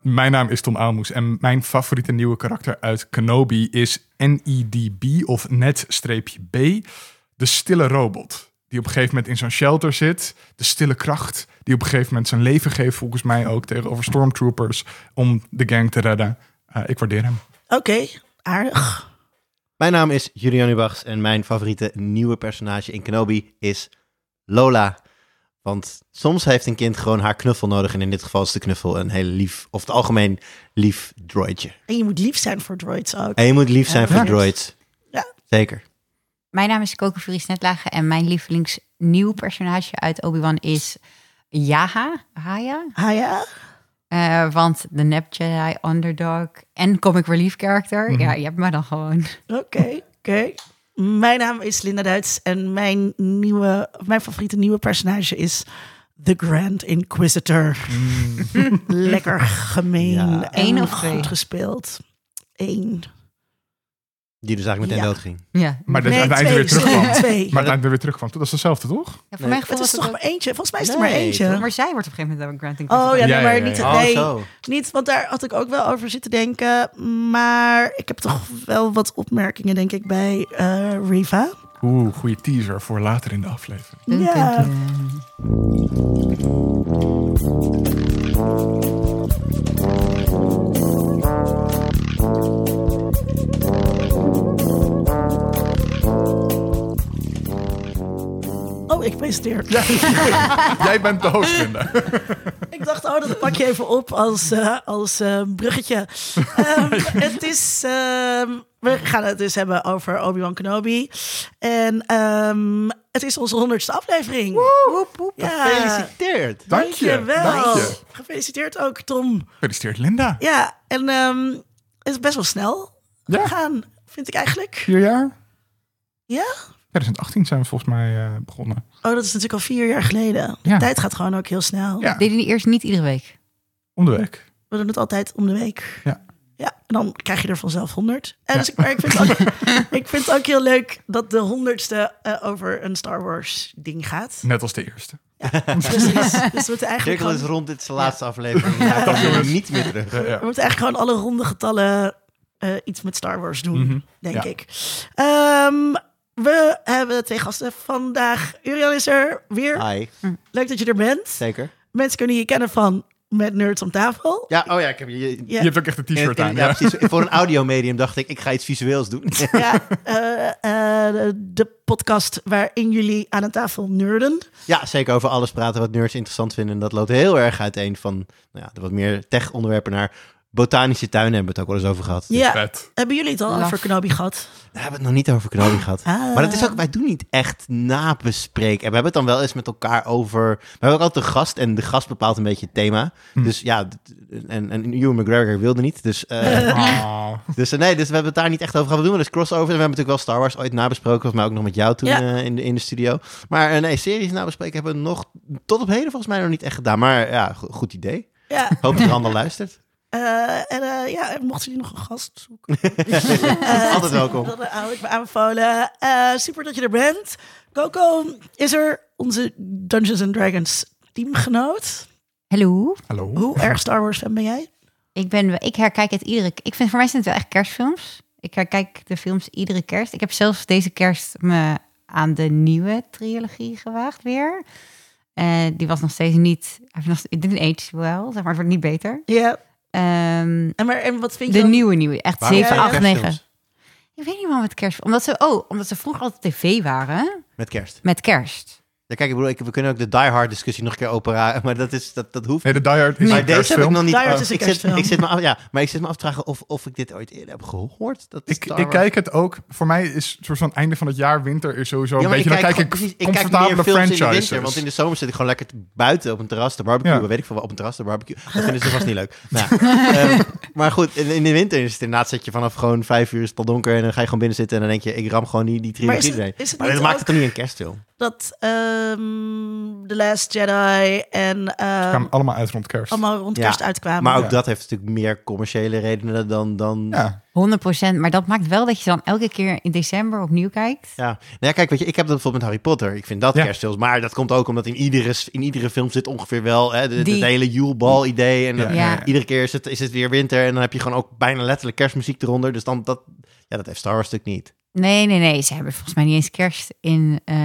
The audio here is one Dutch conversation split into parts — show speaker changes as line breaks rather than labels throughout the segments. Mijn naam is Tom Aalmoes en mijn favoriete nieuwe karakter uit Kenobi is NEDB of net-b, de stille robot. Die op een gegeven moment in zo'n shelter zit. De stille kracht. Die op een gegeven moment zijn leven geeft, volgens mij ook tegenover stormtroopers. om de gang te redden. Eh, ik waardeer hem.
Oké, aardig.
Mijn naam is Julian Ubachs en mijn favoriete nieuwe personage in Kenobi is Lola. Want soms heeft een kind gewoon haar knuffel nodig en in dit geval is de knuffel een heel lief, of het algemeen lief droidje.
En je moet lief zijn voor droids ook.
En je moet lief zijn voor
Ja.
droids.
Ja.
Zeker.
Mijn naam is Coco Fries Netlage en mijn lievelingsnieuw personage uit Obi-Wan is Yaha. Haya.
Ah ja?
Eh, want de nep Jedi, underdog en comic relief character.
Mhm.
Ja, je hebt me dan gewoon.
Oké, oké. Mijn naam is Linda Duits en mijn, nieuwe, mijn favoriete nieuwe personage is The Grand Inquisitor. Mm. Lekker gemeen
Ja.
en
Eén of
goed
twee?
gespeeld. Eén.
Die dus eigenlijk meteen
Ja.
dood ging.
Ja.
Maar dat
Nee,
uiteindelijk
twee,
weer terugkwam. Maar
sorry, twee.
uiteindelijk weer terugkwam. Dat is hetzelfde, toch?
Ja, voor
Nee.
mijn gevoel
Het is
was
toch maar eentje? Volgens mij is het
Nee,
maar eentje.
toch?
Maar zij wordt op een gegeven moment ook Grand Inquisitor.
Oh
Ja,
ja, nee,
ja,
maar
ja,
niet,
ja.
Oh,
nee,
zo.
niet, want daar had ik ook wel over zitten denken. Maar ik heb toch wel wat opmerkingen, denk ik, bij eh, Riva.
Oeh, goede teaser voor later in de aflevering.
Dun, dun,
Ja.
dun.
Oh, ik presenteer.
Jij bent de host, Linda.
Ik dacht, oh, dat pak je even op als, eh, als eh, bruggetje. Ehm, het is, ehm, we gaan het dus hebben over Obi-Wan Kenobi. En ehm, het is onze honderdste aflevering.
Woep, woep.
Ja.
Gefeliciteerd.
Dank je.
Dankjewel.
Dank je.
Gefeliciteerd ook, Tom.
Gefeliciteerd, Linda.
Ja, en ehm, het is best wel snel
Ja.
gegaan, vind ik eigenlijk.
Vier jaar?
Ja?
2018 zijn we volgens mij eh, begonnen.
Oh, dat is natuurlijk al vier jaar geleden.
Ja.
Tijd gaat gewoon ook heel snel.
Ja,
Deden die eerst niet iedere week?
om de week.
We doen het altijd om de week.
Ja.
Ja, en dan krijg je er vanzelf 100. En dus ik, maar ik, vind het ook, ik vind het ook heel leuk dat de honderdste eh, over een Star Wars ding gaat.
Net als de eerste.
Precies. Dus we moeten eigenlijk,
Cirkel is
gewoon,
rond, dit is de laatste aflevering. Ja, dat doen we niet meer terug.
Ja, ja.
we moeten eigenlijk gewoon alle ronde getallen eh, iets met Star Wars doen,
Mhm.
denk
Ja.
ik. Ehm, we hebben twee gasten vandaag. Uriel is er weer.
Hi,
Leuk dat je er bent.
zeker.
Mensen kunnen je kennen van Met Nerds om tafel.
Ja, oh ja, ik heb je...
Ja.
Je hebt ook echt een
in-
t-shirt
in-
aan.
ja,
Ja.
precies. Voor een audiomedium dacht ik, ik ga iets visueels doen.
Ja, eh, eh, de podcast waarin jullie aan een tafel nerden.
Ja, zeker over alles praten wat nerds interessant vinden. En dat loopt heel erg uiteen van nou ja, de wat meer tech-onderwerpen naar botanische tuinen hebben we het ook wel eens over gehad.
Ja,
Vet.
hebben jullie het al
Laf.
over Kenobi gehad?
We hebben het nog niet over Kenobi gehad.
Ah.
Maar dat is ook, wij doen niet echt nabespreken. En we hebben het dan wel eens met elkaar over... We hebben ook altijd een gast en de gast bepaalt een beetje het thema.
Hm.
Dus ja, d- en, en Ewan McGregor wilde niet. Dus, eh,
Ah.
dus eh, nee, dus we hebben het daar niet echt over gehad. We doen wel eens crossovers. En we hebben natuurlijk wel Star Wars ooit nabesproken. Volgens mij ook nog met jou toen
Ja.
eh, in, de, in de studio. Maar eh, nee, series nabespreken hebben we nog tot op heden volgens mij nog niet echt gedaan. Maar ja, go- goed idee.
Ja,
Hoop dat Randall luistert.
eh, en eh, ja, mochten jullie nog een gast zoeken, Eh,
Altijd welkom.
dan hou ik me aanbevolen. Eh, super dat je er bent. Coco is er, onze Dungeons and Dragons teamgenoot.
Hallo.
Hallo.
Hoe erg Star Wars fan ben jij?
Ik, ben, ik herkijk het iedere... Ik vind, voor mij zijn het wel echt kerstfilms. Ik herkijk de films iedere kerst. Ik heb zelfs deze kerst me aan de nieuwe trilogie gewaagd weer. Eh, die was nog steeds niet... hij heeft nog- It didn't age well, zeg maar. Het wordt niet beter.
Ja,
Ehm,
en, maar, en wat vind je
de
dan-
nieuwe, nieuwe. Echt
Waarom
7,
zijn
8,
kerstfilms?
9. Ik weet niet waarom het kerst... Omdat ze, oh, omdat ze vroeger altijd tv waren
Met kerst.
met kerst.
Ja, kijk, ik bedoel, ik- we kunnen ook de Die Hard discussie nog een keer opera. Maar dat, is, dat, dat hoeft
Nee, de Die Hard is
Maar
een
deze heb ik
kerstfilm.
nog niet. Oh,
Die Hard is een
ik, zit,
kerstfilm.
ik zit me af, ja, maar ik zit me af te vragen of, of ik dit ooit eerder heb gehoord. Dat
Ik,
Star
ik
Wars-
kijk het ook. Voor mij is het soort van einde van het jaar winter is sowieso
Ja,
een
maar
beetje. dan kijk
gewoon-
ik
precies,
comfortabele
films in de winter,
franchises.
want in de zomer zit ik gewoon lekker te- buiten op een terras te barbecue.
Ja.
Weet ik veel wat, op een terras te barbecue. Dat vinden ze vast niet leuk. Nou, ehm, maar goed, in, in de winter is het inderdaad zet je vanaf gewoon vijf uur is het al donker en dan ga je gewoon binnen zitten en dan denk je, ik ram gewoon die, die
Maar is
trilogie
het-
erin.
is het
Maar dat
niet
maakt
ook-
het toch niet een kerstfilm?
dat ehm, The Last Jedi en
Ze
ehm,
kwamen allemaal uit rond kerst.
allemaal rond
Ja,
kerst uitkwamen.
Maar ook
Ja.
dat heeft natuurlijk meer commerciële redenen dan... dan ja.
Ja,
100%. Maar dat maakt wel dat je dan elke keer in december opnieuw kijkt.
Nou ja, kijk, weet je, ik heb dat bijvoorbeeld met Harry Potter. Ik vind dat
Ja.
kerstfilms. Maar dat komt ook omdat in iedere, in iedere film zit ongeveer wel hè, de- de-
Die-
het hele Yule idee. En
Ja,
dat-
ja, ja.
iedere keer is het, is het weer winter. En dan heb je gewoon ook bijna letterlijk kerstmuziek eronder. Dus dan dat... Ja, dat heeft Star Wars natuurlijk niet.
Nee, nee, nee. Ze hebben volgens mij niet eens kerst in eh,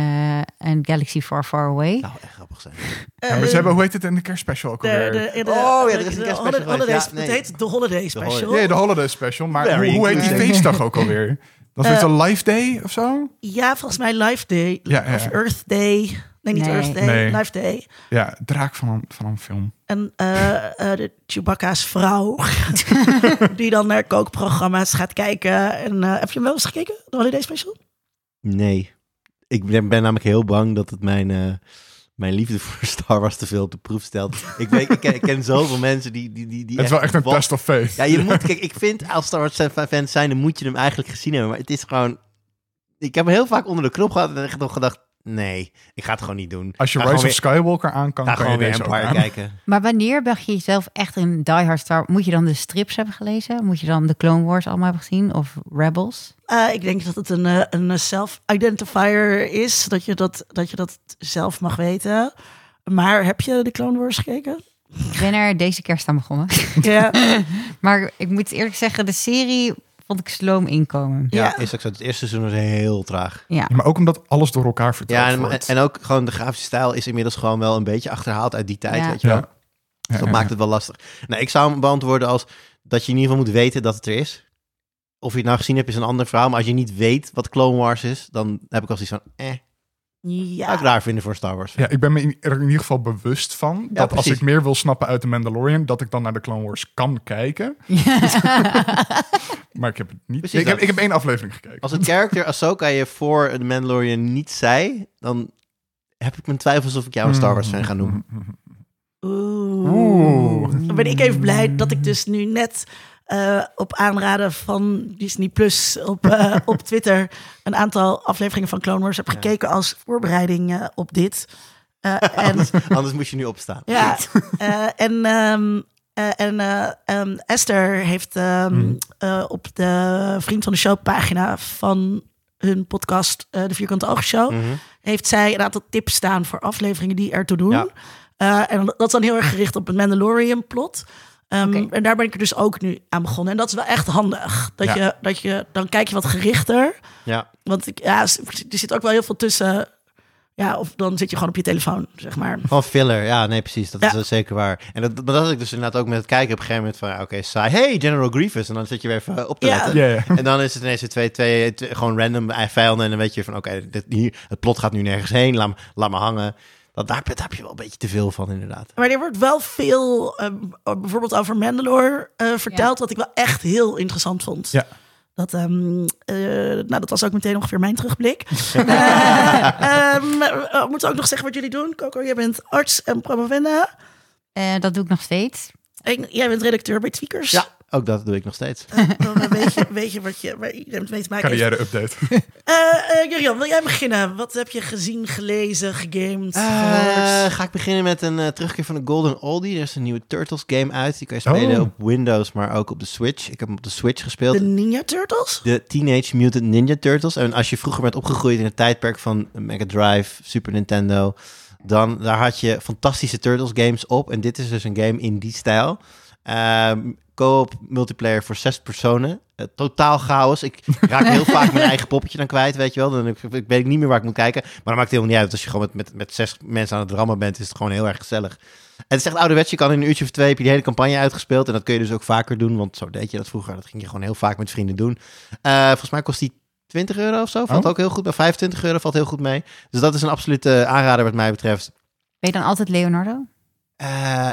een Galaxy Far Far Away.
Nou, echt grappig zijn.
Eh,
Ja, maar ze hebben, hoe heet het in de kerstspecial ook
de,
alweer?
de- de- de-
Oh, ja, er is een
de
kerstspecial
holiday-
geweest.
holidays-
Ja, nee.
Het heet de Holiday Special.
Ja, de holiday special. Maar hoe,
Very
hoe heet die
good.
feestdag ook alweer? Dat is
Eh,
een live day of zo?
Ja, volgens mij Life Day.
Ja, ja.
Of Earth Day. Nee, niet
Nee.
Earth Day.
Nee.
Life Day.
Ja, draak van een, van een film.
En eh, eh, de Chewbacca's vrouw. die dan naar kookprogramma's gaat kijken. En, eh, heb je hem wel eens gekeken? De Holiday Special?
Nee. Ik ben, ben namelijk heel bang dat het mijn, eh, mijn liefde voor Star Wars te veel op de proef stelt. Ik, weet, ik, ken, ik ken zoveel mensen die... die, die, die
het is wel echt een
wat-
test of faith.
Ja, je moet... Kijk, ik vind als Star Wars fan- fans zijn, dan moet je hem eigenlijk gezien hebben. Maar het is gewoon... Ik heb hem heel vaak onder de knop gehad en echt nog gedacht... Nee, ik ga het gewoon niet doen.
Als je
Ga
Rise of
gewoon weer-
Skywalker aan kan,
Ga
kan je
gewoon weer
deze ook
Empire
aan.
kijken.
Maar wanneer mag je jezelf echt een Die Hard Star... Moet je dan de strips hebben gelezen? Moet je dan de Clone Wars allemaal hebben gezien? Of Rebels?
Eh, ik denk dat het een, eh, een self-identifier is. Dat je dat, dat je dat zelf mag weten. Maar heb je de Clone Wars gekeken?
Ik ben er deze kerst aan begonnen.
Ja.
maar ik moet eerlijk zeggen, de serie vond ik sloom inkomen.
Ja,
Ja.
is ook zo. Het eerste seizoen was heel traag.
Ja.
Ja, maar ook omdat alles door elkaar verteld
Ja, en,
wordt.
en ook gewoon de grafische stijl is inmiddels gewoon wel een beetje achterhaald uit die tijd,
Ja.
weet je wel.
Ja.
Dus dat maakt het wel lastig. Nou, ik zou hem beantwoorden als dat je in ieder geval moet weten dat het er is. Of je het nou gezien hebt, is een ander verhaal. Maar als je niet weet wat Clone Wars is, dan heb ik al zoiets van... Eh, zou
ja.
ik raar vinden voor Star Wars.
Ja, ik ben me in- er in ieder geval bewust van dat als
precies.
ik meer wil snappen uit de Mandalorian, dat ik dan naar de Clone Wars kan kijken. Maar ik heb het niet.
Precies
ik, heb,
dat.
ik heb één aflevering gekeken.
Als het character Ahsoka je voor The Mandalorian niet zei, dan heb ik mijn twijfels of ik jou een Star Wars fan ga noemen.
Oeh.
Oeh.
Dan ben ik even blij dat ik dus nu net eh, op aanraden van Disney Plus op, eh, op Twitter een aantal afleveringen van Clone Wars heb gekeken als voorbereiding eh, op dit. Eh, en
Anders moest je nu opstaan.
ja, eh, en, ehm, eh, en eh, ehm, Esther heeft ehm,
Mm.
eh, op de Vriend van de Show pagina van hun podcast eh, De Vierkante Oogshow...
Mhm.
heeft zij een aantal tips staan voor afleveringen die ertoe doen.
Ja.
Eh, en dat is dan heel erg gericht op het Mandalorian plot. Ehm,
Oké.
En daar ben ik er dus ook nu aan begonnen. En dat is wel echt handig. Dat
Ja.
je, dat je, dan kijk je wat gerichter.
Ja.
Want ik, ja, s- er zit ook wel heel veel tussen. Ja, of dan zit je gewoon op je telefoon, zeg maar.
Van filler, ja, nee, precies. Dat
Ja.
is wel zeker waar. En dat, maar dat had ik dus inderdaad ook met het kijken op een gegeven moment van, ja, oké, saai. Hey, General Grievous. En dan zit je weer even eh, op te
Ja.
letten.
Ja, ja.
En dan is het ineens weer twee, twee, twee- gewoon random eh, vijanden. En dan weet je van, oké, dit hier het plot gaat nu nergens heen. Laat, me- laat me hangen. Dat, daar, daar heb je wel een beetje te veel van, inderdaad.
Maar er wordt wel veel, eh, bijvoorbeeld over Mandalore, eh, verteld. Wat ik wel echt heel interessant vond.
Ja.
Dat, ehm, eh, nou, dat was ook meteen ongeveer mijn terugblik. Eh, ehm, eh, ik moet ook nog zeggen wat jullie doen. Coco, jij bent arts en promovenda.
Eh, dat doe ik nog steeds.
En jij bent redacteur bij Tweakers.
Ja, ook dat doe ik nog steeds.
Dan weet je, weet je wat je, waar iedereen mee te maken heeft.
Carrière update.
Eh, eh, Jurian, wil jij beginnen? Wat heb je gezien, gelezen, gegamed? gehoord?
Eh, ga ik beginnen met een eh, terugkeer van de Golden Oldie. Er is een nieuwe Turtles game uit. Die kan je
Oh.
spelen op Windows, maar ook op de Switch. Ik heb hem op de Switch gespeeld.
de Ninja Turtles?
De Teenage Mutant Ninja Turtles. En als je vroeger bent opgegroeid in het tijdperk van Mega Drive, Super Nintendo, dan daar had je fantastische Turtles games op. En dit is dus een game in die stijl. Ehm co-op multiplayer voor zes personen. Eh, totaal chaos. Ik raak heel vaak mijn eigen poppetje dan kwijt, weet je wel. Dan ik, ik weet niet meer waar ik moet kijken. Maar dat maakt helemaal niet uit. Als je gewoon met, met, met zes mensen aan het rammen bent, is het gewoon heel erg gezellig. En het is echt ouderwets. Je kan in een uurtje of twee heb je die hele campagne uitgespeeld. En dat kun je dus ook vaker doen, want zo deed je dat vroeger. Dat ging je gewoon heel vaak met vrienden doen. Eh, volgens mij kost die 20 euro of zo. Valt
Oh.
ook heel goed. Maar 25 euro valt heel goed mee. Dus dat is een absolute aanrader wat mij betreft.
Ben je dan altijd Leonardo?
Eh,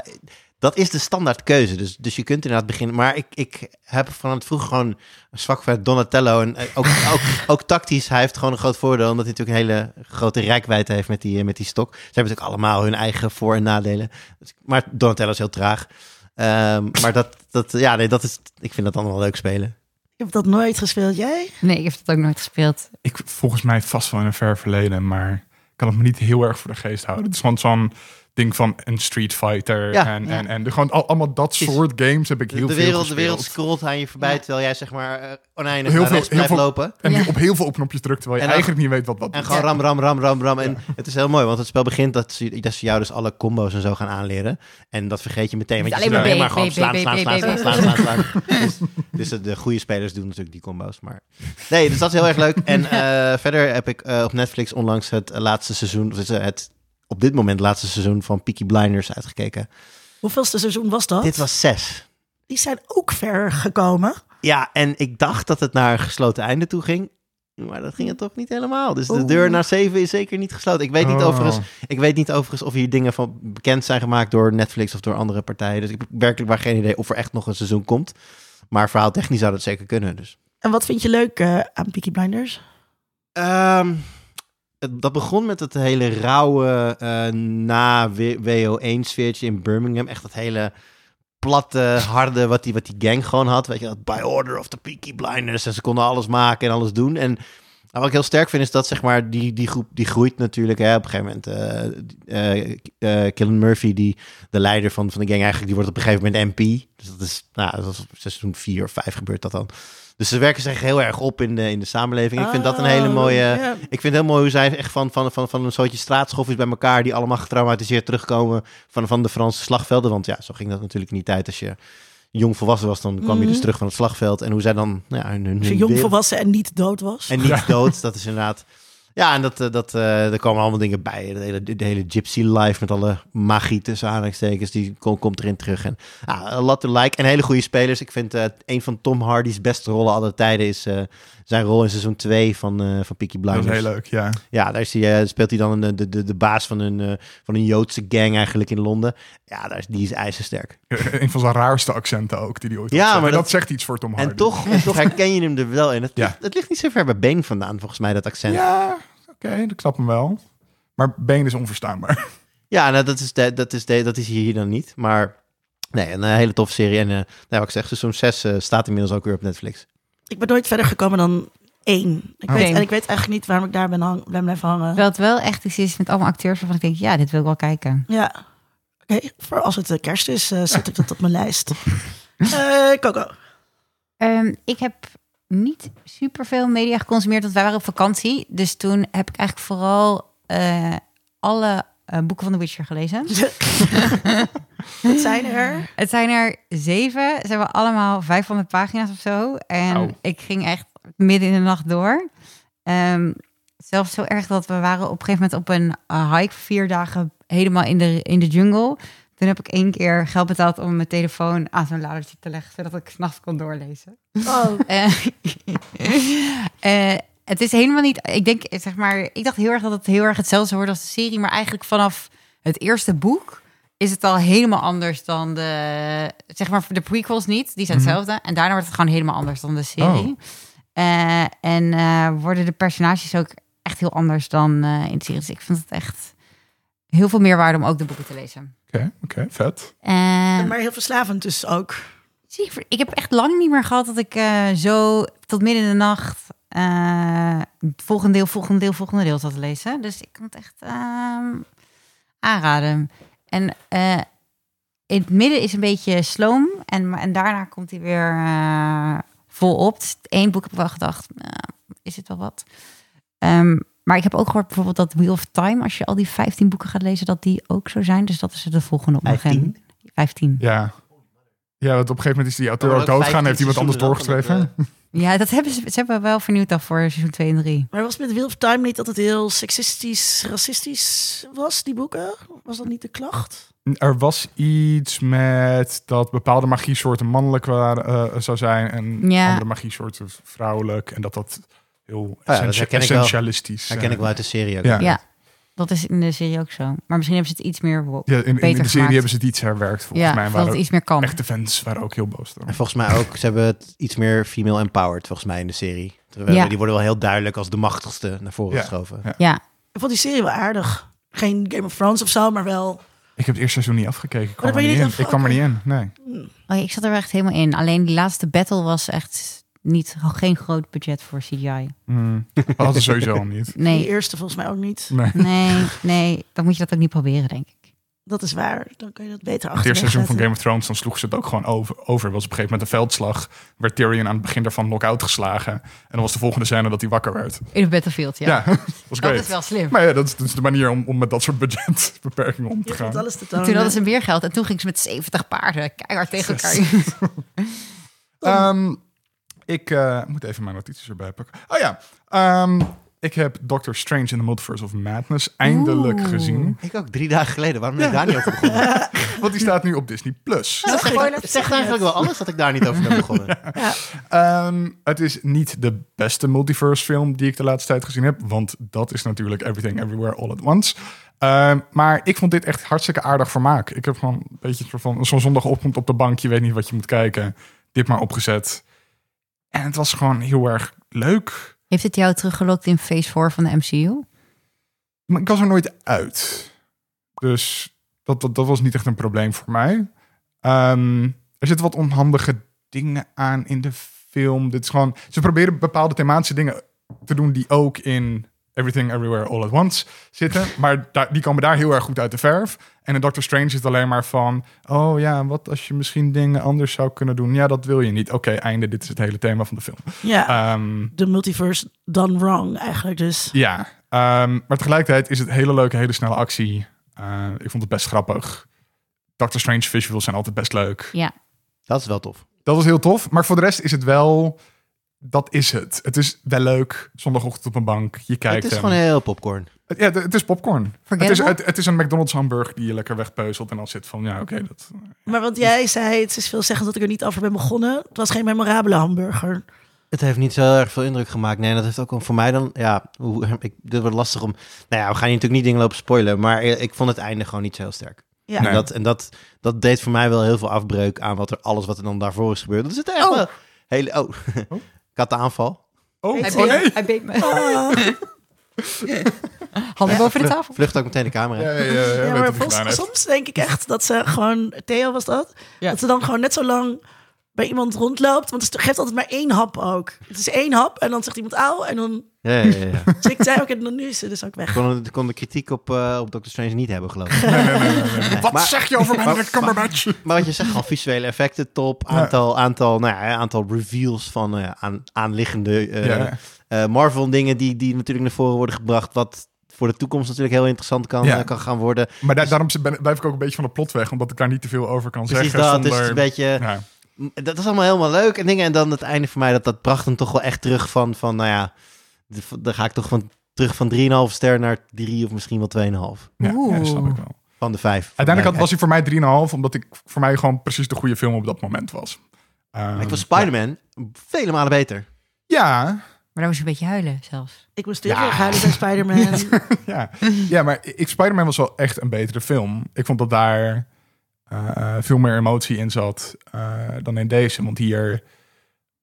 dat is de standaard keuze. Dus, dus je kunt inderdaad beginnen. Maar ik, ik heb van het vroeg gewoon een zwak voor Donatello. En eh, ook, ook, ook tactisch. Hij heeft gewoon een groot voordeel. Omdat hij natuurlijk een hele grote rijkwijde heeft met die, eh, met die stok. Ze hebben natuurlijk allemaal hun eigen voor- en nadelen. Dus- Maar Donatello is heel traag. Ehm, maar dat, dat, ja, nee, dat is, ik vind dat dan wel leuk spelen.
Ik heb dat nooit gespeeld. Jij?
Nee, ik heb dat ook nooit gespeeld.
Ik volgens mij vast wel in een ver verleden, maar ik kan het me niet heel erg voor de geest houden. Het is gewoon zo'n ding van een Street Fighter
Ja,
en,
ja.
en, en de- gewoon al- allemaal dat
Precies.
soort games heb ik
De,
heel
de
veel
wereld, de
gespeeld.
wereld scrolt aan je voorbij,
Ja.
terwijl jij zeg maar eh, oneindig
Heel
naar
veel- heel
rechts blijft
veel-
lopen.
En
Ja.
op heel veel op knopjes drukt, terwijl je
En dan-
eigenlijk niet weet wat wat
En
doet.
gewoon
Ja.
ram, ram, ram, ram, ram. En het is heel mooi, want het spel begint dat ze, dat ze jou dus alle combo's en zo gaan aanleren. En dat vergeet je meteen. Want je
Alleen
zit
maar
alleen
B,
maar gewoon
B, B,
slaan,
B,
slaan,
B,
slaan,
B,
slaan,
B.
slaan, slaan, slaan. Dus, dus de- de goede spelers doen natuurlijk die combo's. Maar... Nee, dus dat is heel erg leuk. En eh, verder heb ik eh, op Netflix onlangs het eh, laatste seizoen, of het, eh, het op dit moment laatste seizoen van Peaky Blinders uitgekeken.
Hoeveelste seizoen was dat?
Dit was zes.
Die zijn ook ver gekomen.
Ja, en ik dacht dat het naar een gesloten einde toe ging. Maar dat ging het toch niet helemaal. Dus de
Oeh.
deur naar zeven is zeker niet gesloten. Ik weet niet,
Oh.
overigens, ik weet niet overigens of hier dingen van bekend zijn gemaakt door Netflix of door andere partijen. Dus ik heb werkelijk waar geen idee of er echt nog een seizoen komt. Maar verhaaltechnisch zou dat zeker kunnen. Dus.
En wat vind je leuk eh, aan Peaky Blinders?
Ehm, het- dat begon met het hele rauwe eh, na WO1-sfeertje in Birmingham. Echt dat hele platte, harde wat die, wat die gang gewoon had. Weet je, dat by order of the Peaky Blinders. En ze konden alles maken en alles doen. En nou, wat ik heel sterk vind is dat zeg maar, die, die groep die groeit natuurlijk. Hè, op een gegeven moment, eh eh, eh, Killian Murphy, die, de leider van, van de gang eigenlijk, die wordt op een gegeven moment MP. Dus dat is, nou, dat is op seizoen 4 of 5 gebeurt dat dan. Dus ze werken zich heel erg op in de, in de samenleving. Ik vind dat een hele
Oh,
mooie...
ja.
Ik vind het heel mooi hoe zij echt van, van, van, van een soortje straatschoffies bij elkaar... die allemaal getraumatiseerd terugkomen van, van de Franse slagvelden. Want ja, zo ging dat natuurlijk niet uit. Als je jong volwassen was, dan kwam je dus
Mhm.
terug van het slagveld. En hoe zij dan... Nou ja, hun, hun,
Als je
hun
jong
wereld-
volwassen en niet dood was.
en niet dood, dat is inderdaad... Ja, en dat, eh, dat, eh, er komen allemaal dingen bij. De hele, de hele gypsy life met alle magie tussen aanhalingstekens, die kom- komt erin terug. En ah, a lot to like. En hele goede spelers. Ik vind eh, een van Tom Hardy's beste rollen aller tijden is eh, zijn rol in seizoen 2 van, eh van Peaky
Dat
Blinders.
is heel leuk, ja.
Ja, daar is hij, eh, speelt hij dan een, de, de, de baas van een, eh, van een Joodse gang eigenlijk in Londen. Ja, daar is, die is ijzersterk.
Een van zijn raarste accenten ook, die die ooit
Ja,
had. En
maar
dat,
dat-
zegt iets voor Tom Hardy.
En toch, en toch herken je hem er wel in. Het,
Ja.
ligt, het ligt niet zo ver bij Been vandaan, volgens mij, dat accent. Ja,
Ja, oké, dat ik snap hem wel. Maar Bane is onverstaanbaar.
nou, dat, is de, dat, is de, dat is hier dan niet. Maar nee, een eh, hele toffe serie. En eh nou, wat ik zeg, seizoen 6 eh, staat inmiddels ook weer op Netflix.
Ik ben nooit verder gekomen dan één. Ik
Oh.
weet,
Eén.
en ik weet eigenlijk niet waarom ik daar ben, hang, ben blijven hangen.
Terwijl het wel echt iets is met allemaal acteurs waarvan ik denk, ja, dit wil ik wel kijken.
Ja. Oké, voor als het eh, kerst is, eh, zet ik dat op mijn lijst. Eh, Coco.
Ehm, ik heb niet superveel media geconsumeerd, want wij waren op vakantie. Dus toen heb ik eigenlijk vooral eh, alle eh, boeken van The Witcher gelezen.
Wat zijn er?
Het zijn er zeven. Ze hebben allemaal 500 pagina's of zo. En
Au.
ik ging echt midden in de nacht door. Ehm, zelfs zo erg dat we waren op een gegeven moment op een eh, hike vier dagen helemaal in de, in de jungle. Toen heb ik één keer geld betaald om mijn telefoon aan zo'n ladertje te leggen, zodat ik s'nachts kon doorlezen.
Oh,
Eh, eh, het is helemaal niet. Ik denk, eh, zeg maar, ik dacht heel erg dat het heel erg hetzelfde zou worden als de serie. Maar eigenlijk vanaf het eerste boek is het al helemaal anders dan de. Zeg maar, de prequels niet. Die zijn
Mhm.
hetzelfde. En daarna wordt het gewoon helemaal anders dan de serie.
Oh.
Eh, en eh, worden de personages ook echt heel anders dan eh, in de serie. Dus ik vind het echt heel veel meer waarde om ook de boeken te lezen.
Oké, oké, vet.
Eh,
maar heel verslavend dus ook.
Zie, ik heb echt lang niet meer gehad dat ik eh, zo tot midden in de nacht eh volgende deel, volgende deel, volgende deel zat te lezen. Dus ik kan het echt ehm, aanraden. En eh, in het midden is een beetje sloom en, en daarna komt hij weer eh, vol op. Dus Eén boek heb ik wel gedacht, nou, is het wel wat? Ehm, maar ik heb ook gehoord bijvoorbeeld dat Wheel of Time, als je al die 15 boeken gaat lezen, dat die ook zo zijn. Dus dat is de volgende op mijn
15?
agenda. 15.
Ja. Ja, want op een gegeven moment is die auteur
Er
ook
worden ook
doodgaan. Heeft
15
iemand anders
seizoenen dan,
doorgeschreven?
Ja, dat hebben ze, ze hebben wel vernieuwd dan voor seizoen 2 en 3.
Maar was met Wheel of Time niet dat het heel seksistisch, racistisch was, die boeken? Was dat niet de klacht?
Er was iets met dat bepaalde magiesoorten mannelijk waren, eh, zou zijn. En
Ja.
andere magiesoorten vrouwelijk. En dat dat heel
Oh dat
essentia-
herken ik wel.
essentialistisch
Herken ik wel uit de serie ook.
eh, Ja.
Ja. Dat is in de serie ook zo. Maar misschien hebben ze het iets meer... wo-
Ja, in, in de
Beter
serie
gemaakt.
hebben ze het iets herwerkt, volgens
ja,
mij.
dat het
Waren
iets meer kan.
echte fans waren ook heel boos.
En
daarom.
volgens mij ook, ze hebben het iets meer female empowered, volgens mij, in de serie. Terwijl
Ja.
Die worden wel heel duidelijk als de machtigste naar voren
Ja.
geschoven.
Ja.
Ik vond die serie wel aardig. Geen Game of Thrones of zo, maar wel...
Ik heb het eerste seizoen niet afgekeken. Ik kwam
Oh, dat
er
ben
niet
je
in.
niet af-
Ik kwam er
oké.
niet in, nee.
Oh, ja, ik zat er echt helemaal in. Alleen die laatste battle was echt niet, geen groot budget voor CGI.
Mm, dat hadden ze sowieso al niet.
Die
Nee,
eerste volgens mij ook niet.
Nee.
nee, nee, dan moet je dat ook niet proberen, denk ik.
Dat is waar. Dan kun je dat beter
Het
achter.
eerste seizoen van Game of Thrones, dan sloeg ze het ook gewoon over. over. Was op een gegeven moment een veldslag. Werd Tyrion aan het begin daarvan knock-out geslagen. En dan was de volgende scène dat hij wakker werd.
In het Battlefield, ja.
Ja, dat was
Dat is
great.
wel slim.
Maar ja, dat is, dat is de manier om, om met dat soort budgetbeperkingen om te gaan.
alles te
Toen hadden
tonen.
ze meer geld en toen gingen ze met 70 paarden keihard tegen elkaar.
Ehm, ik eh, moet even mijn notities erbij pakken. Oh ja, ehm, ik heb Doctor Strange in the Multiverse of Madness eindelijk
Oeh.
gezien.
Ik ook, drie dagen geleden. Waarom ben ik daar niet over begonnen?
Want die staat nu op Disney+. Plus.
Ja, spoilers,
Het
zeg
zegt
je
eigenlijk wel alles dat ik daar niet over ben begonnen.
Ehm, het is niet de beste multiverse film die ik de laatste tijd gezien heb. Want dat is natuurlijk Everything Everywhere All at Once. Ehm, maar ik vond dit echt hartstikke aardig vermaak. Ik heb gewoon een beetje het soort van zo'n zondag opkomt op de bank. Je weet niet wat je moet kijken. Dit maar opgezet. En het was gewoon heel erg leuk.
Heeft het jou teruggelokt in Phase 4 van de MCU?
Maar ik was er nooit uit. Dus dat, dat, dat was niet echt een probleem voor mij. Ehm, er zitten wat onhandige dingen aan in de film. Dit is gewoon, ze proberen bepaalde thematische dingen te doen die ook in Everything Everywhere All at Once zitten. Maar daar, die komen daar heel erg goed uit de verf. En in Doctor Strange is het alleen maar van... oh ja, wat als je misschien dingen anders zou kunnen doen? Ja, dat wil je niet. Oké, einde, dit is het hele thema van de film.
Ja,
Ehm
de multiverse done wrong eigenlijk dus.
ja, ehm, maar tegelijkertijd is het hele leuke, hele snelle actie. Eh, ik vond het best grappig. Doctor Strange visuals zijn altijd best leuk.
Ja.
Dat is wel tof.
Dat was heel tof. Maar voor de rest is het wel... Dat is het. Het is wel leuk. Zondagochtend op een bank. Je kijkt
het is
hem.
gewoon heel popcorn.
Het- Ja, het- het is popcorn. Het is,
Forgettable?
het, het is een McDonald's hamburger die je lekker wegpeuzelt. En dan zit van, ja, oké. dat...
Maar want jij zei, het is veelzeggend dat ik er niet over ben begonnen. Het was geen memorabele hamburger.
Het heeft niet zo heel erg veel indruk gemaakt. Nee, dat heeft ook wel voor mij dan... Ja, hoe, ik, dit wordt lastig om... Nou ja, we gaan hier natuurlijk niet dingen lopen spoilen. Maar e- ik, ik vond het einde gewoon niet zo heel sterk.
Ja.
Nee.
En, dat, en dat, dat deed voor mij wel heel veel afbreuk aan wat er, alles wat er dan daarvoor is gebeurd. Dat is het echt
Oh.
wel... Hele, oh,
Oh.
kattenaanval.
Oh,
Hij
oh
beet-
nee.
Hij beet me.
Ah.
Handen boven de
Vlucht-
tafel.
Vlucht ook meteen de camera.
Ja, ja, ja, ja, weet
Ja,
wat
maar
hij
volgens-
gedaan heeft.
soms denk ik echt dat ze gewoon, Theo was dat,
Ja.
dat ze dan gewoon net zo lang bij iemand rondloopt. Want het geeft altijd maar één hap ook. Het is één hap en dan zegt iemand auw en dan
Ja, ja, ja. ja.
zwikt zij ook en dan nu is ze dus ook weg.
kon, kon de kritiek op, eh, op Doctor Strange niet hebben, geloof ik.
Nee, nee, nee, nee, nee. Wat
Maar-
zeg je over Benedict Cumberbatch?
Maar wat je zegt, gewoon visuele effecten top. Aantal, aantal, nou ja, aantal reveals van eh, aan, aanliggende eh,
Ja.
eh, Marvel-dingen die, die natuurlijk naar voren worden gebracht. Wat voor de toekomst natuurlijk heel interessant kan,
Ja.
eh, kan gaan worden.
Maar daar- daarom ben- blijf ik ook een beetje van de plot weg. Omdat ik daar niet te veel over kan
Precies
zeggen.
dat.
zonder...
Dus het is een beetje...
Ja.
Dat is allemaal helemaal leuk en dingen. En dan het einde voor mij, dat, dat bracht hem toch wel echt terug van, van nou ja... d- Dan ga ik toch van, terug van 3,5 ster naar 3 of misschien wel 2,5.
Ja, ja, dat snap ik
Oeh.
wel.
Van de 5.
Uiteindelijk had- was hij voor mij 3,5, omdat ik voor mij gewoon precies de goede film op dat moment was. Ehm,
Ik was Spider-Man vele malen beter.
Ja, ja,
Maar dan moest je een beetje huilen zelfs.
Ik moest heel
Ja.
erg huilen bij Spider-Man.
ja. ja, maar ik, Spider-Man was wel echt een betere film. Ik vond dat daar eh, veel meer emotie in zat eh, dan in deze. Want hier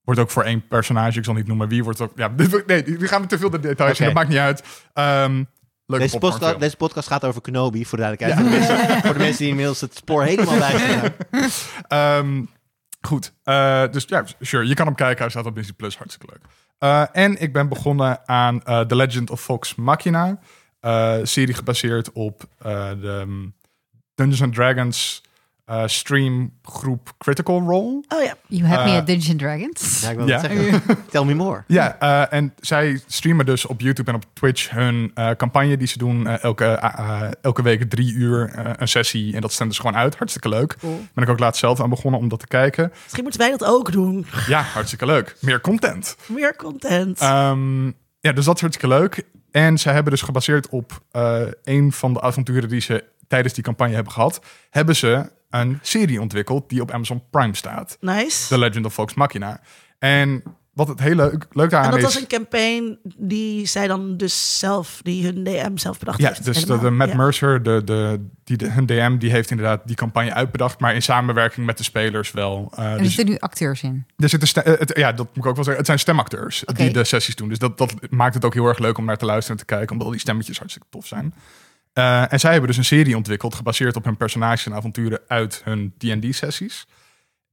wordt ook voor één personage, ik zal niet noemen wie, wordt ook... Ja, nee, nu gaan we te veel de details in, dat
Oké.
maakt niet uit. Ehm leuke
Deze podcast,
popcornfilm.
deze podcast gaat over Kenobi, voor de duidelijkheid. Voor, de mensen, voor de mensen die inmiddels het spoor helemaal bij zijn.
Ehm, goed, Eh, dus ja, sure, je kan hem kijken. Hij staat op Disney Plus, hartstikke leuk. Eh, en ik ben begonnen aan eh, The Legend of Fox Machina. Eh, serie gebaseerd op eh, de mm, Dungeons and Dragons eh, streamgroep Critical Role.
Oh ja,
You have me
Eh,
at Dungeons and Dragons.
Ja, ik wil
Ja.
het zeggen. Tell me more.
Ja, eh, en zij streamen dus op YouTube en op Twitch hun eh, campagne die ze doen. eh, elke, eh, eh, elke week drie uur eh, een sessie. En dat zendt dus gewoon uit. Hartstikke leuk. Ben ik ook laatst zelf aan begonnen om dat te kijken.
misschien moeten wij dat ook doen.
Ja, hartstikke leuk. Meer content.
Meer content.
Ehm, ja, dus dat is hartstikke leuk. En ze hebben dus gebaseerd op eh, een van de avonturen die ze tijdens die campagne hebben gehad, hebben ze een serie ontwikkeld die op Amazon Prime staat.
nice.
The Legend of Fox Machina. En wat het heel leuk, leuk
En
daaraan
dat
is...
was een campaign die zij dan dus zelf, die hun DM zelf bedacht
Ja,
heeft.
dus de,
Helemaal.
de Matt
Ja.
Mercer, de, de, die, de, hun DM, die heeft inderdaad die campagne uitbedacht, maar in samenwerking met de spelers wel. Eh,
er
dus
zitten nu acteurs in.
Er zitten ste- eh, het, ja, dat moet ik ook wel zeggen. Het zijn stemacteurs
Oké.
die de sessies doen. Dus dat, dat maakt het ook heel erg leuk om naar te luisteren en te kijken. Omdat al die stemmetjes hartstikke tof zijn. Eh, en zij hebben dus een serie ontwikkeld gebaseerd op hun personages en avonturen uit hun D&D-sessies.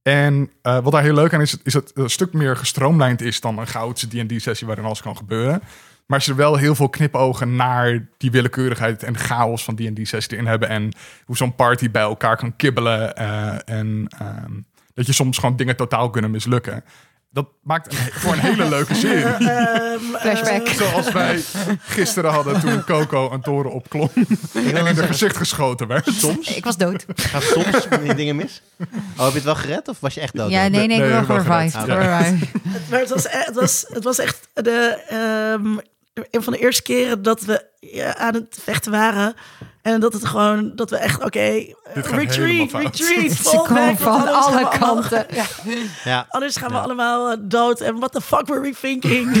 En eh, wat daar heel leuk aan is, is dat het een stuk meer gestroomlijnd is dan een goudse D&D-sessie waarin alles kan gebeuren. Maar ze er wel heel veel knipogen naar die willekeurigheid en chaos van D&D-sessies erin hebben. En hoe zo'n party bij elkaar kan kibbelen. eh, en ehm, dat je soms gewoon dingen totaal kunnen mislukken. Dat maakt een- voor een hele leuke serie.
Ehm,
Flashback.
eh,
Zoals wij gisteren hadden toen Coco een toren opklom en in haar gezicht geschoten werd.
Soms?
Ik was dood.
Gaat soms van die dingen mis? Oh, heb je het wel gered of was je echt dood?
ja, nee, nee,
nee,
ik
ik
heb wel
was eruit.
revived.
Ah,
revived.
maar het was, e- het was, het was echt de, ehm, een van de eerste keren dat we ja, aan het vechten waren. En dat het gewoon, dat we echt, oké,
Dit gaat helemaal
retreat,
fout.
retreat.
Ze komen van alle
kanten.
kanten. Ja.
Ja.
Anders gaan we
Ja.
allemaal eh, dood. En what the fuck were we thinking?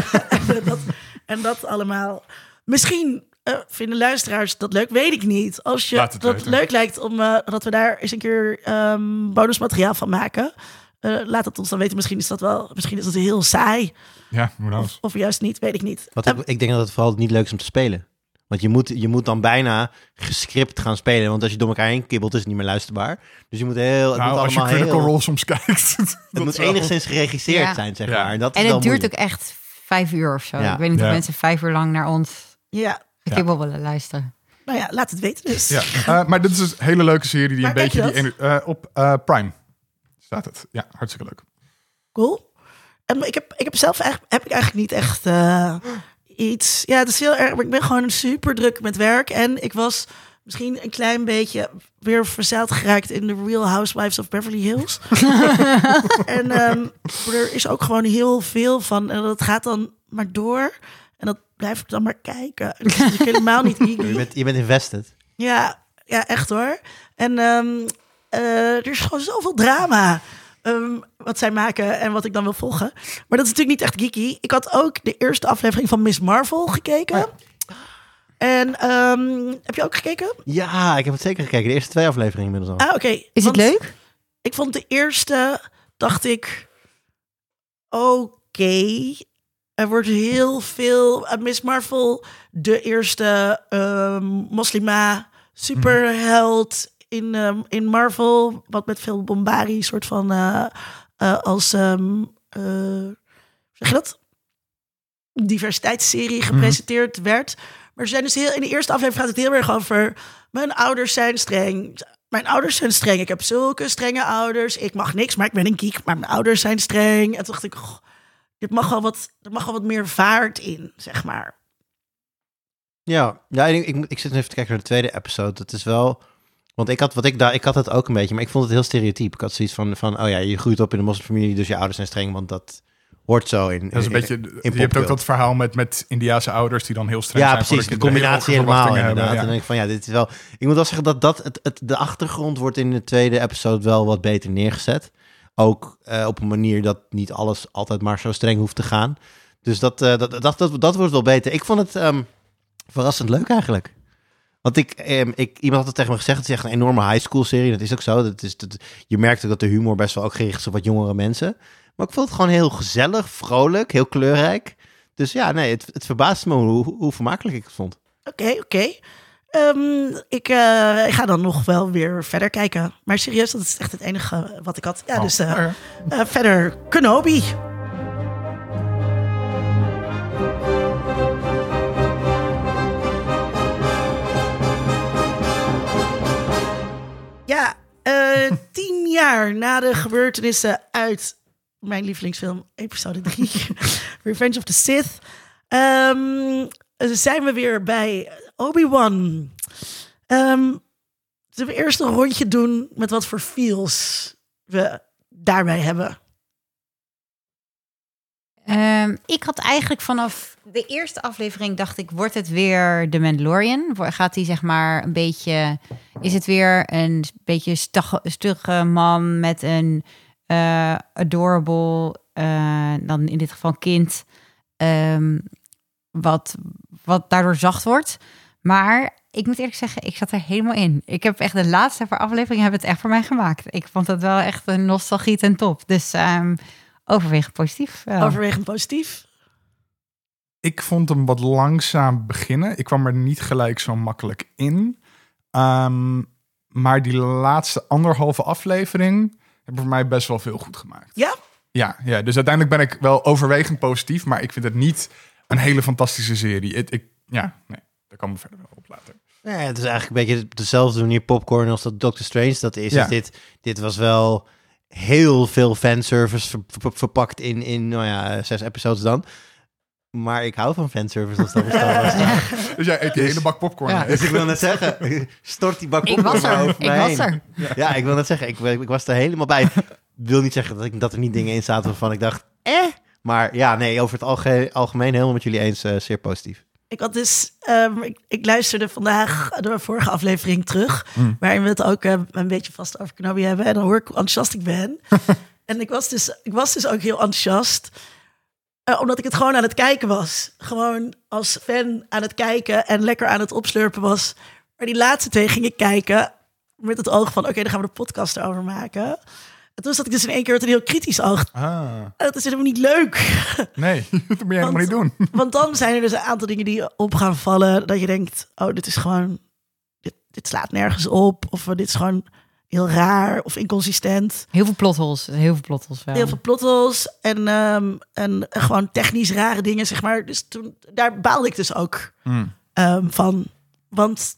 en, dat, en dat allemaal. Misschien eh, vinden luisteraars dat leuk, weet ik niet. Als je
Laat het
dat
weten.
leuk lijkt om eh, dat we daar eens een keer ehm, bonusmateriaal van maken. eh, laat het ons dan weten. Misschien is dat wel, misschien is dat heel saai.
Ja, hoe nou?
Of juist niet, weet ik niet.
Wat ik, ik denk dat het vooral niet leuk is om te spelen. Want je moet, je moet dan bijna gescript gaan spelen. Want als je door elkaar heen kibbelt, is het niet meer luisterbaar. Dus je moet heel. Het
Nou,
moet
als je
allemaal
Critical
heel.
Role soms kijkt.
het
dat
moet
wel.
enigszins geregisseerd
Ja.
zijn, zeg
Ja.
maar. En, dat is
En
wel
het duurt ook
moeilijk.
echt vijf uur of zo.
Ja.
Ik weet niet of
Ja.
mensen vijf uur lang naar ons
Ja,
kibbel willen luisteren.
nou ja, laat het weten dus.
Ja, eh, maar dit is dus een hele leuke serie die
Waar
een
kijk je
beetje... Die ener- eh, op eh, Prime staat het. Ja, hartstikke leuk.
Cool. En ik, heb, ik heb zelf eigenlijk, heb ik eigenlijk niet echt eh, iets. Ja, het is heel erg. maar Ik ben gewoon super druk met werk. En ik was misschien een klein beetje weer verzeild geraakt in de Real Housewives of Beverly Hills. en ehm, er is ook gewoon heel veel van. En dat gaat dan maar door. En dat blijf ik dan maar kijken. Dus ik ben helemaal niet
Je
eager.
bent, je bent invested.
Ja, ja, echt hoor. En ehm, eh, er is gewoon zoveel drama. ehm, wat zij maken en wat ik dan wil volgen. Maar dat is natuurlijk niet echt geeky. Ik had ook de eerste aflevering van Miss Marvel gekeken. En ehm, heb je ook gekeken?
Ja, ik heb het zeker gekeken. De eerste twee afleveringen inmiddels al.
Ah, oké.
Is het
Want
leuk?
Ik vond de eerste, dacht ik, oké. Er wordt heel veel eh, Miss Marvel, de eerste ehm, moslima superheld in, ehm, in Marvel, wat met veel bombari soort van eh, eh, als ehm, eh, zeg je dat? Diversiteitsserie gepresenteerd werd. Maar ze zijn dus heel in de eerste aflevering gaat het heel erg over mijn ouders zijn streng. Mijn ouders zijn streng. Ik heb zulke strenge ouders. Ik mag niks, maar ik ben een geek. Maar mijn ouders zijn streng. En toen dacht ik, goh, dit mag wel wat, er mag wel wat meer vaart in, zeg maar.
Ja, ja ik, ik, moet- ik zit even te kijken naar de tweede episode. Dat is wel. Want ik had, wat ik, daar, ik had het ook een beetje, maar ik vond het heel stereotyp. Ik had zoiets van, van oh ja, je groeit op in een moslimfamilie, dus je ouders zijn streng, want dat hoort zo in.
Dat is een
in-
beetje,
in
je hebt ook
popcultuur.
dat verhaal met, met Indiaanse ouders die dan heel streng
Ja,
zijn. voor
precies. De
kinderen, heel
combinatie
hoge
helemaal
verwachtingen
inderdaad. En dan
hebben,
denk ik van, ja, dit is wel... Ik moet wel zeggen dat, dat het, het, de achtergrond wordt in de tweede episode wel wat beter neergezet. Ook eh, op een manier dat niet alles altijd maar zo streng hoeft te gaan. Dus dat, eh, dat, dat, dat, dat wordt wel beter. Ik vond het ehm, verrassend leuk eigenlijk. Want ik, ehm, ik, iemand had het tegen me gezegd, het is echt een enorme high school serie. Dat is ook zo. Dat is, dat, je merkt ook dat de humor best wel ook gericht is op wat jongere mensen. Maar ik vond het gewoon heel gezellig, vrolijk, heel kleurrijk. Dus ja, nee, het, het verbaast me hoe, hoe, hoe vermakelijk ik het vond.
Oké, oké. Ehm, ik, eh, ik ga dan nog wel weer verder kijken. Maar serieus, dat is echt het enige wat ik had. Ja,
Oh,
dus eh,
nou ja.
eh, verder Kenobi. Ja, eh, tien jaar na de gebeurtenissen uit mijn lievelingsfilm, episode 3, Revenge of the Sith, ehm, zijn we weer bij Obi-Wan. Ehm Zullen we eerst een rondje doen met wat voor feels we daarbij hebben?
Ehm, ik had eigenlijk vanaf de eerste aflevering dacht ik, wordt het weer The Mandalorian? Wo- Gaat hij zeg maar een beetje, is het weer een beetje stag- stugge man met een eh, adorable, eh, dan in dit geval kind, ehm, wat, wat daardoor zacht wordt. Maar ik moet eerlijk zeggen, ik zat er helemaal in. Ik heb echt de laatste paar afleveringen hebben het echt voor mij gemaakt. Ik vond dat wel echt een nostalgie ten top. Dus ehm overwegend positief. wel.
Overwegend positief.
Ik vond hem wat langzaam beginnen. Ik kwam er niet gelijk zo makkelijk in. Ehm, maar die laatste anderhalve aflevering hebben voor mij best wel veel goed gemaakt.
Ja?
Ja, ja dus uiteindelijk ben ik wel overwegend positief, maar ik vind het niet een hele fantastische serie. Het, ik, ja, nee, daar kan me verder wel op later.
Ja, het is eigenlijk een beetje op dezelfde manier popcorn als dat Doctor Strange dat is.
Ja.
Dus dit, dit was wel heel veel fanservice ver- ver- verpakt in, in, nou ja, zes episodes dan. Maar ik hou van fanservice als dat bestaan was.
Dus jij eet die hele bak popcorn.
Ja,
hè?
dus ik wil net zeggen, stort die bak
Ik
popcorn
was er,
maar over
ik
mij
was
heen.
er.
Ja. ik wil net zeggen, ik, ik was er helemaal bij. Ik wil niet zeggen dat, ik, dat er niet dingen in zaten waarvan ik dacht, eh? Maar ja, nee, over het alge- algemeen helemaal met jullie eens, eh, zeer positief.
Ik had dus, ehm, ik, ik luisterde vandaag de vorige aflevering terug, waarin we het ook eh, een beetje vast over Knabi hebben. En dan hoor ik hoe enthousiast ik ben. en ik was, dus, ik was dus ook heel enthousiast, eh, omdat ik het gewoon aan het kijken was. Gewoon als fan aan het kijken en lekker aan het opslurpen was. Maar die laatste twee ging ik kijken met het oog van, oké, dan gaan we de podcast erover maken. En toen zat ik dus in één keer met een heel kritisch oog.
Ah,
En dat is helemaal niet leuk.
nee, dat moet je helemaal niet doen.
Want dan zijn er dus een aantal dingen die op gaan vallen. Dat je denkt, oh, dit is gewoon... Dit, dit slaat nergens op. Of eh, dit is gewoon heel raar of inconsistent.
Heel veel plotholes. Heel veel plotholes wel.
Heel veel plotholes en, ehm, en gewoon technisch rare dingen, zeg maar. Dus toen, daar baalde ik dus ook
Hmm.
ehm, van. Want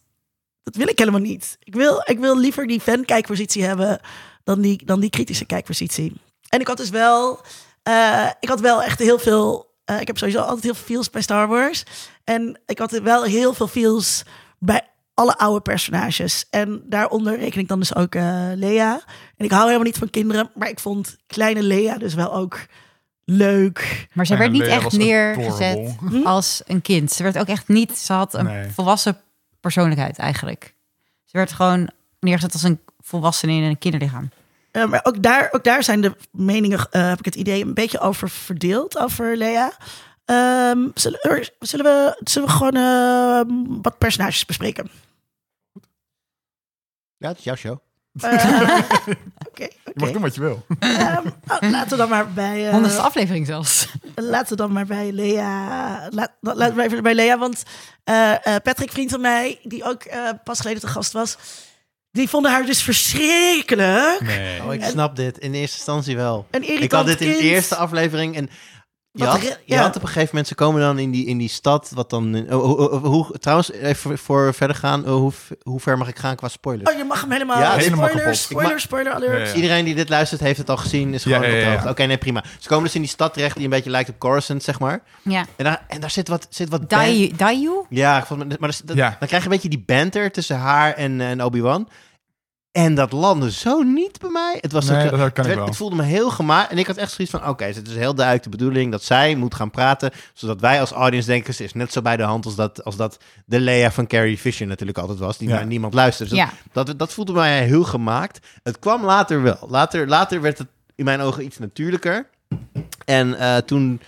dat wil ik helemaal niet. Ik wil, ik wil liever die fan-kijkpositie hebben dan die, dan die kritische kijkpositie. En ik had dus wel, eh, ik had wel echt heel veel. eh, ik heb sowieso altijd heel veel feels bij Star Wars. En ik had wel heel veel feels bij alle oude personages. En daaronder reken ik dan dus ook eh, Lea. En ik hou helemaal niet van kinderen, maar ik vond kleine Lea dus wel ook leuk.
Maar ze
Ja,
werd niet
Lea
echt
was adorable.
neergezet
Hm?
als een kind. Ze werd ook echt niet... Ze had een
Nee.
volwassen persoonlijkheid eigenlijk. Ze werd gewoon neergezet als een volwassene in een kinderlichaam.
Eh, maar ook daar, ook daar zijn de meningen, eh, heb ik het idee, een beetje over verdeeld, over Lea. Ehm, zullen, er- zullen, we, zullen we gewoon ehm, wat personages bespreken?
Ja, het is jouw show.
Eh, Oké,
Je mag
oké.
doen wat je wil.
Ehm, nou, Laten we dan maar bij... eh,
Honderdste aflevering zelfs.
laten we dan maar bij Lea. Laat, la- laten we even bij Lea. Want eh, eh, Patrick, vriend van mij, die ook eh, pas geleden te gast was, die vonden haar dus verschrikkelijk.
Nee.
Oh, ik snap dit in eerste instantie wel.
Een irritant
Ik had dit in
kind.
de eerste aflevering en je
Wat
had,
re-
je
ja.
had op een gegeven moment, ze komen dan in die, in die stad, wat dan... oh, oh, oh, hoe, trouwens, even voor verder gaan, oh, hoe, hoe ver mag ik gaan qua spoilers?
Oh, je mag hem helemaal...
Ja,
helemaal kapot.
spoilers,
Ik
spoiler, spoiler alert.
Ja.
Dus iedereen die dit luistert heeft het al gezien, is
Ja,
gewoon
ja,
op de
ja, ja.
hoogte. Oké, nee, prima. Ze komen dus in die stad terecht die een beetje lijkt op Coruscant, zeg maar.
Ja.
En daar, en daar zit wat... Zit wat ban-
Dayu.
Eh.
Dayu?
Ja, volgens mij- maar dat- dat-
Ja.
dan krijg je een beetje die banter tussen haar en, eh, en Obi-Wan. En dat landde zo niet bij mij. Het, was
Nee,
ook-
dat
eh,
kan
het
ik
werd-
wel.
het voelde me heel gemaakt. En ik had echt zoiets van, oké, het is heel duidelijk de bedoeling dat zij moet gaan praten. Zodat wij als audience denken, ze is net zo bij de hand als dat, als dat de Leia van Carrie Fisher natuurlijk altijd was. Die
Ja.
naar niemand luistert. Dus
Ja.
dat, dat, dat voelde mij heel gemaakt. Het kwam later wel. Later, later werd het in mijn ogen iets natuurlijker. En eh, toen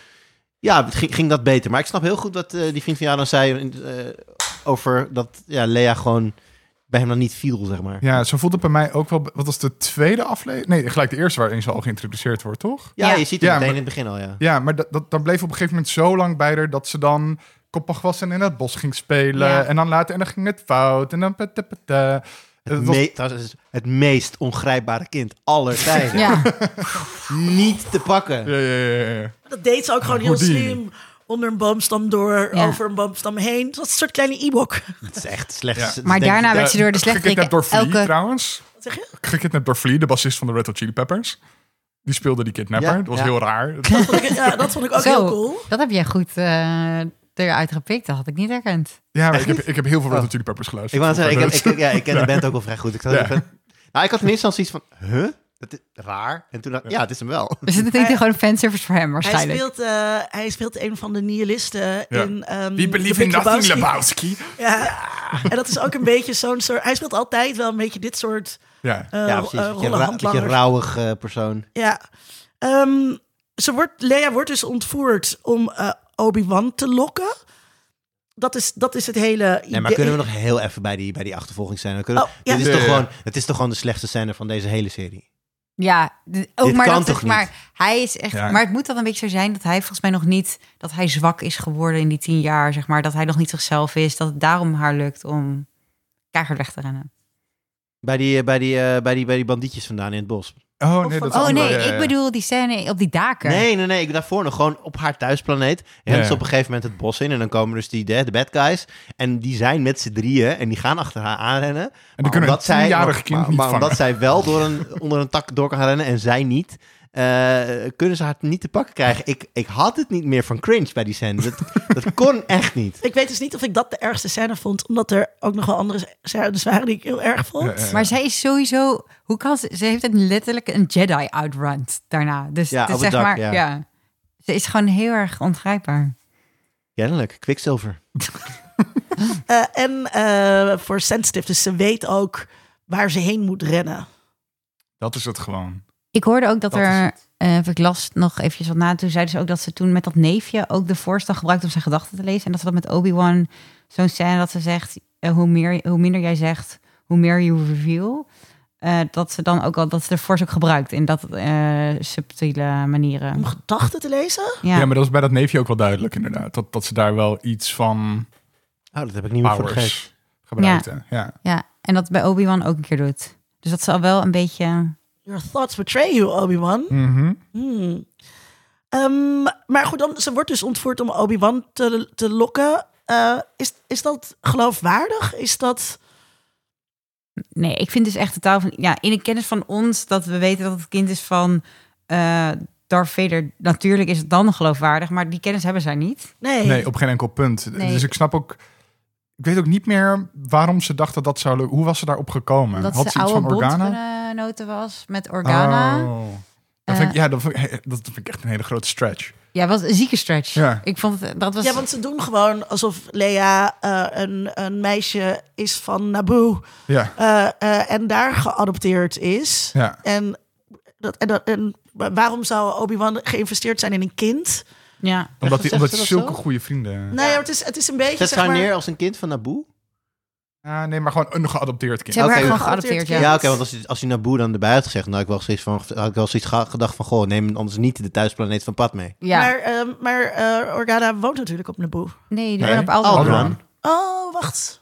ja, het ging, ging dat beter. Maar ik snap heel goed wat eh, die vriend van jou dan zei eh, over dat ja, Lea gewoon bij hem dan niet viel, zeg maar.
Ja, zo voelt het bij mij ook wel. Wat was de tweede aflevering? Nee, gelijk de eerste waarin ze al geïntroduceerd wordt, toch?
Ja,
Ja.
je ziet het
Ja,
meteen
maar-
in het begin al, ja.
Ja, maar dat, dat, dan bleef op een gegeven moment zo lang bij haar dat ze dan koppig was en in het bos ging spelen.
Ja.
En dan later, en dan ging het fout. En dan. pete, pete.
Het,
Het was-
me- trouwens, het is het meest ongrijpbare kind aller tijden.
Ja.
Niet te pakken.
Ja, ja, ja, ja, ja.
Dat deed ze ook gewoon heel
Houdini.
slim. Onder een boomstam door,
Ja.
over een boomstam heen. Dat was een soort kleine e-book.
Het is echt slecht.
Ja.
Het is
Maar
denk-
daarna werd ze door de
Gekidnapt
slechterik
door Flea,
elke...
trouwens.
Wat zeg je?
Gekidnapt door Flea, de bassist van de Red Hot Chili Peppers. Die speelde die kidnapper.
Ja,
dat was
ja.
heel raar.
Dat vond ik, ja, dat vond ik ook
Zo,
heel cool.
dat heb jij goed eh, eruit gepikt. Dat had ik niet herkend.
Ja, maar ik heb, ik heb heel veel Red
Oh.
Hot Chili Peppers
Ik
geluisterd.
wou zeggen, ik,
vroeger,
heb- ik, ja, ik ken de band ook wel vrij goed. Ik, zat
Ja.
even, nou, ik had in eerste instantie iets van, huh? Dat is raar. En toen dacht ik, ja, het is hem wel.
Dus het is gewoon een fanservice voor hem
Hij
waarschijnlijk.
speelt, eh, hij speelt een van de nihilisten
Ja.
in... ehm,
We
The
believe in
Big
nothing,
Lebowski.
Lebowski.
Ja. En dat is ook een beetje zo'n soort... Hij speelt altijd wel een beetje dit soort
Ja.
eh
ja,
ja,
precies. Een beetje, ra- een beetje rauwig eh, persoon.
Ja. Ehm, ze wordt, Leia wordt dus ontvoerd om eh, Obi-Wan te lokken. Dat is, dat is het hele idee.
Nee, maar kunnen we nog heel even bij die, bij die achtervolging zijn? We kunnen-
Oh, ja.
dit is
Ja,
toch
ja, ja.
Gewoon, het is toch gewoon de slechtste scène van deze hele serie?
Ja, d- ook
Dit
maar
kan
dat
toch
het- maar hij is echt.
Ja.
Maar het moet dan een beetje zo zijn dat hij volgens mij nog niet dat hij zwak is geworden in die tien jaar, zeg maar, dat hij nog niet zichzelf is, dat het daarom haar lukt om keihard weg te rennen.
Bij die, eh, bij die, eh, bij die, bij die bandietjes vandaan in het bos.
Oh nee, dat is
Oh
andere,
nee,
ja, ja,
ik
ja.
bedoel die scène op die daken.
eh, Nee, nee, nee. Ik daarvoor nog gewoon op haar thuisplaneet. Rent
Ja.
ze op een gegeven moment het bos in. En dan komen dus die de, de bad guys. En die zijn met z'n drieën. En die gaan achter haar aanrennen.
En die kunnen
omdat
een
zij,
tienjarig
maar-
kind
maar,
niet
maar
vangen.
omdat zij wel door een, onder een tak door kan gaan rennen en zij niet, eh, kunnen ze haar niet te pakken krijgen. Ik, ik had het niet meer van cringe bij die scène. Dat, dat kon echt niet.
Ik weet dus niet of ik dat de ergste scène vond, omdat er ook nog wel andere scènes waren die ik heel erg vond.
Ja, ja, ja.
Maar zij is sowieso, hoe kan ze, ze heeft een letterlijk een Jedi outrun daarna. Dus,
Ja,
dus
op het
zeg
dak,
maar,
ja.
ja. Ze is gewoon heel erg ongrijpbaar.
Kennelijk, kwikzilver.
Eh, en eh, voor sensitive, dus ze weet ook waar ze heen moet rennen.
Dat is het gewoon.
Ik hoorde ook dat,
Dat is
er,
het.
eh, of ik las nog eventjes wat na, toen zeiden ze ook dat ze toen met dat neefje ook de voorstel gebruikte om zijn gedachten te lezen. En dat ze dat met Obi-Wan, zo'n scène dat ze zegt, eh, hoe, meer, hoe minder jij zegt, hoe meer you reveal. Eh, dat ze dan ook al, dat ze de force ook gebruikt in dat eh, subtiele manieren.
Om gedachten te lezen?
Ja. maar dat is bij dat neefje ook wel duidelijk inderdaad. Dat, dat ze daar wel iets van
Oh, dat heb ik niet meer voor de geest.
powers gebruikten. Ja.
Ja, en dat bij Obi-Wan ook een keer doet. Dus dat ze al wel een beetje...
Your thoughts betray you, Obi-Wan.
Mhm.
Hmm. Ehm, maar goed, dan, ze wordt dus ontvoerd om Obi-Wan te, te lokken. Eh, is, is dat geloofwaardig? Is dat...
Nee, ik vind dus echt totaal van... Ja, in de kennis van ons dat we weten dat het kind is van eh Darth Vader. Natuurlijk is het dan geloofwaardig, maar die kennis hebben zij niet.
Nee.
Nee, op geen enkel punt.
Nee.
Dus ik snap ook... Ik weet ook niet meer waarom ze dacht dat dat zou lukken. Hoe was ze daarop gekomen?
Dat
Had
ze
ze iets
oude
van Organa?
bondgenoten was met Organa.
Oh. Dat vind ik, ja, dat vind, ik, dat vind ik echt een hele grote stretch.
Ja, was een zieke stretch.
Ja.
Ik vond het, dat was...
Ja, want ze doen gewoon alsof Lea eh, een, een meisje is van Naboo
Ja,
eh, eh, en daar geadopteerd is.
ja.
En, dat, en, dat, en wa- waarom zou Obi-Wan geïnvesteerd zijn in een kind?
ja.
Omdat, die,
zegt
omdat
ze
die
dat
zulke
zo?
goede vrienden...
Nou ja, het is, het is een beetje.
Zet ze
zeg
haar
maar,
neer als een kind van Naboe?
Ja, Eh, nee, maar gewoon een geadopteerd kind.
Ze hebben
Oké.
haar gewoon geadopteerd,
Ja,
ja.
oké, want als, je- als je Naboe dan erbij had gezegd, nou, had ik wel zoiets van, had ik wel zoiets ge- gedacht van, goh, neem anders niet de thuisplaneet van Pad mee.
Ja.
Maar, ehm, maar eh, Organa woont natuurlijk op Naboo.
nee, die
Nee.
waren op Alderaan.
Alderaan.
Oh, wacht.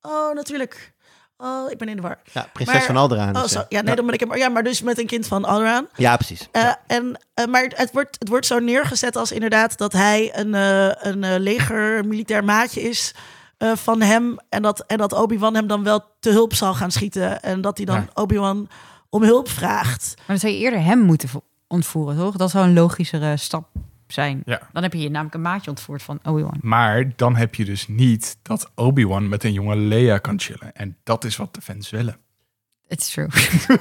Oh, natuurlijk. Oh, ik ben in de war.
Ja, prinses
Maar-
van Alderaan.
Oh,
is,
zo.
eh.
Ja, nee, dan ben ik hem. Ja, maar dus met een kind van Alderaan.
ja, precies.
Eh, en, eh, maar het wordt, het wordt zo neergezet als inderdaad dat hij een, eh, een eh, leger, militair maatje is eh, van hem. En dat, en dat Obi-Wan hem dan wel te hulp zal gaan schieten. En dat hij dan
Ja.
Obi-Wan om hulp vraagt.
Maar dan zou je eerder hem moeten vo- ontvoeren, toch? Dat zou een logischere stap zijn.
Ja.
Dan heb je hier namelijk een maatje ontvoerd van Obi-Wan.
Maar dan heb je dus niet dat Obi-Wan met een jonge Leia kan chillen. En dat is wat de fans willen.
It's true.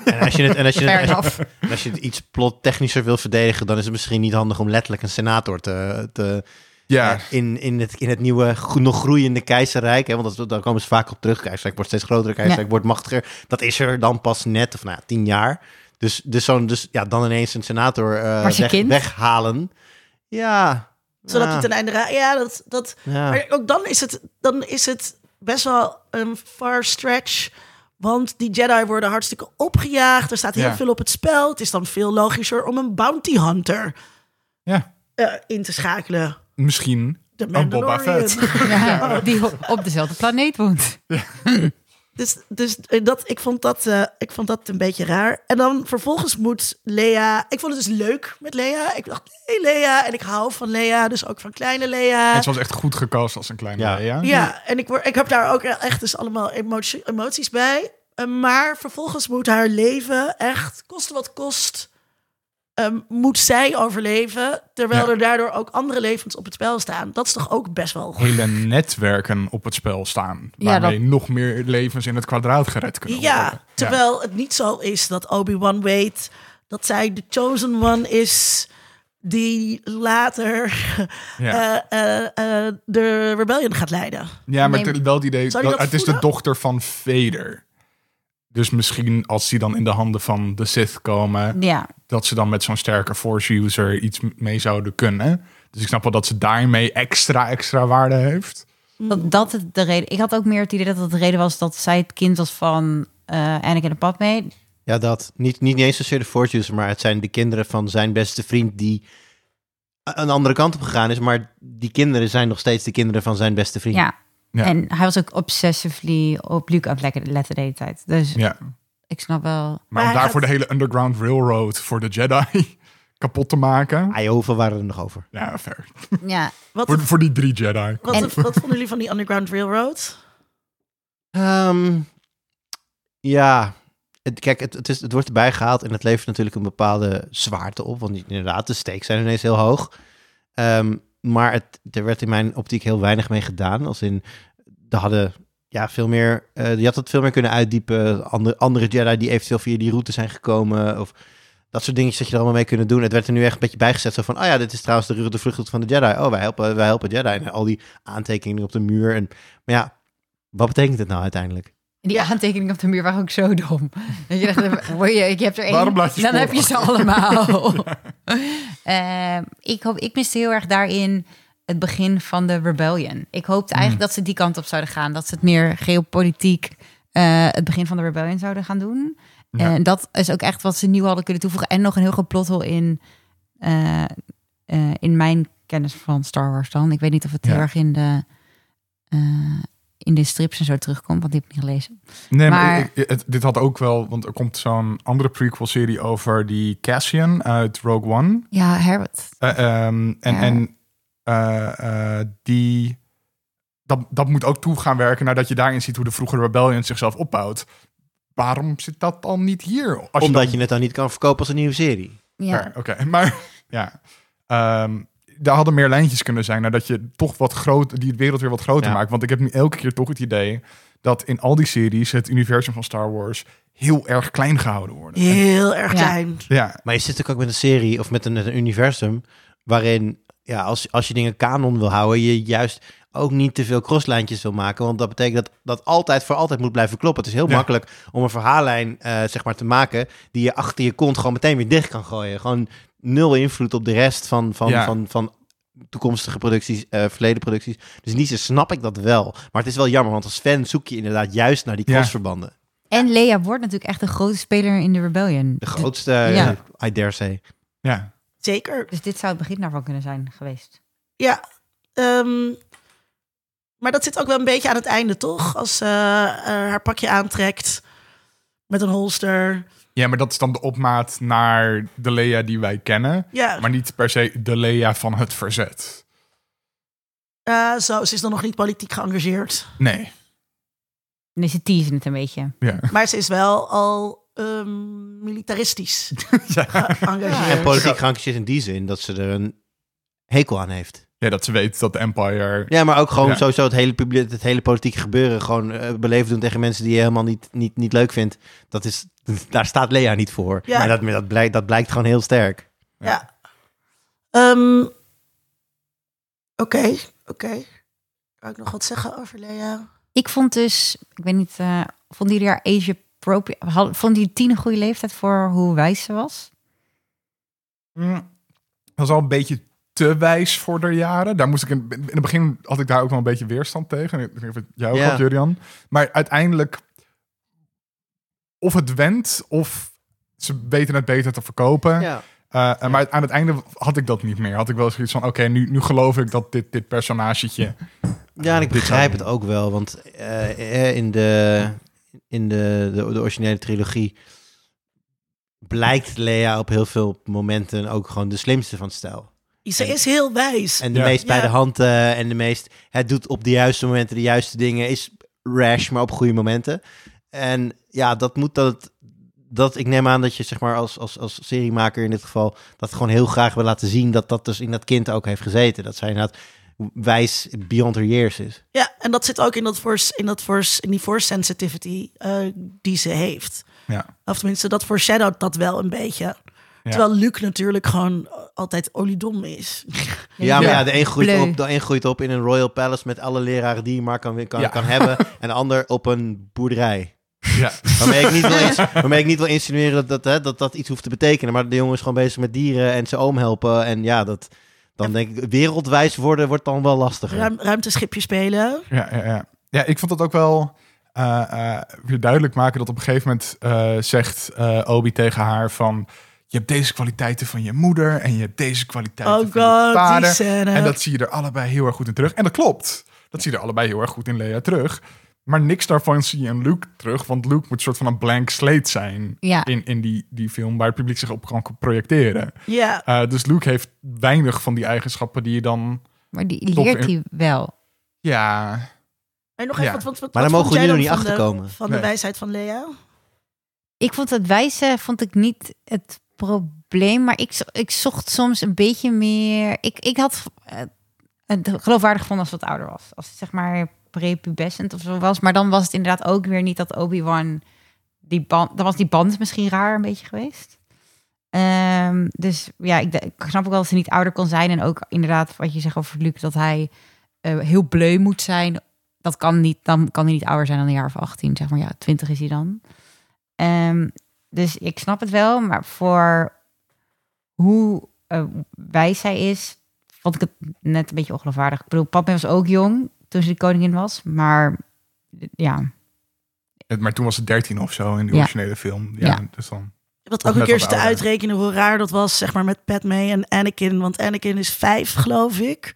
En als je het, en als je
Fair
het,
enough.
En Als je het iets plottechnischer wil verdedigen, dan is het misschien niet handig om letterlijk een senator te, te
Ja,
in, in, het, in het nieuwe, gro- nog groeiende keizerrijk. Hè, want dat, daar komen ze vaak op terug. Keizerrijk wordt steeds groter, keizerrijk wordt machtiger. Dat is er dan pas net, of nou, ja, tien jaar. Dus, dus, zo'n, dus ja, dan ineens een senator eh,
Maar zijn
weg-
kind?
weghalen. Ja.
Zodat
ja,
hij ten einde raakt. Ja, dat, dat,
ja.
Maar ook dan is, het, dan is het best wel een far stretch. Want die Jedi worden hartstikke opgejaagd. Er staat heel
Ja.
veel op het spel. Het is dan veel logischer om een bounty hunter
ja.
eh, in te schakelen.
misschien
De
een Oh, Boba
Mandalorian.
Fett.
Ja, die op- op dezelfde planeet woont.
Dus, dus eh, dat, ik, vond dat, eh, ik vond dat een beetje raar. En dan vervolgens moet Lea... Ik vond het dus leuk met Lea. Ik dacht, hey Lea. En ik hou van Lea, dus ook van kleine Lea.
En ze was echt goed gecast als een kleine
Ja.
Leia.
Ja, en ik, word, ik heb daar ook echt dus allemaal emotie- emoties bij. Eh, Maar vervolgens moet haar leven echt, koste wat kost, ehm, moet zij overleven. Terwijl
Ja.
er daardoor ook andere levens op het spel staan. Dat is toch ook best wel goed.
Hele netwerken op het spel staan.
Ja,
Waarmee nog meer levens in het kwadraat gered kunnen worden.
Ja, terwijl het niet zo is dat Obi-Wan weet dat zij de chosen one is die later
Ja.
eh, eh, eh, de rebellion gaat leiden.
Ja, maar
Nee,
het- wel het idee...
Zou
Dat,
die dat
het is de
voelen?
dochter van Vader. Dus misschien als die dan in de handen van de Sith komen...
Ja,
dat ze dan met zo'n sterke force user iets m- mee zouden kunnen. Dus ik snap wel dat ze daarmee extra, extra waarde heeft.
dat, dat het de reden. Ik had ook meer het idee dat dat de reden was dat zij het kind was van eh Anakin en Padme.
Ja, dat. Niet, niet eens zozeer de Fortunes, maar het zijn de kinderen van zijn beste vriend die een andere kant op gegaan is. Maar die kinderen zijn nog steeds de kinderen van zijn beste vriend.
Ja.
Ja.
En hij was ook obsessively op Luke aan het lekker letten de hele tijd. Dus
Ja.
ik snap wel.
Maar om
hij
daarvoor
gaat-
de hele Underground Railroad voor de Jedi kapot te maken.
Ah, joh, hoeveel waren er nog over?
Ja, fair.
Ja,
Wat,
Voor, voor die drie Jedi.
wat,
En-
wat vonden jullie van die Underground Railroad?
Ehm, ja, het, kijk, het, het, is, het wordt erbij gehaald en het levert natuurlijk een bepaalde zwaarte op. Want inderdaad, de stakes zijn ineens heel hoog. Ehm, maar het, er werd in mijn optiek heel weinig mee gedaan. Als in, er hadden, ja, veel meer, eh, je had het veel meer kunnen uitdiepen. Andere, andere Jedi die eventueel via die route zijn gekomen of... Dat soort dingetjes dat je er allemaal mee kunnen doen. Het werd er nu echt een beetje bijgezet. Zo van, oh ja, dit is trouwens de, de vrucht van de Jedi. Oh, wij helpen, wij helpen Jedi. En al die aantekeningen op de muur. En, maar ja, wat betekent het nou uiteindelijk?
En die aantekeningen op de muur waren ook zo dom. Dat je dacht, word je, ik heb er één,
Waarom laat je
dan
sporen
heb je ze allemaal. Ehm, ik, hoop, ik miste heel erg daarin het begin van de rebellion. Ik
Hmm.
hoopte eigenlijk dat ze die kant op zouden gaan. Dat ze het meer geopolitiek eh, het begin van de rebellion zouden gaan doen.
Ja.
En dat is ook echt wat ze nieuw hadden kunnen toevoegen. En nog een heel groot plot hole in, eh, eh, in mijn kennis van Star Wars dan. Ik weet niet of het heel
Ja.
erg in de... eh, in de strips en zo terugkomt, want die heb ik niet gelezen.
Nee, maar,
Maar-
ik- het- dit had ook wel, want er komt zo'n andere prequel-serie over die Cassian uit Rogue One.
Ja, Herbert.
Eh, ehm, en
Ja.
en eh, eh, die. Dat, dat moet ook toe gaan werken nadat je daarin ziet hoe de vroegere Rebellion zichzelf opbouwt. Waarom zit dat dan niet hier? Als je
Omdat
dan-
je het dan niet kan verkopen als een nieuwe serie.
Ja.
Oké, maar ja. Ehm, daar hadden meer lijntjes kunnen zijn nadat je toch wat groot, die wereld weer wat groter
Ja.
maakt. Want ik heb nu elke keer toch het idee dat in al die series het universum van Star Wars heel erg klein gehouden wordt.
Heel erg
Ja.
klein.
Ja,
Maar je zit natuurlijk ook met een serie of met een, met een universum... waarin, ja, als, als je dingen kanon wil houden... je juist ook niet te veel crosslijntjes wil maken. Want dat betekent dat dat altijd voor altijd moet blijven kloppen. Het is heel
Ja.
makkelijk om een verhaallijn eh, zeg maar, te maken... die je achter je kont gewoon meteen weer dicht kan gooien. Gewoon nul invloed op de rest van, van,
Ja.
van, van toekomstige producties, eh verleden producties. Dus niet zo snap ik dat wel. Maar het is wel jammer, want als fan zoek je inderdaad juist naar die
Ja.
crossverbanden.
En Leia wordt natuurlijk echt een grote speler in de Rebellion. Dus-
De grootste,
ja.
eh, I dare say.
ja.
Zeker.
Dus dit zou het begin daarvan kunnen zijn geweest.
Ja. ehm, maar dat zit ook wel een beetje aan het einde, toch? Als ze eh, haar pakje aantrekt met een holster.
ja, maar dat is dan de opmaat naar de Leia die wij kennen.
Ja,
Maar niet per se de Leia van het verzet.
eh, zo, ze is dan nog niet politiek geëngageerd.
Nee.
Nee, ze teasen het een beetje.
Ja.
Maar ze is wel al ehm, militaristisch
En
geëngageerd.
politiek geëngageerd in die zin dat ze er een hekel aan heeft.
ja, dat ze weet dat de Empire...
Ja, maar ook gewoon
Ja.
sowieso het hele, publiek, het hele politieke gebeuren. Gewoon eh, beleefd doen tegen mensen die je helemaal niet, niet, niet leuk vindt. Dat is, daar staat Lea niet voor.
Ja.
Maar dat, maar dat, blijkt, dat blijkt gewoon heel sterk.
Ja. Ehm, Oké, oké. Kan ik nog wat zeggen over Lea?
Ik vond dus, ik weet niet, eh vonden jullie haar age appropriate? Had- Vond die tien een goede leeftijd voor hoe wijs ze was?
Mm, dat is al een beetje te wijs voor de jaren. Daar moest ik in, in het begin had ik daar ook wel een beetje weerstand tegen. Ik weet niet of het jou ook
Ja.
had, Jurian. Maar uiteindelijk, of het went, of ze weten het beter te verkopen. Eh, eh, Maar aan het einde had ik dat niet meer. Had ik wel zoiets van, oké, nu, nu geloof ik dat dit, dit personagetje...
Ja, en ik
Dit
begrijp
zou-
het ook wel, want eh, eh, in, de, in de, de, de originele trilogie blijkt Lea op heel veel momenten ook gewoon de slimste van het stel.
Ze is heel wijs.
En de
Ja.
meest bij
Ja.
de hand eh, en de meest... Het doet op de juiste momenten de juiste dingen. Is rash, maar op goede momenten. En ja, dat moet dat... dat ik neem aan dat je zeg maar als, als, als seriemaker in dit geval... dat gewoon heel graag wil laten zien dat dat dus in dat kind ook heeft gezeten. Dat zij inderdaad wijs beyond her years is.
Ja, en dat zit ook in, dat force, in, dat force, in die force sensitivity eh, die ze heeft.
Ja.
Of tenminste, dat foreshadowt dat wel een beetje. Terwijl Luc natuurlijk gewoon altijd oliedom is.
Ja, maar
Ja.
ja, de een groeit,
Bleu.
op, de een groeit op in een royal palace... met alle leraren die je maar kan, kan,
Ja.
kan hebben... en de ander op een boerderij.
Ja.
Waarmee ik niet wil, ins- waarmee ik niet wil insinueren dat dat, hè, dat dat iets hoeft te betekenen. Maar de jongen is gewoon bezig met dieren en zijn oom helpen. En ja, dat, dan denk ik, wereldwijs worden wordt dan wel lastiger.
Ruim, ruimteschipje spelen.
Ja, ja, ja. ja, ik vond dat ook wel eh, eh, weer duidelijk maken dat op een gegeven moment eh, zegt eh, Obi tegen haar van... Je hebt deze kwaliteiten van je moeder en je hebt deze kwaliteiten
Oh
van je
god, die
vader.
scène.
En dat zie je er allebei heel erg goed in terug. En dat klopt. Dat zie je er allebei heel erg goed in Lea terug. Maar niks daarvan zie je in Luke terug. Want Luke moet soort van een blank slate zijn
Ja.
in, in die, die film waar het publiek zich op kan projecteren.
Ja,
Eh, dus Luke heeft weinig van die eigenschappen die je dan.
Maar die
Toch,
leert
eh.
hij wel.
Ja,
en nog even,
Ja.
wat, wat, wat
Maar daar
vond
mogen we
jij
nu nog
dan
niet
van de-
achterkomen.
Van
Nee.
de wijsheid van Lea?
Ik vond het wijze vond ik niet het probleem, maar ik, zo- ik zocht soms een beetje meer. Ik, ik had eh, het geloofwaardig gevonden als het wat ouder was. Als het zeg maar prepubescent of zo was. Maar dan was het inderdaad ook weer niet dat Obi-Wan die band. Dan was die band misschien raar een beetje geweest. Ehm, dus ja, ik, d- ik snap ook wel dat ze niet ouder kon zijn. En ook inderdaad wat je zegt over Luc, dat hij eh, heel bleu moet zijn. Dat kan niet, dan kan hij niet ouder zijn dan een jaar of 18, zeg maar. Ja, 20 is hij dan. Ehm, dus ik snap het wel, maar voor hoe eh, wijs hij is, vond ik het net een beetje ongeloofwaardig. Ik bedoel, Padme was ook jong toen ze de koningin was, maar ja.
Het- maar toen was het 13 of zo in de
Ja.
originele film. Ja,
Ja.
Dus dan,
Ik had
Of
ook een
net
keer
wat
te
ouder.
uitrekenen hoe raar dat was, zeg maar, met Padme en Anakin. Want Anakin is vijf, geloof ik.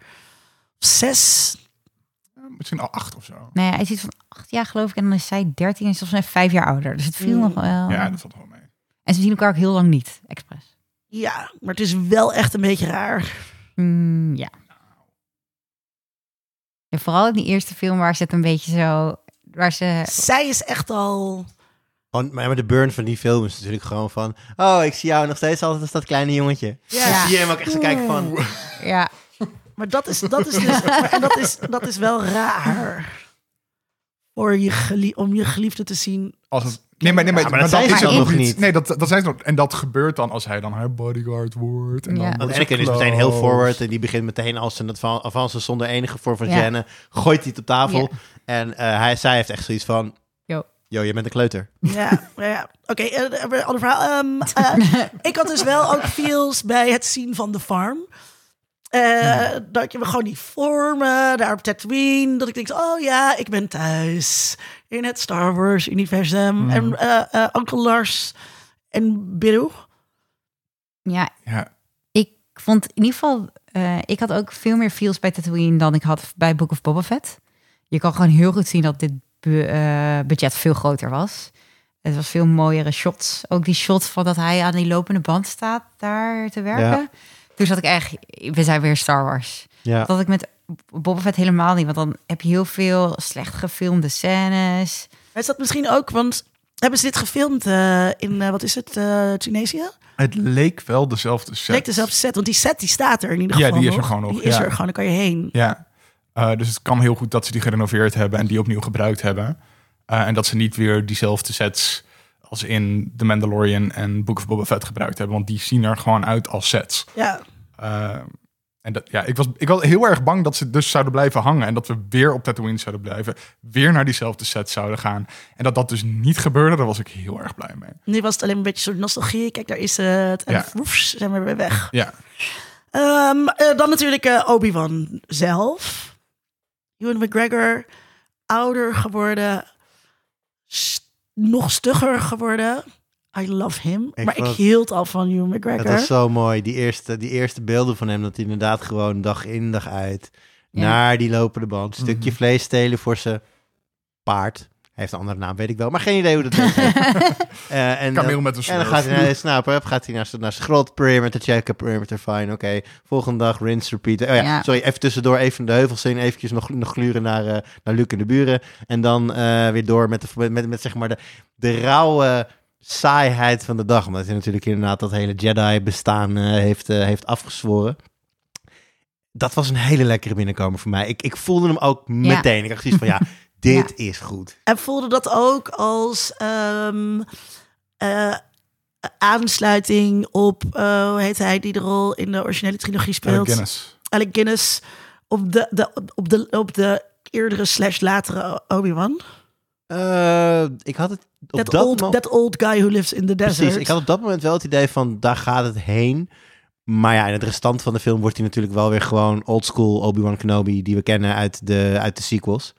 Zes.
eh, misschien al acht of zo.
Nou ja, hij is iets van acht jaar geloof ik en dan is zij dertien en is volgens mij vijf jaar ouder. Dus het viel
Mm.
nog wel.
Ja, dat valt wel mee.
En ze zien elkaar ook heel lang niet, expres.
Ja, maar het is wel echt een beetje raar.
Mm, ja. ja. Vooral in die eerste film waar ze het een beetje zo... Waar ze
Zij is echt al...
Want, maar de burn van die film is natuurlijk gewoon van... Oh, ik zie jou nog steeds altijd als dat kleine jongetje.
Ja,
Ja.
Dan zie je hem ook echt zo kijken van...
Ja,
maar dat is, dat is dus... en dat is, dat is wel raar. Voor je gelie- om je geliefde te zien.
Als het, nee, maar, nee, maar,
Ja, maar dat zijn
is
ze
het
dan nog niet.
Nee, dat, dat zijn ze nog. En dat gebeurt dan als hij dan haar bodyguard wordt. En dan
Ja.
worden
Want
ze
Anakin is meteen heel
close.
forward en die begint meteen als zijn adva- avance zonder enige vorm van
Ja.
gêne. Gooit hij het op tafel
Ja.
en eh, hij, zij heeft echt zoiets van...
Yo.
Yo, jij bent een kleuter.
Ja, maar ja. oké. eh, eh, ander verhaal. Ehm, eh, ik had dus wel ook feels bij het zien van de farm. Eh, Dat je me gewoon die vormen, daar op Tatooine. Dat ik denk, oh ja, ik ben thuis. In het Star Wars universum. En eh eh Uncle Lars en Biddle.
ja,
Ja,
ik vond in ieder geval... eh, ik had ook veel meer feels bij Tatooine dan ik had bij Book of Boba Fett. Je kan gewoon heel goed zien dat dit bu- eh, budget veel groter was. Het was veel mooiere shots. Ook die shot van dat hij aan die lopende band staat daar te werken. Toen zat ik echt... We zijn weer Star Wars.
Ja.
Dat had ik met Boba Fett helemaal niet. Want dan heb je heel veel slecht gefilmde scènes.
Is dat misschien ook, want hebben ze dit gefilmd eh, in, eh, wat is het, eh, Tunesië?
het leek wel dezelfde set.
Leek dezelfde set, want die set die staat er in ieder
Ja,
geval
die is er
nog.
gewoon nog,
Die is
ja.
er gewoon, dan kan je heen.
Ja, Eh, dus het kan heel goed dat ze die gerenoveerd hebben en die opnieuw gebruikt hebben. Eh, en dat ze niet weer diezelfde sets als in The Mandalorian en Book of Boba Fett gebruikt hebben. Want die zien er gewoon uit als sets.
Ja.
Eh, en dat, ja, ik, was, ik was heel erg bang dat ze dus zouden blijven hangen. En dat we weer op Tatooine zouden blijven. Weer naar diezelfde set zouden gaan. En dat dat dus niet gebeurde, daar was ik heel erg blij mee.
Nu was het alleen een beetje soort nostalgie. Kijk, daar is het. En
Ja.
woefs, zijn we weer weg.
Ja,
Ehm, eh, dan natuurlijk eh, Obi-Wan zelf. Ewan McGregor, ouder geworden. s- nog stugger geworden. I love him.
Ik
maar ik
was-
hield al van Ewan
Dat
McGregor.
was zo mooi. Die eerste, die eerste beelden van hem, dat hij inderdaad gewoon dag in dag uit...
Ja.
naar die lopende band. Stukje vlees stelen voor zijn paard. Hij heeft een andere naam, weet ik wel. Maar geen idee hoe dat heet. Eh, en,
Kameel
dan-
met een
en dan
smurf.
gaat hij naar de snapper, up, gaat hij naar, zijn- naar zijn grot, perimeter checken, perimeter fine, oké. Volgende dag rinse, repeat. Oh ja,
Ja.
sorry, even tussendoor even de heuvels in, eventjes nog, nog gluren naar, eh, naar Luc en de buren. En dan eh, weer door met, de, met, met, met zeg maar de, de rauwe saaiheid van de dag. Omdat hij natuurlijk inderdaad dat hele Jedi-bestaan eh, heeft, eh, heeft afgezworen. Dat was een hele lekkere binnenkomer voor mij. Ik, ik voelde hem ook meteen. Ik dacht zoiets van, ja, dit is goed.
En voelde dat ook als ehm, eh, aansluiting op, eh, hoe heet hij, die de rol in de originele trilogie
Alec
speelt.
Guinness.
Alec Guinness op de, de, op de, op de eerdere slash latere Obi-Wan.
Eh, ik had het op
That,
dat
old,
mo-
that old guy who lives in the desert.
Precies, ik had op dat moment wel het idee van daar gaat het heen. Maar ja, in het restant van de film wordt hij natuurlijk wel weer gewoon oldschool Obi-Wan Kenobi die we kennen uit de, uit de sequels.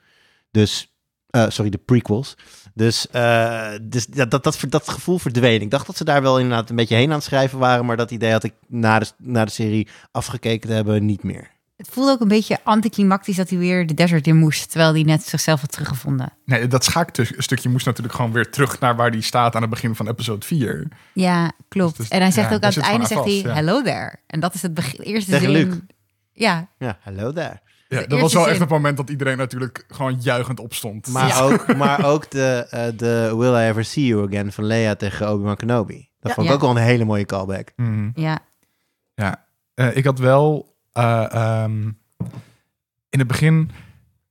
Dus, eh, sorry, de prequels. Dus, eh, dus dat, dat, dat, dat gevoel verdween. Ik dacht dat ze daar wel inderdaad een beetje heen aan het schrijven waren, maar dat idee had ik na de, na de serie afgekeken te hebben niet meer.
Het voelde ook een beetje anticlimactisch dat hij weer de desert in moest, terwijl hij net zichzelf had teruggevonden.
Nee, dat schaakstukje moest natuurlijk gewoon weer terug naar waar die staat aan het begin van episode 4.
Ja, klopt.
Dus dat-
en hij zegt
ja,
ook
daar
aan
zit
het einde,
gewoon
zegt
aan
hij,
vast, ja.
hello there. En dat is het begin, eerste
Tegen
zin.
Luke.
Ja,
Ja, hallo daar.
Ja,
De
dat was
eerste
wel
zin.
echt het moment dat iedereen natuurlijk gewoon juichend opstond.
Maar,
Ja.
ook, maar ook de, eh, de Will I Ever See You Again van Leia tegen Obi-Wan Kenobi. Dat
Ja.
vond ik
Ja.
ook wel een hele mooie callback.
Mhm.
ja.
Ja, eh, ik had wel eh, ehm, in het begin.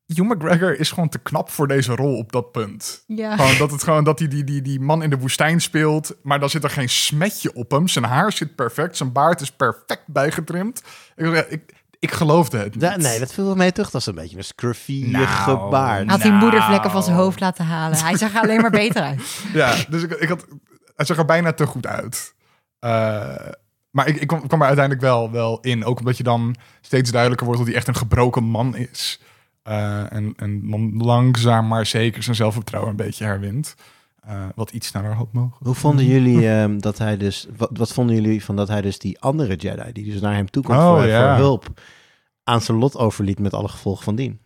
Hugh McGregor is gewoon te knap voor deze rol op dat punt.
ja.
Gewoon dat het gewoon dat hij die, die, die man in de woestijn speelt, maar dan zit er geen smetje op hem. Zijn haar zit perfect, zijn baard is perfect bijgetrimd. Ik, ik, ik geloofde het. Niet.
Da- nee, dat viel wel mee terug. Dat was een beetje een scruffy
Nou.
gebaar.
Hij had die
Nou.
moedervlekken van zijn hoofd laten halen. Hij zag er alleen maar beter uit.
Ja, dus ik, ik had, het zag er bijna te goed uit. Eh, maar ik, ik kwam, kwam er uiteindelijk wel, wel in. Ook omdat je dan steeds duidelijker wordt dat hij echt een gebroken man is. Eh, en, en dan langzaam maar zeker zijn zelfvertrouwen een beetje herwint. Eh, wat iets sneller had mogen.
Hoe vonden jullie ehm, dat hij dus... Wat, wat vonden jullie van dat hij dus die andere Jedi... die dus naar hem toe komt
Oh,
voor,
ja.
voor hulp... aan zijn lot overliet met alle gevolgen van dien?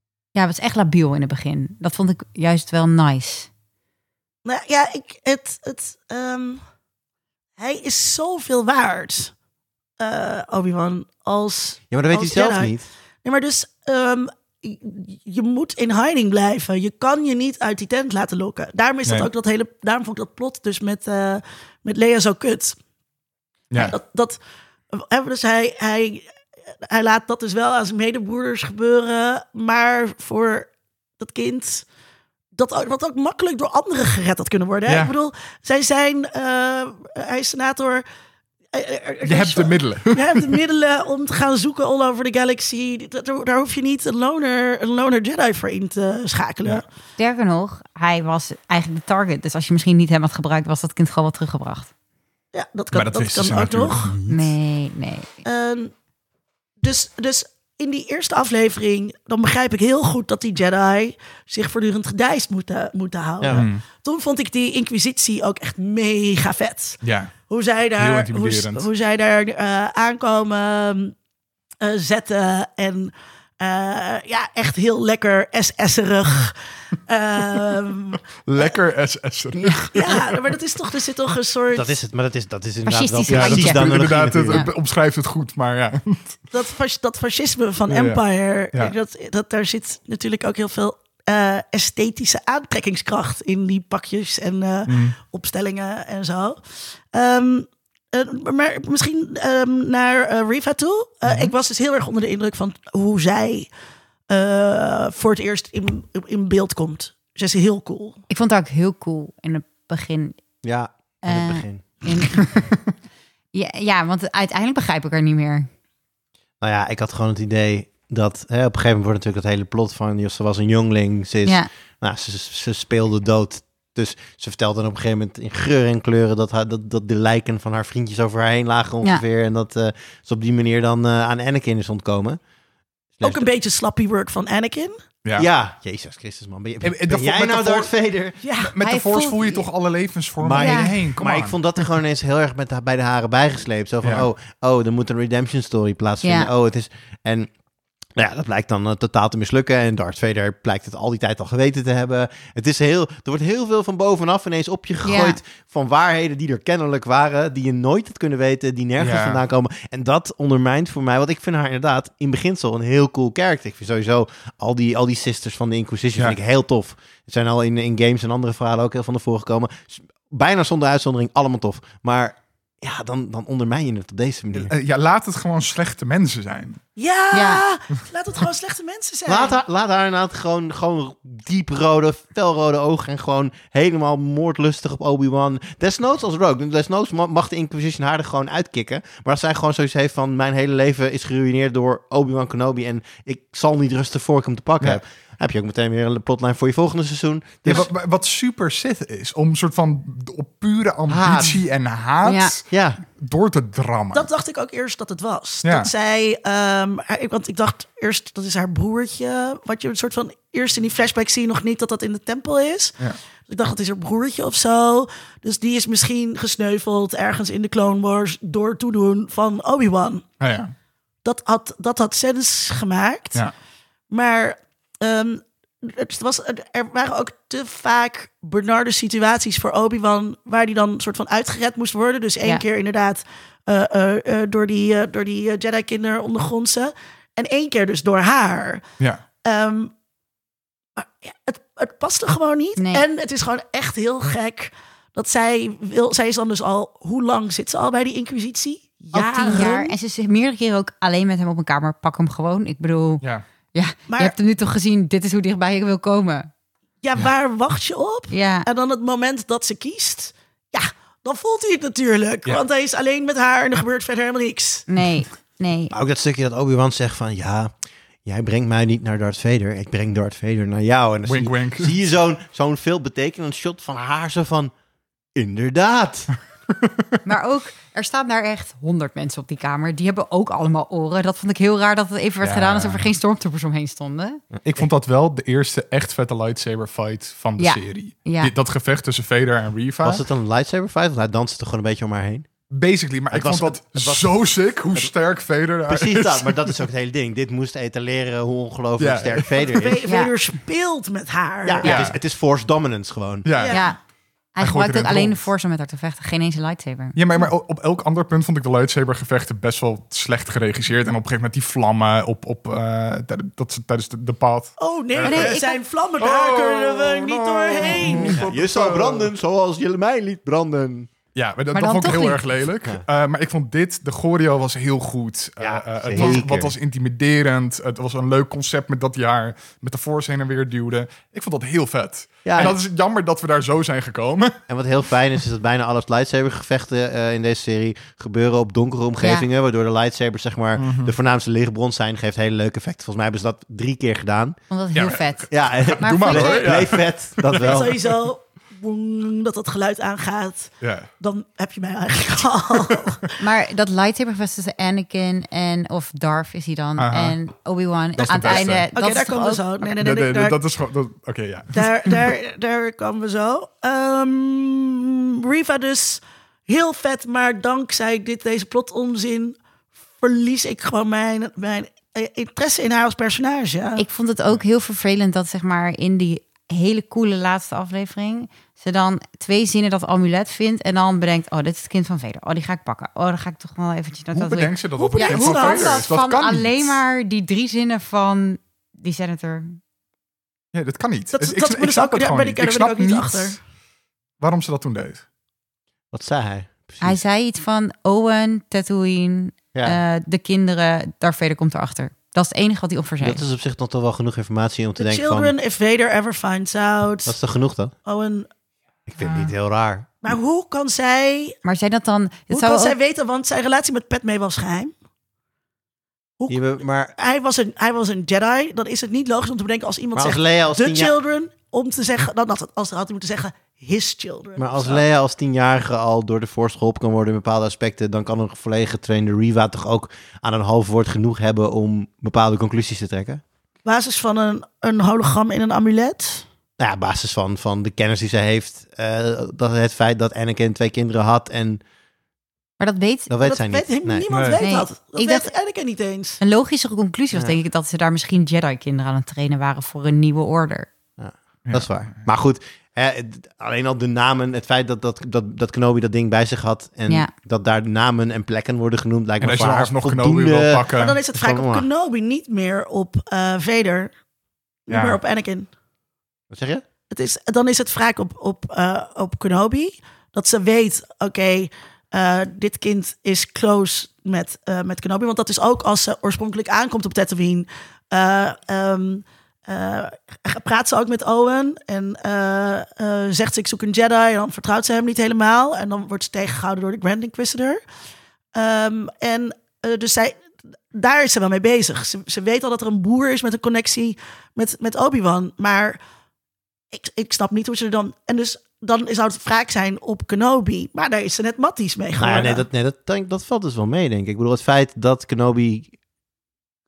Ja, het was echt labiel in het begin. Dat vond ik juist wel nice.
Nou ja, ik, het, het, ehm, hij is zoveel waard, eh, Obi-Wan, als...
Ja, maar dat weet hij
Als
zelf
Jedi.
niet.
Nee, maar dus ehm, je- je moet in hiding blijven. Je kan je niet uit die tent laten lokken. Daarom is
Nee.
dat ook dat hele... Daarom vond ik dat plot dus met, eh, met Lea zo kut.
Ja,
Dat, dat, hè, dus hij, hij, hij laat dat dus wel aan zijn medebroeders gebeuren. Maar voor dat kind. Dat, ook- wat ook makkelijk door anderen gered had kunnen worden. hè?
Ja.
Ik bedoel, zij zijn. eh, hij is senator. Eh, eh, er- er
je
is
hebt de
wel-
middelen.
je hebt de middelen om te gaan zoeken all over the galaxy. Dat- Daar, daar hoef je niet een loner, een loner Jedi voor in te schakelen.
Ja.
Sterker nog, hij was eigenlijk de target. Dus als je misschien niet hem had gebruikt, was dat kind gewoon wel teruggebracht.
Ja, dat kan,
Maar
dat
dat, wisten ze
kan ook
natuurlijk
nog.
niet.
Nee, nee.
Ehm, dus, dus in die eerste aflevering, dan begrijp ik heel goed dat die Jedi zich voortdurend gedijst moeten, moeten houden.
Ja.
Toen vond ik die Inquisitie ook echt mega vet.
Ja.
Hoe zij
Heel
daar, hoe,
intimiderend.
hoe zij daar eh, aankomen, eh, zetten en eh, ja, echt heel lekker SS'erig. Ehm
Lekker SS'er.
ja, maar dat is toch, er zit toch een soort...
Dat is het, maar dat is, dat is inderdaad wel...
Fascistische
Ja, dat
Handje.
is
de
analogie
inderdaad, het,
natuurlijk.
het omschrijft het goed, maar ja.
dat, fas- dat fascisme van
Ja, ja.
Empire,
Ja.
Dat, dat, daar zit natuurlijk ook heel veel eh, esthetische aantrekkingskracht in die pakjes en eh,
Mm.
opstellingen en zo. Ehm, eh, maar misschien ehm, naar eh, Riva toe. Eh,
Mhm.
Ik was dus heel erg onder de indruk van hoe zij eh, voor het eerst in, in beeld komt. Ze is heel cool.
Ik vond het ook heel cool in het begin.
Ja, in het
Eh,
begin.
In- ja, ja, want uiteindelijk begrijp ik haar niet meer.
Nou ja, ik had gewoon het idee dat... Hè, op een gegeven moment wordt natuurlijk het hele plot van... joh, ze was een jongling, ze is...
Ja,
Nou, ze, ze- ze speelde dood. Dus ze vertelde dan op een gegeven moment in geur en kleuren dat, haar, dat, dat de lijken van haar vriendjes over haar heen lagen ongeveer. En dat eh, ze op die manier dan eh, aan Anakin is ontkomen.
Ook een beetje slappy work van Anakin.
ja.
ja. Jezus Christus man. Ben, je-
En- en
ben
dat
jij
met de
nou
voor-
Darth Vader?
Ja.
Met
Hij
de Force
voelt-
voel je toch alle levensvormen
Maar-
om je
Ja.
heen. Kom
maar
on.
ik vond dat er gewoon eens heel erg met, bij de haren bijgesleept. Zo van,
Ja.
oh, oh, er moet een redemption story plaatsvinden.
Ja.
Oh, het is... En nou ja, dat blijkt dan eh, totaal te mislukken. En Darth Vader blijkt het al die tijd al geweten te hebben. Het is heel... Er wordt heel veel van bovenaf ineens op je gegooid van waarheden die er kennelijk waren, die je nooit had kunnen weten, die nergens
Ja.
vandaan komen. En dat ondermijnt voor mij, want ik vind haar inderdaad in beginsel een heel cool character. Ik vind sowieso al die, al die sisters van de Inquisition
Ja.
vind ik heel tof. Ze zijn al in, in games en andere verhalen ook heel van de voorgekomen. S- Bijna zonder uitzondering, allemaal tof. Maar ja, dan, dan ondermijn je het op deze manier.
Eh, ja, laat het gewoon slechte mensen zijn.
Ja,
Ja.
laat het gewoon slechte mensen zijn.
Laat haar, laat haar inderdaad gewoon, gewoon dieprode, felrode ogen en gewoon helemaal moordlustig op Obi-Wan. Desnoods als Rogue. dus Desnoods ma- mag de Inquisition haar er gewoon uitkikken. Maar als zij gewoon zoiets heeft van mijn hele leven is geruineerd door Obi-Wan Kenobi en ik zal niet rusten voor ik hem te pakken
Ja.
heb. Heb je ook meteen weer een plotlijn voor je volgende seizoen. Dus
Ja, wa- wa- wat, super Sith is, om een soort van d- op pure ambitie en haat
Ja.
ja,
door te drammen.
Dat dacht ik ook eerst dat het was.
Ja.
Dat zij, ehm, haar- ik- want ik dacht eerst dat is haar broertje. Wat je een soort van eerst in die flashback zie je nog niet dat dat in de tempel is.
Ja.
Dus ik dacht dat is haar broertje of zo. Dus die is misschien gesneuveld ergens in de Clone Wars door toedoen van Obi-Wan.
Nou ja.
dat had, dat had sens gemaakt.
Ja.
Maar ehm, het was, er waren ook te vaak benarde situaties voor Obi-Wan... waar die dan soort van uitgered moest worden. Dus één
Ja.
keer inderdaad eh, eh, eh, door die, eh, door die eh, Jedi-kinder ondergrondse. En één keer dus door haar.
Ja.
Ehm, maar ja, het, het paste gewoon niet.
Nee.
En het is gewoon echt heel gek dat zij wil. Zij is dan dus al. Hoe lang zit ze al bij die Inquisitie?
Al
Ja,
tien jaar. En ze is meerdere keren ook alleen met hem op een kamer. Pak hem gewoon. Ik bedoel,
ja.
ja,
Maar-
je hebt hem nu toch gezien. Dit is hoe dichtbij ik wil komen.
Ja, waar wacht je op?
Ja,
En dan het moment dat ze kiest, ja, dan voelt hij het natuurlijk.
Ja.
Want hij is alleen met haar en er gebeurt verder helemaal niks.
nee, nee.
Maar ook dat stukje dat Obi-Wan zegt van... Ja, jij brengt mij niet naar Darth Vader. Ik breng Darth Vader naar jou. En dan
Wink,
zie, je-
wink.
zie je zo'n zo'n veelbetekenend shot van haar. Zo van... Inderdaad.
Maar ook, er staan daar echt honderd mensen op die kamer. Die hebben ook allemaal oren. Dat vond ik heel raar dat het even werd
Ja.
gedaan alsof er geen stormtroopers omheen stonden.
Ik vond dat wel de eerste echt vette lightsaber fight van de
Ja.
serie.
Ja.
Dit- Dat gevecht tussen Vader en Reva.
Was het een lightsaber fight? Want hij danste toch gewoon een beetje om haar heen?
Basically, maar
Het
ik
was-
vond dat
het was-
zo sick hoe sterk Vader daar
Precies
is.
dat. Maar dat is ook het hele ding. Dit moest etaleren hoe ongelooflijk
Ja.
sterk Vader is.
Ve- Vader speelt met haar.
Ja,
Ja.
Het, is, het is force dominance gewoon.
Ja.
Ja.
Ja.
Hij
gooit
gebruikt
er
ook
een
alleen de
rond.
force om met haar te vechten. Geen eens een lightsaber.
maar, maar op elk ander punt vond ik de lightsaber gevechten best wel slecht geregisseerd. En op een gegeven moment die vlammen op, op, eh, tij- dat ze tijdens de, de paad...
Oh nee,
nee,
er
ik-
zijn vlammen, daar
Oh,
kunnen we niet
no.
doorheen.
Je zal branden zoals je mij liet branden.
Ja, maar dat,
Maar
dat
dan
vond ik
toch
heel
niet.
erg lelijk. Eh, maar ik vond dit, de choreo was heel goed. Eh,
Ja,
eh, het was,
zeker.
wat was intimiderend. Het was een leuk concept met dat jaar. Met de force heen en weer duwde. Ik vond dat heel vet.
Ja,
en dat
ja.
is jammer dat we daar zo zijn gekomen.
En wat heel fijn is, is dat bijna alle lightsabergevechten eh, in deze serie gebeuren op donkere omgevingen. Waardoor de lightsabers zeg maar de voornaamste lichtbron zijn. Geeft hele leuke effecten. Volgens mij hebben ze dat drie keer gedaan.
Vond dat
Ja,
heel
maar-
vet.
Ja,
Maar
Doe maar
vond
hoor.
jij-
Ja.
bleef vet. Dat
Oh.
wel.
Sowieso, boeng, dat dat geluid aangaat.
Ja.
Dan heb je mij eigenlijk al.
Maar dat lightsaber gevecht tussen Anakin en of Darth is hij dan
Aha.
en Obi-Wan
is
aan het
de beste.
einde.
Oké,
dat
Oké,
is
daar
toch
komen we
ook-
zo. Nee, nee, nee,
Nee, nee,
daar,
dat is gewoon... dat- Oké, ja.
daar, daar, daar komen we zo. Ehm Riva dus heel vet, maar dankzij dit, deze plotonzin verlies ik gewoon mijn, mijn eh, interesse in haar als personage.
Ik vond het ook heel vervelend dat zeg maar in die hele coole laatste aflevering ze dan twee zinnen dat amulet vindt en dan bedenkt oh dit is het kind van Vader. Oh die ga ik pakken. Oh dan ga ik toch wel eventjes naar
Hoe
dat
bedenkt ze dat
Hoe
dat
Ja,
een
bedenkt
hoe
ze
vader
kan
dat?
dat
is?
van
kan niet.
alleen maar die drie zinnen van die senator?
Ja, dat kan niet.
dat
Dus
dat
ik,
moet
ik
ik
snap
ook-
het
daar
gewoon
ben
niet.
ik-
Ik
daar ben ik
snap
ook niet
niet
achter.
waarom ze dat toen deed.
Wat zei hij? Precies.
Hij zei iets van Owen, Tatooine,
ja,
eh, de kinderen, Darth Vader komt erachter. Dat is het enige wat hij op voor zei.
dat is op zich dan toch wel genoeg informatie om te
The
denken
children,
van...
if Vader ever finds out.
Dat is toch genoeg dan?
Owen.
Ik vind het niet heel raar.
Maar hoe kan zij,
Maar zijn dat dan? Het
hoe
zou
kan zij
ook-
weten, want zijn relatie met Padme was geheim.
Je be- maar,
Hij was, een, hij was een Jedi. Dan is het niet logisch om te bedenken als iemand
maar als
zegt...
Leia als
the
tien jaar...
children, om te zeggen... Dan had, het- als, had hij moeten zeggen, his children.
Maar
of
als
zo.
Leia als tienjarige al door de Force geholpen kan worden in bepaalde aspecten, dan kan een volledig getrainde Riva toch ook aan een half woord genoeg hebben om bepaalde conclusies te trekken?
basis van een, een hologram in een amulet.
Nou ja, op basis van, van de kennis die ze heeft, eh, dat het feit dat Anakin twee kinderen had en
Maar dat weet
dat weet
dat
zij
weet
niet. Nee.
niemand
Nee.
weet
Nee.
dat. Dat
Ik
ik
dacht-
weet Anakin niet eens.
Een logischere conclusie was
Ja.
denk ik dat ze daar misschien Jedi-kinderen aan het trainen waren voor een nieuwe order.
Dat is waar. Maar goed, hè, het- alleen al de namen, het feit dat, dat, dat, dat Kenobi dat ding bij zich had en
Ja.
dat daar namen en plekken worden genoemd, lijkt
En
me
als je
voor
dan
haar
alsnog Kenobi
voldoende...
wil
Maar dan
pakken...
is het
dat is
vaak op
wel waar.
Kenobi, niet meer op eh Vader. Niet
Ja.
meer op Anakin.
Wat zeg je?
Het is, dan is het vaak op, op, eh, op Kenobi. Dat ze weet, oké, eh, dit kind is close met, eh, met Kenobi. Want dat is ook als ze oorspronkelijk aankomt op Tatooine. Eh, ehm, eh, praat ze ook met Owen en eh, eh, zegt ze ik zoek een Jedi. En dan vertrouwt ze hem niet helemaal. En dan wordt ze tegengehouden door de Grand Inquisitor. Ehm, en eh, dus zij, daar is ze wel mee bezig. Ze, ze weet al dat er een boer is met een connectie met, met Obi-Wan. Maar ik, ik snap niet hoe ze er dan... En dus dan zou het wraak zijn op Kenobi. Maar daar is ze net matties mee
Nou
geworden.
ja, nee, dat, nee dat, denk- dat valt dus wel mee, denk ik. Ik bedoel, het feit dat Kenobi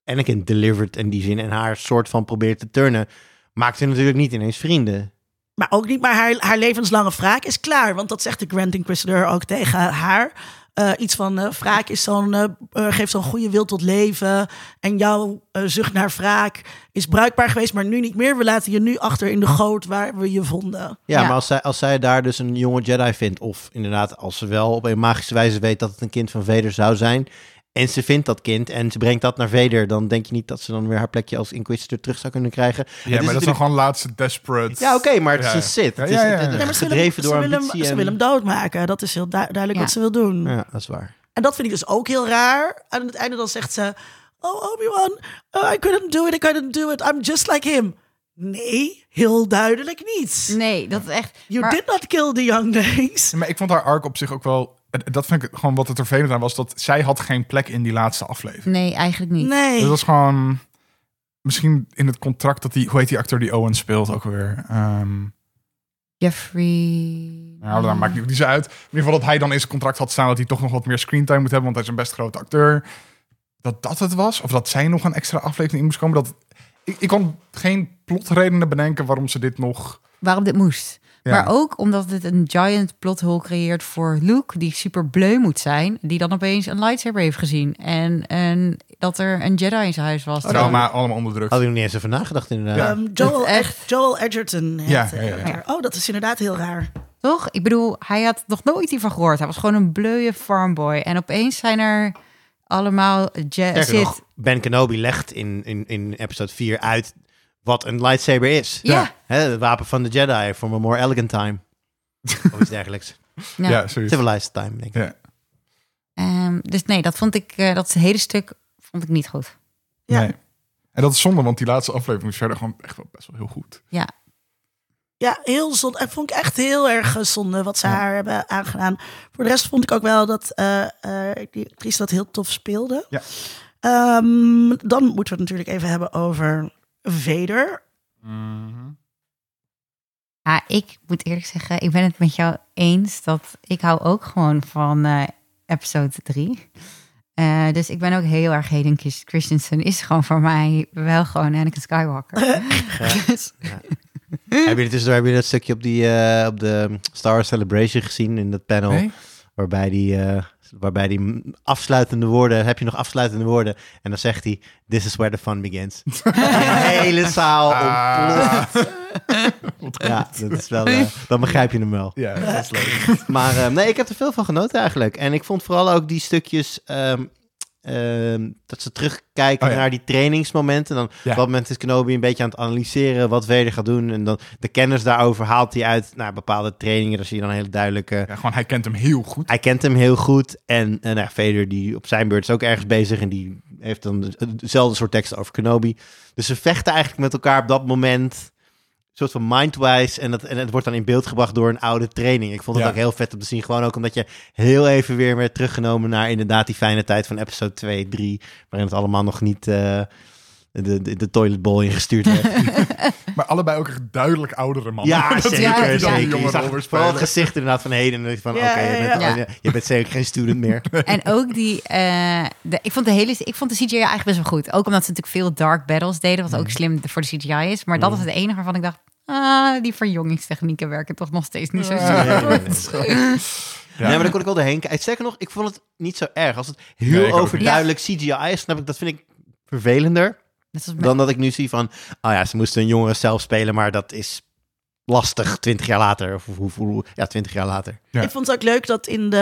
Anakin delivered in die zin en haar soort van probeert te turnen, maakt ze natuurlijk niet ineens vrienden.
Maar ook niet, maar haar, haar levenslange wraak is klaar. Want dat zegt de Grand Inquisitor ook tegen haar. eh, iets van eh wraak is zo'n, eh, eh, geeft zo'n goede wil tot leven. En jouw eh, zucht naar wraak is bruikbaar geweest, maar nu niet meer. We laten je nu achter in de goot waar we je vonden.
Ja,
Ja.
maar als zij, als zij daar dus een jonge Jedi vindt, of inderdaad als ze wel op een magische wijze weet dat het een kind van Vader zou zijn, en ze vindt dat kind en ze brengt dat naar Vader, dan denk je niet dat ze dan weer haar plekje als Inquisitor terug zou kunnen krijgen. Het
Ja, maar dat is dan
dus natuurlijk-
gewoon laatste desperate.
Ja, oké, maar het is
Ja,
een
ja.
Sith. Het is
Ja, ja, ja.
het- het-
Ja,
Nee, maar ze willen,
gedreven
ze
door
willen, hem-
ambitie
ze
en-
willen hem doodmaken. Dat is heel du- duidelijk
Ja.
wat ze wil doen.
Ja, dat is waar.
En dat vind ik dus ook heel raar. En aan het einde dan zegt ze... Oh, Obi-Wan, oh, I couldn't do it, I couldn't do it. I'm just like him. Nee, heel duidelijk niet.
Nee, dat is echt...
You
maar-
did not kill the younglings.
Ja, Maar ik vond haar arc op zich ook wel... Dat vind ik gewoon wat het vervelend aan was. Dat zij had geen plek in die laatste aflevering.
Nee, eigenlijk niet.
Nee.
Dat was gewoon... Misschien in het contract dat die... Hoe heet die acteur die Owen speelt ook weer? Ehm
Jeffrey...
nou,
Ah.
daar maakt niet zo uit. In ieder geval dat hij dan in zijn contract had staan... dat hij toch nog wat meer screentime moet hebben... want hij is een best grote acteur. Dat dat het was. Of dat zij nog een extra aflevering in moest komen. Dat, ik, ik kon geen plotredenen bedenken... waarom ze dit nog...
Waarom dit moest.
Ja.
Maar ook omdat het een giant plot hole creëert voor Luke, die super bleu moet zijn, die dan opeens een lightsaber heeft gezien. En, en dat er een Jedi in zijn huis was.
Trauma, allemaal onderdrukt.
Had ik nog niet eens over nagedacht inderdaad.
Ja.
Ehm, Joel,
Dat echt-
Ed- Joel Edgerton. heet
Ja,
de
ja, ja.
character. Oh, dat is inderdaad heel raar.
Toch? Ik bedoel, hij had nog nooit hiervan gehoord. Hij was gewoon een bleuwe farmboy. En opeens zijn er allemaal je-
Sterker nog,
zit.
Ben Kenobi legt in, in, in episode 4 uit wat een lightsaber is.
Ja.
Hè, het wapen van de Jedi, for a more elegant time. of iets dergelijks.
Ja,
Nou,
zoiets.
Civilized time, denk ik.
Ja.
ehm, dus nee, dat vond ik, eh, dat hele stuk vond ik niet goed.
Ja.
Nee. En dat is zonde, want die laatste aflevering is verder gewoon echt wel best wel heel goed.
Ja,
Ja, heel zonde. En vond ik echt heel erg eh, zonde wat ze haar hebben aangedaan. Voor de rest vond ik ook wel dat eh eh, die actrice dat heel tof speelde.
Ja.
Ehm, dan moeten we het natuurlijk even hebben over Vader.
Ah, ik moet eerlijk zeggen, ik ben het met jou eens dat ik hou ook gewoon van eh, episode 3. Eh, dus ik ben ook heel erg Hayden Chris- Christensen is gewoon voor mij wel gewoon Anakin Skywalker. Dus- Mm.
Hebben jullie tussendoor hebben jullie dat stukje op, die, eh, op de Star Wars Celebration gezien in dat panel?
Nee?
Waarbij die, eh, waarbij die mm, afsluitende woorden, heb je nog afsluitende woorden? En dan zegt hij, this is where the fun begins. de hele zaal ontploft.
Ah,
Ja, dat is wel, eh, dan begrijp je hem wel.
ja, dat is leuk.
Maar eh, nee, ik heb er veel van genoten eigenlijk. En ik vond vooral ook die stukjes... ehm, ehm, dat ze terugkijken
Oh ja.
naar die trainingsmomenten. Dan,
Ja.
Op dat moment is Kenobi een beetje aan het analyseren wat Vader gaat doen. En dan de kennis daarover haalt hij uit naar bepaalde trainingen. Daar zie je dan heel duidelijk... eh,
Ja, gewoon, hij kent hem heel goed.
Hij kent hem heel goed. En, en nou, Vader die op zijn beurt is ook ergens bezig. En die heeft dan dus, eh, dezelfde soort teksten over Kenobi. Dus ze vechten eigenlijk met elkaar op dat moment. Een soort van mindwise. En, dat, en het wordt dan in beeld gebracht door een oude training. Ik vond het
Ja.
ook heel vet om te zien. Gewoon ook omdat je heel even weer werd teruggenomen naar inderdaad die fijne tijd van episode 2, 3. Waarin het allemaal nog niet eh, de, de, de toilet bowl ingestuurd werd.
Maar allebei ook echt duidelijk oudere mannen.
ja, zeker.
ja,
die dan
zeker.
die
Je
jongere
zag
rol weer
Vooral het
spelen.
gezicht inderdaad van heden. En dan Van,
Ja,
oké,
ja,
je, bent-
ja.
je- je bent zeker geen student meer.
En ook die, eh, de, ik vond de hele, ik vond de CGI eigenlijk best wel goed. Ook omdat ze natuurlijk veel dark battles deden,
Mm.
wat ook slim voor de CGI is. Maar dat was het enige waarvan ik dacht, ah, die verjongingstechnieken werken toch nog steeds niet zo
Ja.
super goed.
Ja.
Nee, maar dan kon ik wel erheen kijken. Sterker nog, ik vond het niet zo erg. Als het heel
Nee, ik ook
overduidelijk CGI is, snap ik, dat vind ik vervelender.
Net zoals met-
Dan dat ik nu zie van, oh ja, ze moesten een jongere zelf spelen, maar dat is lastig 20 jaar later. Of hoe, hoe, hoe- ja, 20 jaar later.
Ja.
Ik vond het ook leuk dat in de.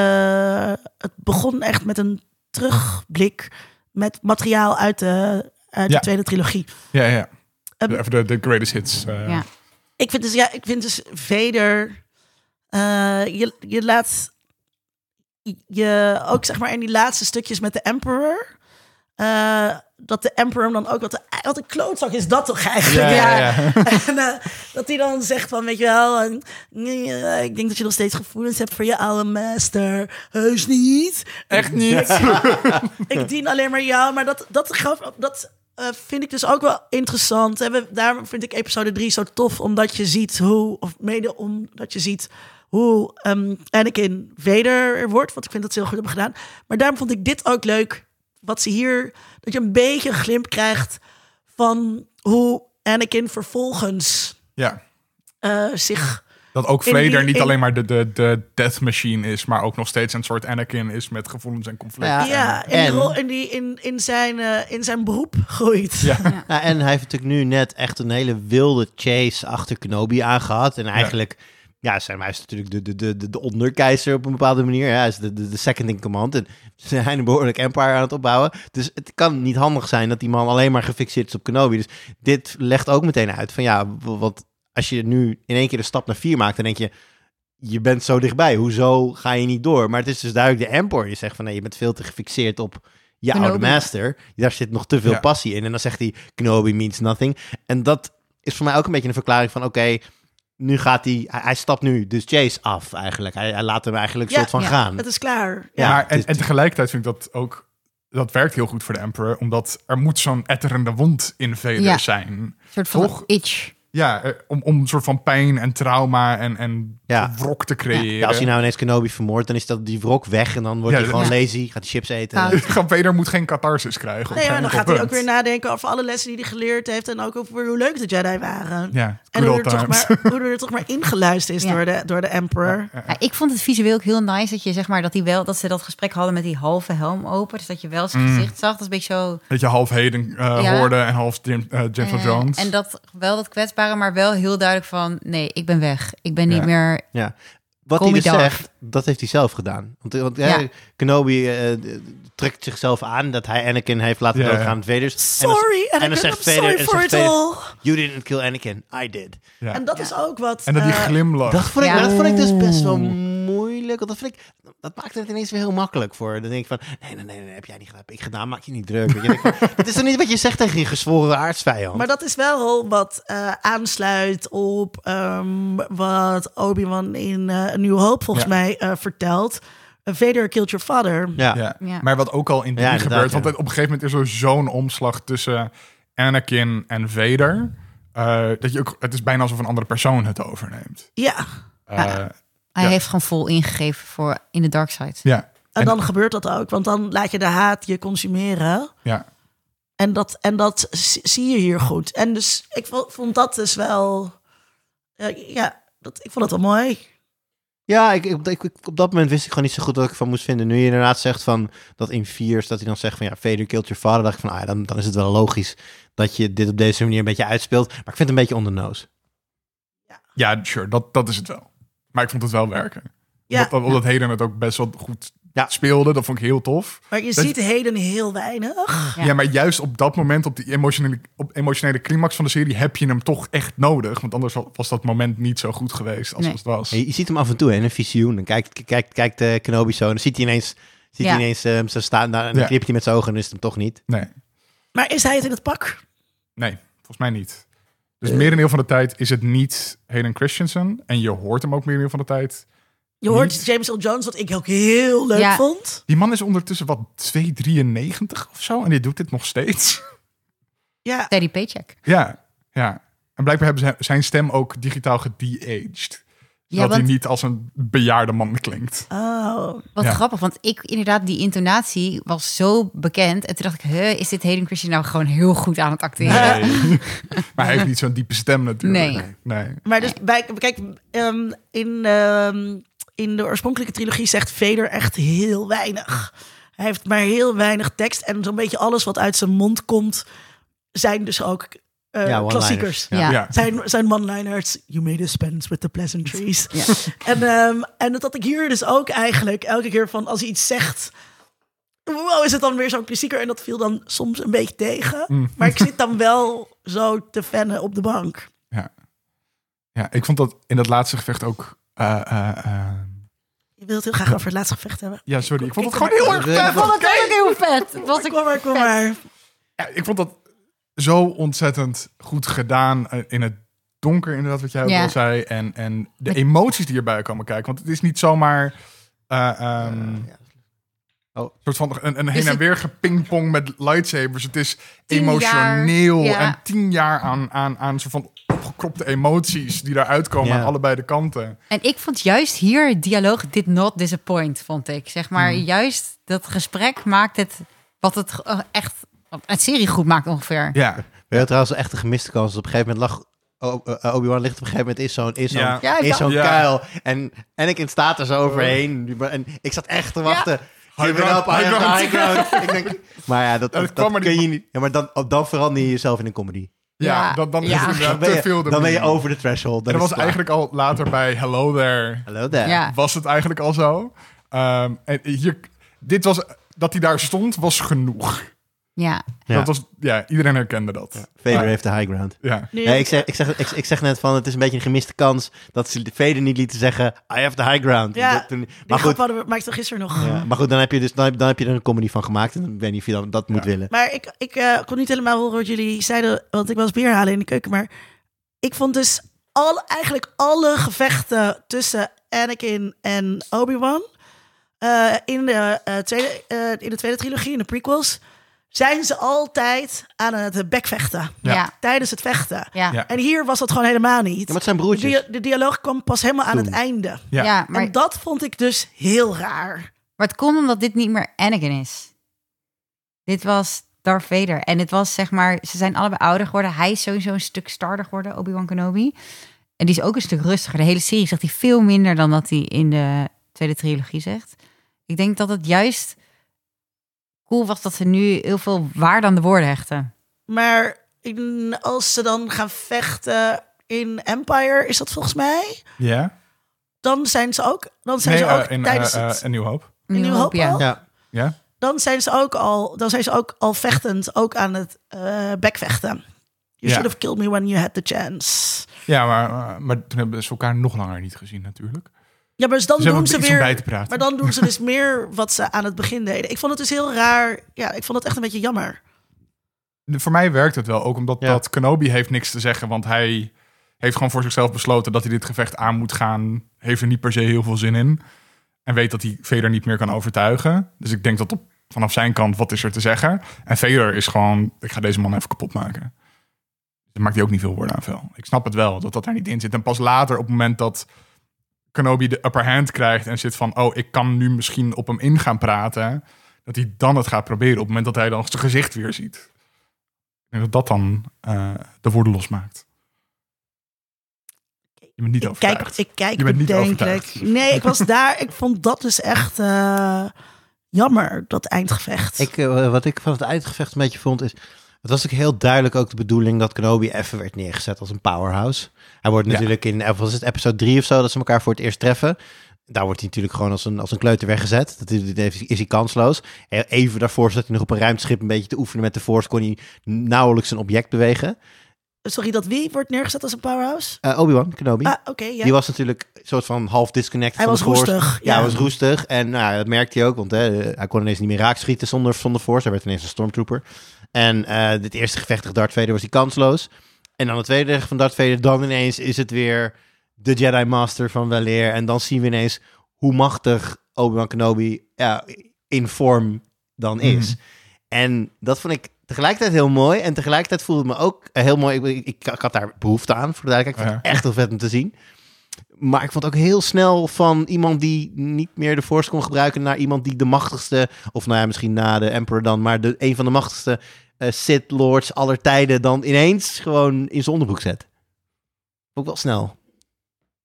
Het begon echt met een terugblik met materiaal uit de, uit de
Ja.
tweede trilogie.
Ja, ja.
Ehm,
Even de, de greatest hits. eh.
Ja.
Ik vind dus, ja, ik vind dus Vader. eh, je, je laat. Je, ook zeg maar in die laatste stukjes met de Emperor. eh, dat de Emperor hem dan ook. Wat, een- wat een klootzak is dat toch eigenlijk?
Ja, ja, ja.
En, eh, dat hij dan zegt van, weet je wel, en, nee, eh, ik denk dat je nog steeds gevoelens hebt voor je oude master. Heus niet.
Echt niet.
Ik dien alleen maar jou. Maar dat, dat, gaf, dat eh, vind ik dus ook wel interessant. En we, daarom vind ik episode 3 zo tof, omdat je ziet hoe, of mede omdat je ziet hoe ehm Anakin Vader wordt. Want ik vind dat ze heel goed hebben gedaan. Maar daarom vond ik dit ook leuk, wat ze hier, dat je een beetje een glimp krijgt van hoe Anakin vervolgens
Ja.
eh, zich
Dat ook
In
Vader
die-
niet
in-
alleen maar de, de, de death machine is, maar ook nog steeds een soort Anakin is met gevoelens en conflicten.
Ja,
Ja, in, die
en-
rol, in, die, in, in, zijn, eh, in zijn beroep groeit.
Ja.
Nou, en hij heeft natuurlijk nu net echt een hele wilde chase achter Kenobi aangehad. En eigenlijk, ja, zijn, hij is natuurlijk de, de, de, de, de onderkeizer op een bepaalde manier. Ja, hij is de, de, de second in command. En ze zijn een behoorlijk empire aan het opbouwen. Dus het kan niet handig zijn dat die man alleen maar gefixeerd is op Kenobi. Dus dit legt ook meteen uit van ja, w- want als je nu in één keer de stap naar vier maakt, dan denk je... Je bent zo dichtbij, hoezo ga je niet door? Maar het is dus duidelijk de Emperor. Je zegt van nee, je bent veel te gefixeerd op je oude
Kenobi.
master. Daar zit nog te veel
Ja.
passie in. En dan zegt hij, Kenobi means nothing. En dat is voor mij ook een beetje een verklaring van, oké, nu gaat hij, hij, hij stapt nu dus Chase af eigenlijk. Hij, hij laat hem eigenlijk
Ja,
soort van
ja.
gaan.
Het is klaar.
Ja,
maar, en,
het is-
en tegelijkertijd vind ik dat ook... Dat werkt heel goed voor de Emperor, omdat er moet zo'n etterende wond in Vader
Ja.
zijn.
Een soort van
Toch?
itch.
Ja, eh, om, om een soort van pijn en trauma en, en
Ja.
wrok te creëren.
Ja, als hij nou ineens Kenobi vermoordt, dan is dat die wrok weg en dan wordt
Ja,
hij
dat-
gewoon
Ja.
lazy, gaat hij chips eten.
Ja.
Vader moet geen catharsis krijgen. op
Nee, maar
een
dan
enkel
gaat hij ook
punt.
weer nadenken over alle lessen die hij geleerd heeft. En ook over hoe leuk de Jedi waren.
Ja,
En
good
hoe
old
er, toch
times.
maar, hoe er toch maar ingeluisterd is
Ja.
door, de, door de Emperor.
Ja, ik vond het visueel ook heel nice dat je zeg maar dat die wel dat ze dat gesprek hadden met die halve helm open, dus dat je wel
Mm.
zijn gezicht zag. Dat is een beetje zo.
Dat je half Hayden eh,
Ja.
hoorde en half Jim, eh, Jennifer
eh,
Jones.
En dat wel dat kwetsbare, maar wel heel duidelijk van nee, ik ben weg. Ik ben niet
Ja.
meer.
Ja. Wat
Call
hij dus
me Darth.
zegt, dat heeft hij zelf gedaan. Want, want eh,
Ja.
Kenobi eh, d- trekt zichzelf aan dat hij Anakin heeft laten
Ja, ja.
doodgaan met Vader.
Sorry, en,
en dan
ik ben
zegt
sorry
Vader, en dan
for
zegt
it
Vader,
all.
You didn't kill Anakin, I did.
ja.
En dat is ook wat...
En dat die
eh,
glimlach.
Dat vond, ik,
Ja.
maar dat vond ik dus best wel moeilijk. Want dat, vind ik, dat maakte het ineens weer heel makkelijk voor. Dan denk ik van, nee, nee, nee, nee heb jij niet gedaan. Heb ik gedaan, maak je niet druk. Weet je, denk ik van, Het is toch niet wat je zegt tegen je gezworen aardsvijand?
Maar dat is wel wat eh, aansluit op ehm, wat Obi-Wan in eh New Hope volgens
Ja.
mij eh, vertelt. Vader killed your father.
ja.
Ja.
Ja.
Maar wat ook al in die
Ja, inderdaad,
gebeurt,
ja.
want op een gegeven moment is er zo'n omslag tussen Anakin en Vader. eh, dat je ook, het is bijna alsof een andere persoon het overneemt.
Ja,
Eh,
Ja. Hij
Ja.
heeft gewoon vol ingegeven voor in de dark side.
ja.
en dan gebeurt dat ook. Want dan laat je de haat je consumeren.
ja.
En dat, en dat z- zie je hier goed. En dus ik vo- vond dat dus wel... eh, ja, dat, ik vond dat wel mooi.
Ja, ik, ik, ik- ik- op dat moment wist ik gewoon niet zo goed wat ik ervan moest vinden. Nu je inderdaad zegt van dat in vier dat hij dan zegt van ja, Vader killed your father. dacht ik van ah, ja, dan, dan is het wel logisch dat je dit op deze manier een beetje uitspeelt. Maar ik vind het een beetje on the nose.
Ja, sure, dat, dat is het wel. Maar ik vond het wel werken.
Ja.
Omdat, omdat Hayden het ook best wel goed
Ja.
speelde, dat vond ik heel tof.
Maar je
Dat-
ziet heden heel weinig.
Ja. maar juist op dat moment, op die emotionele, op emotionele climax van de serie, heb je hem toch echt nodig. Want anders wa- was dat moment niet zo goed geweest als
Nee.
het was.
Je, je ziet hem af en toe hè, in een visioen. Dan kijkt, kijkt, kijkt eh, Kenobi zo en dan ziet hij ineens, ziet
Ja.
hij ineens eh, hem zo staan. daar En dan
Ja.
knipt hij met zijn ogen en dan is het hem toch niet.
Nee,
Maar is hij het in het pak?
nee, volgens mij niet. Dus
Eh.
merendeel van de tijd is het niet Hayden Christensen. En je hoort hem ook merendeel van de tijd.
Je hoort
Niet.
James L. Jones, wat ik ook heel leuk
Ja.
vond.
Die man is ondertussen wat 2,93 of zo. En die doet dit nog steeds.
Ja,
Teddy Paycheck.
ja, ja. En blijkbaar hebben ze zijn stem ook digitaal gedeaged.
Ja,
Zodat
want
hij niet als een bejaarde man klinkt.
oh.
wat
Ja.
grappig, want ik inderdaad die intonatie was zo bekend en toen dacht ik, hè, is dit Hayden Christian nou gewoon heel goed aan het acteren?
maar hij heeft niet zo'n diepe stem natuurlijk.
Nee.
nee.
Maar dus, bij, kijk, ehm, in, ehm, in de oorspronkelijke trilogie zegt Vader echt heel weinig. Hij heeft maar heel weinig tekst en zo'n beetje alles wat uit zijn mond komt, zijn dus ook eh,
Ja, one-liners.
klassiekers.
Ja.
Ja.
Zijn, zijn one-liners, you may dispense with the pleasantries.
Ja.
En, ehm, en dat had ik hier dus ook eigenlijk elke keer van als hij iets zegt. Wow, is het dan weer zo'n klassieker? En dat viel dan soms een beetje tegen.
Mm.
Maar ik zit dan wel zo te fennen op de bank.
Ja. ja, ik vond dat in dat laatste gevecht ook... eh, eh, eh,
Je wilt heel graag over het laatste gevecht hebben.
ja, sorry. Ik vond
Kijk
het
er
gewoon heel
maar
erg
uit.
vet.
Ik vond het ook heel vet. Het was
Kom maar, kom maar.
Ja, ik vond dat zo ontzettend goed gedaan eh, in het donker, inderdaad, wat jij ook
Ja.
al zei. En, en de emoties die erbij komen kijken. Want het is niet zomaar... eh, ehm,
Oh.
Een soort van een, een heen
Is
en
het-
weer gepingpong met lightsabers. Het is
Tien jaar,
emotioneel
ja.
en tien jaar aan, aan, aan soort van opgekropte emoties die daaruit komen
Ja.
aan allebei de kanten.
En ik vond juist hier het dialoog did not disappoint, vond ik. Zeg maar,
Mhm.
juist dat gesprek maakt het wat het eh, echt wat het serie goed maakt ongeveer.
Ja,
We hebben trouwens echt een gemiste kans. Op een gegeven moment lag O- eh, Obi-Wan ligt op een gegeven moment in zo'n is zo'n
Ja.
Ja,
in
ja.
zo'n
Ja.
kuil. En, en ik staat er zo overheen. En ik zat echt te wachten. Give it
ground,
up, I
high
have the high
ground.
ground. ik denk, maar ja, dat,
Ja, dat
dat,
kwam er
kun
niet.
je niet. Ja, maar dan, dan verander je jezelf in een comedy.
Ja,
Ja.
dan, dan
Ja.
is het
Dan
inderdaad
ben
te
je,
veel.
dan ben je
erbij.
over de threshold.
En
dan
dat
is
was
het klaar.
eigenlijk al later bij Hello There.
Hallo daar.
Ja.
Was het eigenlijk al zo. Ehm, en hier, dit was, dat hij daar stond, was genoeg.
Ja,
Ja.
Dat was, ja, iedereen herkende dat.
Vader heeft de high ground.
Ja.
Nu,
Nee, ik, zeg, ik, zeg, ik, ik zeg net van, het is een beetje een gemiste kans dat ze Vader niet lieten zeggen, I have the high ground.
Ja.
Dat toen-
die
maar
grap
goed,
hadden we, maakte gisteren nog.
Ja, maar goed, dan heb je dus dan heb, dan heb je er een comedy van gemaakt. En dan weet niet of je dan, dat moet
Ja.
willen.
Maar ik, ik eh, kon niet helemaal horen wat jullie zeiden, want ik was bier halen in de keuken. Maar ik vond dus al, eigenlijk alle gevechten tussen Anakin en Obi-Wan eh, in, de, eh, tweede, eh, in de tweede trilogie, in de prequels, zijn ze altijd aan het bekvechten.
Ja.
ja, ja.
Tijdens het vechten.
Ja.
En hier was dat gewoon helemaal niet.
Ja, maar het zijn
de,
broertjes.
dia- de dialoog kwam pas helemaal aan
Toen.
het einde.
Ja.
Ja, maar,
En dat vond ik dus heel raar.
maar het komt omdat dit niet meer Anakin is. Dit was Darth Vader. En het was zeg maar, ze zijn allebei ouder geworden. Hij is sowieso een stuk starder geworden, Obi-Wan Kenobi. En die is ook een stuk rustiger. De hele serie zegt hij veel minder dan dat hij in de tweede trilogie zegt. Ik denk dat het juist cool was dat ze nu heel veel waarde aan de woorden hechten.
Maar in- als ze dan gaan vechten in Empire, is dat volgens mij,
Ja?
dan zijn ze ook, dan zijn
Nee,
ze ook
eh, in, eh,
tijdens
eh,
het,
in New Hope.
in New Hope
ja.
al?
Ja.
Ja?
dan zijn ze ook al, dan zijn ze ook al vechtend, ook aan het eh bekvechten. You
Ja.
should have killed me when you had the chance.
Ja, maar, eh, maar toen hebben ze elkaar nog langer niet gezien natuurlijk.
Ja, maar dus dan
Ze hebben
doen
ook
ze
iets om bij
weer.
te praten.
Maar dan doen ze dus meer wat ze aan het begin deden. Ik vond het dus heel raar. Ja, ik vond het echt een beetje jammer.
De- Voor mij werkt het wel, ook omdat
Ja.
dat Kenobi heeft niks te zeggen, want hij heeft gewoon voor zichzelf besloten dat hij dit gevecht aan moet gaan. Heeft er niet per se heel veel zin in. En weet dat hij Vader niet meer kan overtuigen. Dus ik denk dat op, vanaf zijn kant, wat is er te zeggen? En Vader is gewoon, ik ga deze man even kapot maken. Dan maakt hij ook niet veel woorden aan vuil. Ik snap het wel, dat dat daar niet in zit. En pas later, op het moment dat Kenobi de upper hand krijgt en zit van... oh, ik kan nu misschien op hem in gaan praten... dat hij dan het gaat proberen op het moment dat hij dan zijn gezicht weer ziet. Ik denk dat dat dan eh, de woorden losmaakt. Je bent niet
Ik kijk,
overtuigd.
ik kijk
Je bent niet
bedenkelijk.
overtuigd.
Nee, ik was daar. Ik vond dat dus echt eh, jammer, dat eindgevecht.
Ik, eh, wat ik van het uitgevecht een beetje vond is... Het was ook heel duidelijk ook de bedoeling dat Kenobi even werd neergezet als een powerhouse. Hij wordt
Ja.
natuurlijk in eh, was het episode 3 of zo dat ze elkaar voor het eerst treffen. Daar wordt hij natuurlijk gewoon als een, als een kleuter weggezet. Dat is, is, is hij kansloos. Eh, Even daarvoor zat hij nog op een ruimteschip een beetje te oefenen met de Force. Kon hij nauwelijks een object bewegen.
Sorry, dat wie wordt neergezet als een powerhouse?
Eh, Obi-Wan Kenobi.
Ah, oké, ja.
Die was natuurlijk een soort van half disconnected
Hij
van
was
de Force.
roestig.
Ja, hij was roestig. En nou, ja, dat merkte hij ook, want hè, hij kon ineens niet meer raakschieten zonder, zonder Force. Hij werd ineens een stormtrooper. En eh het eerste gevecht tegen Darth Vader was hij kansloos. En dan het tweede gevecht van Darth Vader, dan ineens is het weer de Jedi Master van Weleer. En dan zien we ineens hoe machtig Obi-Wan Kenobi ja, in vorm dan is. En dat vond ik tegelijkertijd heel mooi. En tegelijkertijd voelde het me ook eh, heel mooi. Ik, ik, ik had daar behoefte aan, voor de duidelijkheid. Ik vond het echt heel vet om te zien. Maar ik vond het ook heel snel van iemand die niet meer de Force kon gebruiken... naar iemand die de machtigste, of nou ja, misschien na de Emperor dan... maar de, een van de machtigste eh Sith Lords aller tijden... dan ineens gewoon in zijn onderbroek zet. Ook wel snel.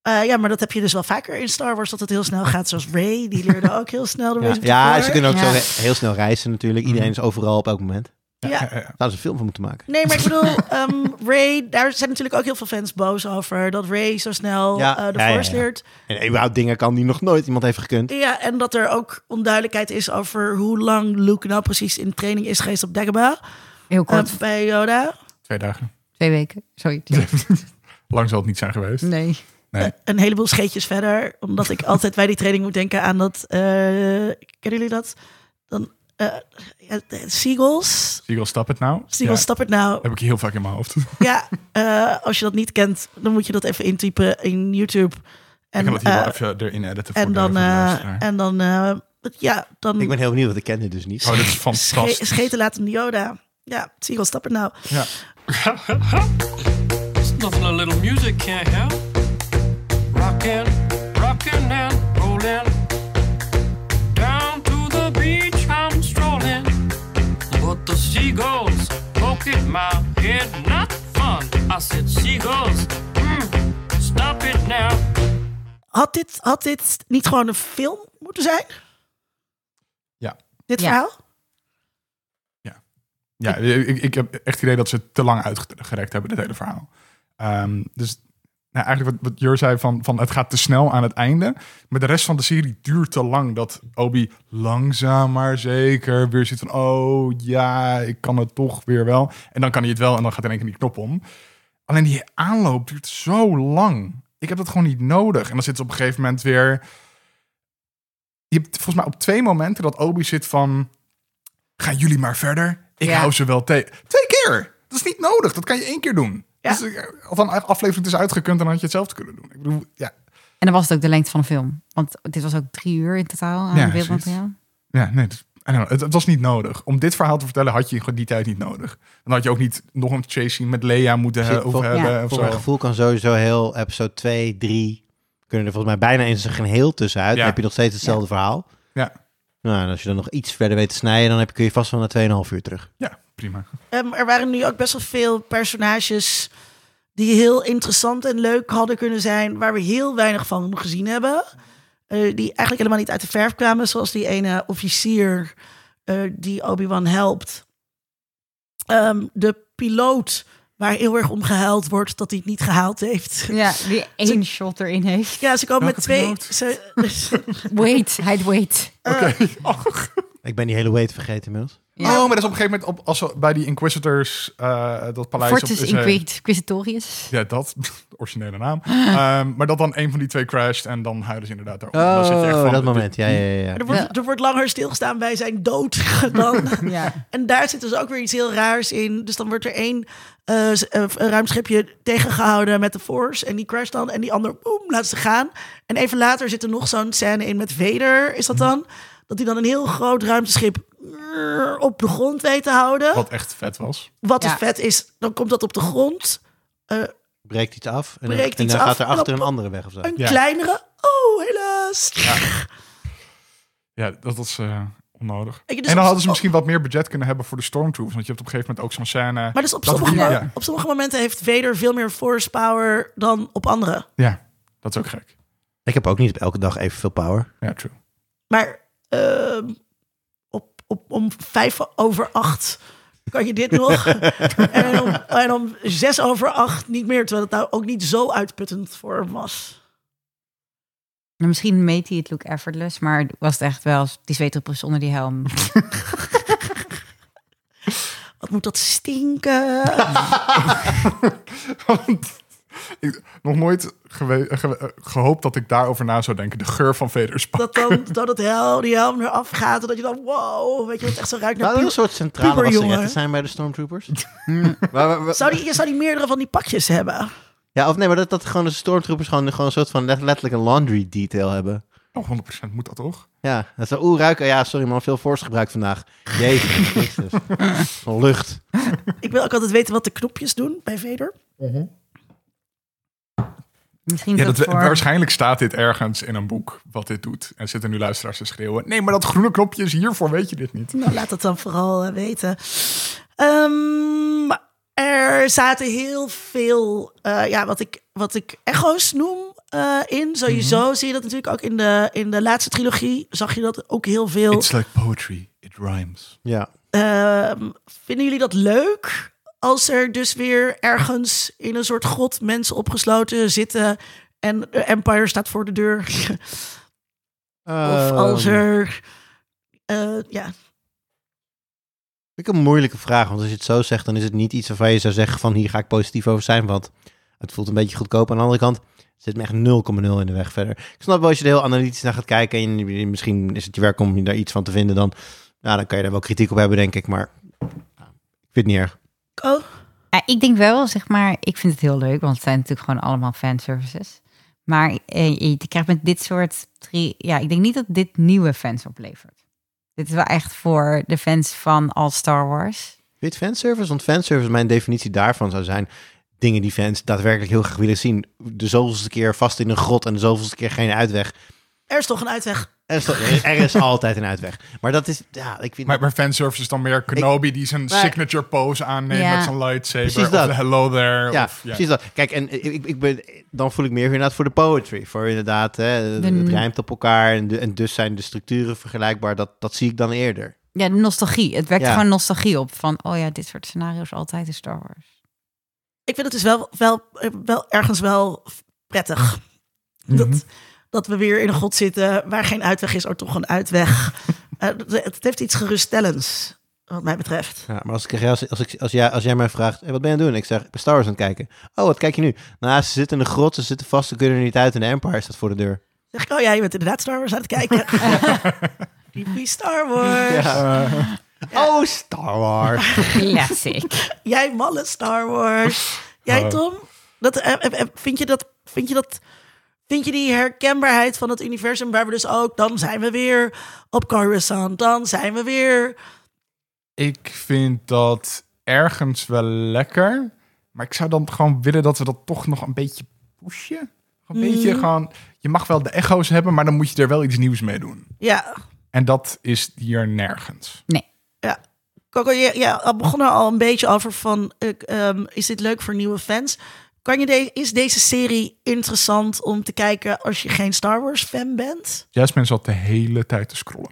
Eh, ja, maar dat heb je dus wel vaker in Star Wars, dat het heel snel gaat. Zoals Ray, die leerde ook heel snel de
Ja,
Ray.
ja ze kunnen ook zo
Ja.
he- heel snel reizen natuurlijk. Iedereen is overal op elk moment.
Ja.
Eh, eh,
Daar zouden ze een film van moeten maken.
Nee, maar ik bedoel, ehm, Ray, daar zijn natuurlijk ook heel veel fans boos over. Dat Ray zo snel
Ja.
eh, de
Ja, ja,
Force
ja.
leert.
En überhaupt dingen kan die nog nooit iemand heeft gekund.
Ja, en dat er ook onduidelijkheid is over hoe lang Luke nou precies in training is geweest op Dagobah.
Heel kort,
eh, bij Yoda.
twee dagen.
twee weken. Sorry.
Lang zal het niet zijn geweest.
Nee.
Eh,
Eh.
Een heleboel scheetjes verder. Omdat ik altijd bij die training moet denken aan dat... eh, kennen jullie dat? Dan, eh, ja, de- Seagulls.
Siegel, stap het nou.
Seagulls,
Ja.
stap het nou.
Heb ik heel vaak in mijn hoofd.
Ja, eh, als je dat niet kent, dan moet je dat even intypen in YouTube.
ik
En,
kan het hier wel
eh,
even erin editen voor
en
de-
dan,
voor de
eh,
luisteraar.
en dan, eh, ja, dan
Ik ben heel benieuwd, want ik ken dit dus niet.
Oh, dit is
sche-
fantastisch.
scheten laten de Yoda. Ja, Siegel, stap het nou.
Ja.
It's nothing a little music can't help. Rockin', rockin' and rollin'. Down to the beach I'm strolling. But the seagulls poking my head, not fun. I said, Seagulls, mm, stop it now.
Had dit, had dit niet gewoon een film moeten zijn?
Ja.
Dit
Ja.
verhaal?
Ja, ik, ik heb echt het idee dat ze het te lang uitgerekt hebben, dit hele verhaal. Ehm, dus nou, eigenlijk wat, wat Jur zei, van, van het gaat te snel aan het einde. Maar de rest van de serie duurt te lang. Dat Obi langzaam maar zeker weer zit van... oh ja, ik kan het toch weer wel. En dan kan hij het wel en dan gaat in één keer die knop om. Alleen die aanloop duurt zo lang. Ik heb dat gewoon niet nodig. En dan zit ze op een gegeven moment weer... Je hebt volgens mij op twee momenten dat Obi zit van... gaan jullie maar verder. Ik
Ja.
hou ze wel tegen. Twee keer! Dat is niet nodig. Dat kan je één keer doen.
Ja.
Dus, eh, of een aflevering is uitgekund, dan had je hetzelfde kunnen doen. Ik bedoel, ja,
En dan was het ook de lengte van de film. Want dit was ook drie uur in totaal aan
Ja,
beeldmateriaal.
ja nee, dat- I don't know. het, het was niet nodig. Om dit verhaal te vertellen had je gewoon die tijd niet nodig. Dan had je ook niet nog een chase scene met Lea moeten
Zit
he- of
vol-
hebben.
ja,
of
Voor mijn
zo.
gevoel kan sowieso heel episode 2, 3... kunnen er volgens mij bijna in zijn geheel tussenuit.
Ja.
Dan heb je nog steeds hetzelfde verhaal.
Ja.
Nou, en als je dan nog iets verder weet te snijden... dan heb, kun je vast wel naar 2,5 uur terug.
ja, prima.
Ehm, er waren nu ook best wel veel personages die heel interessant en leuk hadden kunnen zijn, waar we heel weinig van gezien hebben. Eh, die eigenlijk helemaal niet uit de verf kwamen, zoals die ene officier eh, die Obi-Wan helpt. Ehm, de piloot waar heel erg om gehuild wordt dat hij het niet gehaald heeft.
Ja, die één shot erin heeft.
Ja, ze komen
Welke
met twee.
piloot?
Ze,
Wait, hij wait.
Oké. Oh,
Ik ben die hele weight vergeten inmiddels.
Ja.
Oh, maar dat is op een gegeven moment op, als we bij die Inquisitors, eh, dat paleis... op-
Fortus
is, eh,
Inquisitorius.
Ja, dat. De originele naam. Ehm, maar dat dan een van die twee crasht en dan huilen ze inderdaad daarop. Dan zit je echt van,
Oh, dat
dit-
moment. Ja, ja, ja. ja.
Oh, er, wordt,
Ja.
er wordt langer stilgestaan bij zijn dood dan
Ja.
En daar zit dus ook weer iets heel raars in. Dus dan wordt er één eh, s- eh, ruimschipje tegengehouden met de Force. En die crasht dan. En die ander, boem, laat ze gaan. En even later zit er nog zo'n scène in met Vader, is dat dan? Dat hij dan een heel groot ruimteschip eh, op de grond weet te houden. Wat,
Wat echt vet was.
dus
Ja.
vet is, dan komt dat op de grond.
Breekt iets af. En, dan-
Breekt
en
iets
dan
af,
gaat er achter
knop.
een andere weg of zo.
Een
Ja.
kleinere, oh helaas.
Ja, dat was eh, onnodig.
Ik- dus
en
op-
dan hadden ze misschien wat meer budget kunnen hebben voor de Stormtroopers. Want je hebt op een gegeven moment ook zo'n scène...
Maar dus op
Dat
sommige,
die-
mo-
ja.
op sommige momenten heeft Vader veel meer Force power dan op andere.
Ja, dat is ook gek.
Ik heb ook niet elke dag evenveel power.
Ja, true.
Maar ehm, op, op, om vijf over acht kan je dit nog. en, om, en om zes over acht niet meer. Terwijl het nou ook niet zo uitputtend voor hem was.
Nou, Misschien meet hij het look effortless, maar was het echt wel die zweterige zonder die helm.
Wat moet dat stinken?
Nou. Want ik nog nooit gewe- eh, ge- eh, gehoopt dat ik daarover na zou denken. De geur van Veders.
dat dan dat het hel, die helm eraf gaat. En dat je dan, wow, weet je wat echt zo ruikt naar
Nou, een
puur-
soort centrale
puberjongen.
wasseretten zijn bij de Stormtroopers. Waar- waar- waar-
Zou die, zou die meerdere van die pakjes hebben?
Ja, of nee, maar dat, dat gewoon de Stormtroopers gewoon, gewoon een soort van let- letterlijk een laundry detail hebben.
Oh, 100% moet dat toch?
Ja, dat zo, oeh, ruiken. Ja, sorry man, veel force gebruikt vandaag. Jezus Christus. Zo'n lucht.
Ik wil ook altijd weten wat de knopjes doen bij Vader.
Misschien
Ja,
is
dat,
dat
we-
voor...
waarschijnlijk staat dit ergens in een boek wat dit doet. En zitten nu luisteraars te schreeuwen. Nee, maar dat groene knopje is hiervoor, weet je dit niet?
Nou, laat dat dan vooral eh, weten. Ehm, er zaten heel veel, eh, ja, wat ik, wat ik echo's noem eh, in. Sowieso zie je dat natuurlijk ook in de, in de laatste trilogie. Zag je dat ook heel veel.
like poetry. It rhymes.
Ja.
Ehm, vinden jullie dat leuk? Als er dus weer ergens in een soort grot mensen opgesloten zitten en de Empire staat voor de deur. of als
Ehm,
er, eh, ja,
Vind ik een moeilijke vraag, want als je het zo zegt, dan is het niet iets waarvan je zou zeggen van hier ga ik positief over zijn, want het voelt een beetje goedkoop. Aan de andere kant zit me echt 0,0 in de weg verder. Ik snap wel als je er heel analytisch naar gaat kijken en je- je- misschien is het je werk om daar iets van te vinden, dan, nou, dan kan je daar wel kritiek op hebben, denk ik, maar nou, ik vind het niet erg.
oh,
Ja, ik denk wel, zeg maar, ik vind het heel leuk, want het zijn natuurlijk gewoon allemaal fanservices. Maar eh, je je krijgt met dit soort drie, ja, ik denk niet dat dit nieuwe fans oplevert. Dit is wel echt voor de fans van al Star Wars.
Vind je het fanservice? Want fanservice, mijn definitie daarvan zou zijn dingen die fans daadwerkelijk heel graag willen zien. De zoveelste keer vast in een grot en de zoveelste keer geen uitweg.
er is toch een uitweg.
Er is, er is altijd een uitweg. Maar dat is, ja, ik vind...
Maar, maar fanservice is dan meer Kenobi die zijn
Maar-
signature pose aanneemt
Ja.
met zijn lightsaber.
Precies dat.
Of de hello there.
ja,
of, ja.
precies dat. Kijk, en ik, ik- ik ben, dan voel ik meer inderdaad voor de poetry. Voor inderdaad, hè, het
De-
rijmt op elkaar. En, de- en dus zijn de structuren vergelijkbaar. Dat, dat zie ik dan eerder.
Ja, de nostalgie. Het werkt
Ja.
gewoon nostalgie op. Van, oh ja, dit soort scenario's altijd in Star Wars.
Ik vind het dus wel, wel, wel ergens wel prettig. dat, dat we weer in een god zitten waar geen uitweg is, maar toch een uitweg. Eh, het- het heeft iets geruststellends, wat mij betreft.
Ja, maar als, ik, als, als, ik, als, jij, als jij mij vraagt, "Hey, wat ben je aan het doen? Ik zeg, ik ben Star Wars aan het kijken. Oh, wat kijk je nu? Nou, ze zitten in de grot, ze zitten vast, ze kunnen er niet uit. En de Empire staat voor de deur.
Dan zeg ik, oh ja, je bent inderdaad Star Wars aan het kijken. Typisch Star Wars.
Eh,
Oh, Star Wars.
Classic.
Jij malle Star Wars. Jij
Oh.
Tom, dat, eh, eh, eh, vind, je dat, vind je dat... Vind je die herkenbaarheid van het universum waar we dus ook... Dan zijn we weer op Coruscant. Dan zijn we weer...
ik vind dat ergens wel lekker. Maar ik zou dan gewoon willen dat we dat toch nog een beetje pushen. Een beetje gewoon... Je mag wel de echo's hebben, maar dan moet je er wel iets nieuws mee doen.
Ja,
En dat is hier nergens.
ja. Coco, je- ja, we begonnen al een beetje over van... ik, ehm, is dit leuk voor nieuwe fans? Kan je de- is deze serie interessant om te kijken als je geen Star Wars fan bent?
Jasmine zat de hele tijd te scrollen.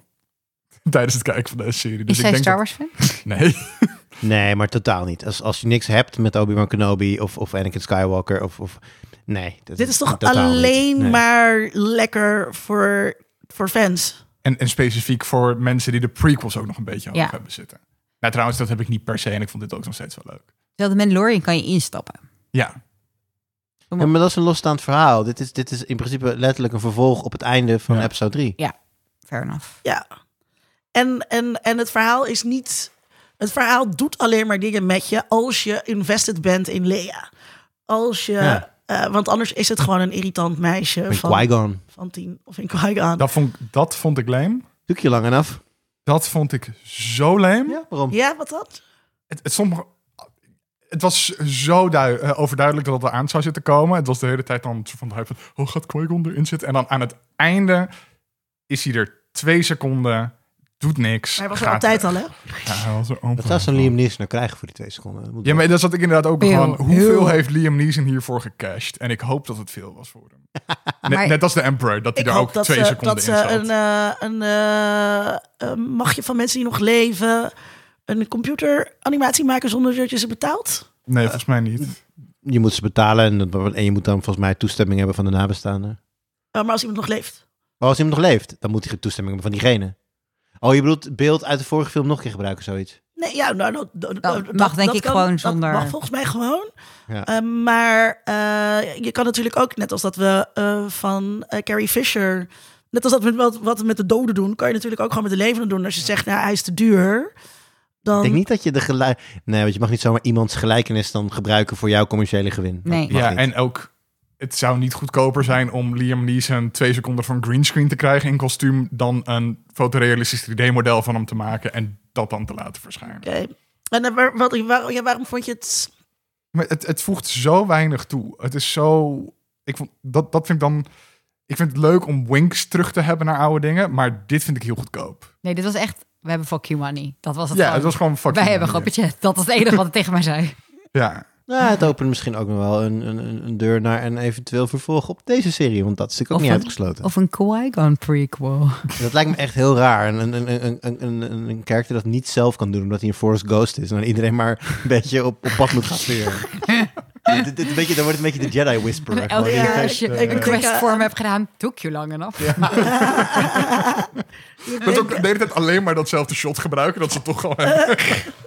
Tijdens het kijken van deze serie. Dus
Is
ik
zij
denk
Star
dat-
Wars fan?
Nee.
Nee, maar totaal niet. Als, als je niks hebt met Obi-Wan Kenobi of, of Anakin Skywalker of... of nee. dat-
Dit is toch
totaal niet.
alleen
Nee.
maar lekker voor, voor fans?
En, en specifiek voor mensen die de prequels ook nog een beetje hoog
Ja.
hebben zitten. Nou, trouwens, dat heb ik niet per se. En ik vond dit ook nog steeds wel leuk.
Terwijl de Mandalorian kan je instappen.
Ja.
Ja, maar dat is een losstaand verhaal. Dit is, dit is in principe letterlijk een vervolg op het einde van
Ja.
episode 3.
Fair enough.
Ja. En, en, en het verhaal is niet. Het verhaal doet alleen maar dingen met je als je invested bent in Lea. Als je.
Ja.
eh, want anders is het gewoon een irritant meisje
Met
van,
Qui-Gon.
van tien of in Qui-Gon.
Dat vond, dat vond ik lame.
Doe ik je lang af?
Dat vond ik zo lame.
Ja, waarom?
Ja, wat dat?
Het, het, sommige, het was zo dui- eh, overduidelijk dat het eraan zou zitten komen. Het was de hele tijd dan zo van de hype van... Oh, gaat Qui-Gon erin zitten? En dan aan het einde is hij er twee seconden... Doet niks.
Hij was er
gaat
altijd
weg.
al, hè?
Ja, hij was er ook
Dat
al.
zou zo'n Liam Neeson nou krijgen voor die twee seconden. Dat moet
Ja, maar dat zat ik inderdaad ook
Heel,
van. Hoeveel
heel-
heeft Liam Neeson hiervoor gecashed? En ik hoop dat het veel was voor hem. Net,
Maar-
net als de Emperor, dat hij
Ik
daar ook
hoop dat
twee
ze,
seconden
dat
in
ze
zat.
een, eh, een eh, eh, magje van mensen die nog leven. een computeranimatie maken zonder dat je ze betaalt.
nee, volgens mij niet.
wel. Je moet ze betalen en, dat- en je moet dan volgens mij toestemming hebben van de nabestaanden.
Eh, maar als iemand nog leeft.
Maar als iemand nog leeft, dan moet hij toestemming hebben van diegene. Oh, je bedoelt het beeld uit de vorige film nog een keer gebruiken, zoiets?
Nee, ja, nou, nou, d- d-
Dat
d-
mag denk ik
kan-
gewoon
dat
zonder-
mag volgens mij gewoon.
Ja.
Eh, maar eh, je kan natuurlijk ook, net als dat we eh, van eh, Carrie Fisher... Net als dat we wat, wat we met de doden doen... kan je natuurlijk ook gewoon met de levenden doen. Als je zegt, nou, hij is te duur... Dan,
Ik denk niet dat je de gelijk... Nee, want je mag niet zomaar iemands gelijkenis dan gebruiken voor jouw commerciële gewin. Dat
Nee.
mag
Ja,
niet.
en ook. Het zou niet goedkoper zijn om Liam Neeson twee seconden van greenscreen te krijgen in kostuum. dan een fotorealistisch 3D-model van hem te maken en dat dan te laten verschijnen.
Oké. En eh, waar- wat, waar- ja, waarom vond je het...
Maar het, het voegt zo weinig toe. Het is zo. Ik vond, dat, dat vind ik dan. Ik vind het leuk om winks terug te hebben naar oude dingen. Maar dit vind ik heel goedkoop.
Nee, dit was echt... We hebben fuck you money. Dat was het
Ja,
gewoon.
het was gewoon fucking.
Wij hebben gewoon
manier.
budget. Dat was het enige wat het tegen mij zei.
Ja,
Nou, het opent misschien ook nog wel een, een- een, een deur naar een eventueel vervolg op deze serie. Want dat is natuurlijk ook
Of
niet
een-
uitgesloten.
Of een Qui-Gon prequel.
Dat lijkt me echt heel raar. Een, een, een, een, een, een, een- een karakter dat niet zelf kan doen omdat hij een Forest Ghost is. En dan iedereen maar een beetje op, op pad moet gaan sturen. dit, dit, weet je, dan wordt het een beetje de Jedi Whisperer.
Elke
Gewoon
keer
die-
als je
ik-
een
ik-
quest voor me hebt gedaan, doe ik je lang en af.
Dat ook de hele tijd alleen maar datzelfde shot gebruiken, dat ze toch gewoon hebben.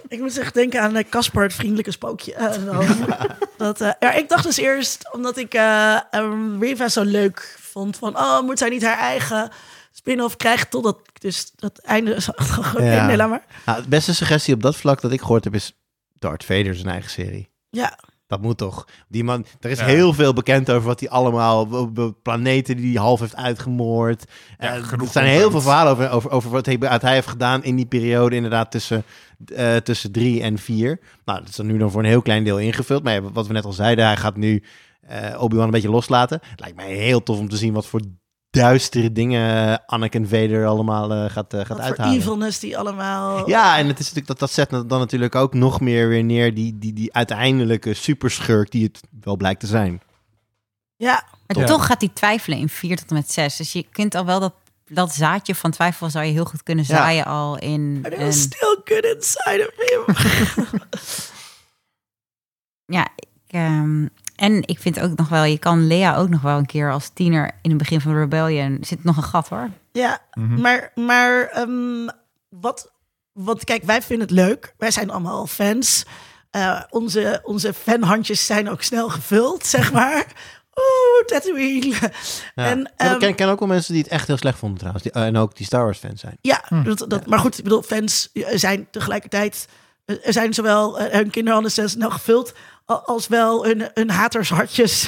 Ik moet echt denken aan eh, Caspar, het vriendelijke spookje. Eh, dan. dat, eh, ja, ik dacht dus eerst, omdat ik eh ehm, Riva zo leuk vond, van oh, moet zij niet haar eigen spin-off krijgen, totdat ik dus dat einde zag. Oké,
Ja.
nee, laat maar.
Nou, de beste suggestie op dat vlak dat ik gehoord heb is Darth Vader zijn eigen serie.
Ja,
Dat moet toch? Die man, er is
Ja.
heel veel bekend over wat hij allemaal, b- b- planeten die hij half heeft uitgemoord.
Ja,
Eh, er zijn
genoeg
heel
content.
veel verhalen over, over, over wat hij, wat hij heeft gedaan in die periode, inderdaad tussen, eh, tussen drie en vier. Nou, dat is dan nu dan voor een heel klein deel ingevuld. Maar ja, wat we net al zeiden, hij gaat nu eh, Obi-Wan een beetje loslaten. Lijkt mij heel tof om te zien wat voor duistere dingen Anakin Vader allemaal eh, gaat, eh, gaat
Wat voor
uithalen.
evilness die allemaal...
Ja, en het is natuurlijk, dat, dat zet dan natuurlijk ook nog meer weer neer die, die, die uiteindelijke superschurk die het wel blijkt te zijn.
Ja,
Maar
Ja.
toch gaat hij twijfelen in 4 tot en met 6. Dus je kunt al wel dat, dat zaadje van twijfel zou je heel goed kunnen
Ja.
zaaien al in.
but it
een-
was still good inside of him.
ja, ik, ehm, en ik vind ook nog wel, je kan Lea ook nog wel een keer als tiener in het begin van Rebellion. Zit nog een gat hoor.
ja,
Mhm.
maar, maar ehm, wat... Want kijk, wij vinden het leuk. Wij zijn allemaal fans. Eh, onze, onze fanhandjes zijn ook snel gevuld, zeg maar. Oeh, Tatooine.
Ja.
En,
Ja, maar ik
ehm,
ken, ken ook wel mensen die het echt heel slecht vonden trouwens. Die, eh, en ook die Star Wars fans zijn.
Ja, dat, dat, maar goed, ik bedoel, fans eh, zijn tegelijkertijd... eh, Er zijn zowel eh, hun kinderhanden zijn snel gevuld... a- als wel hun, hun hatershartjes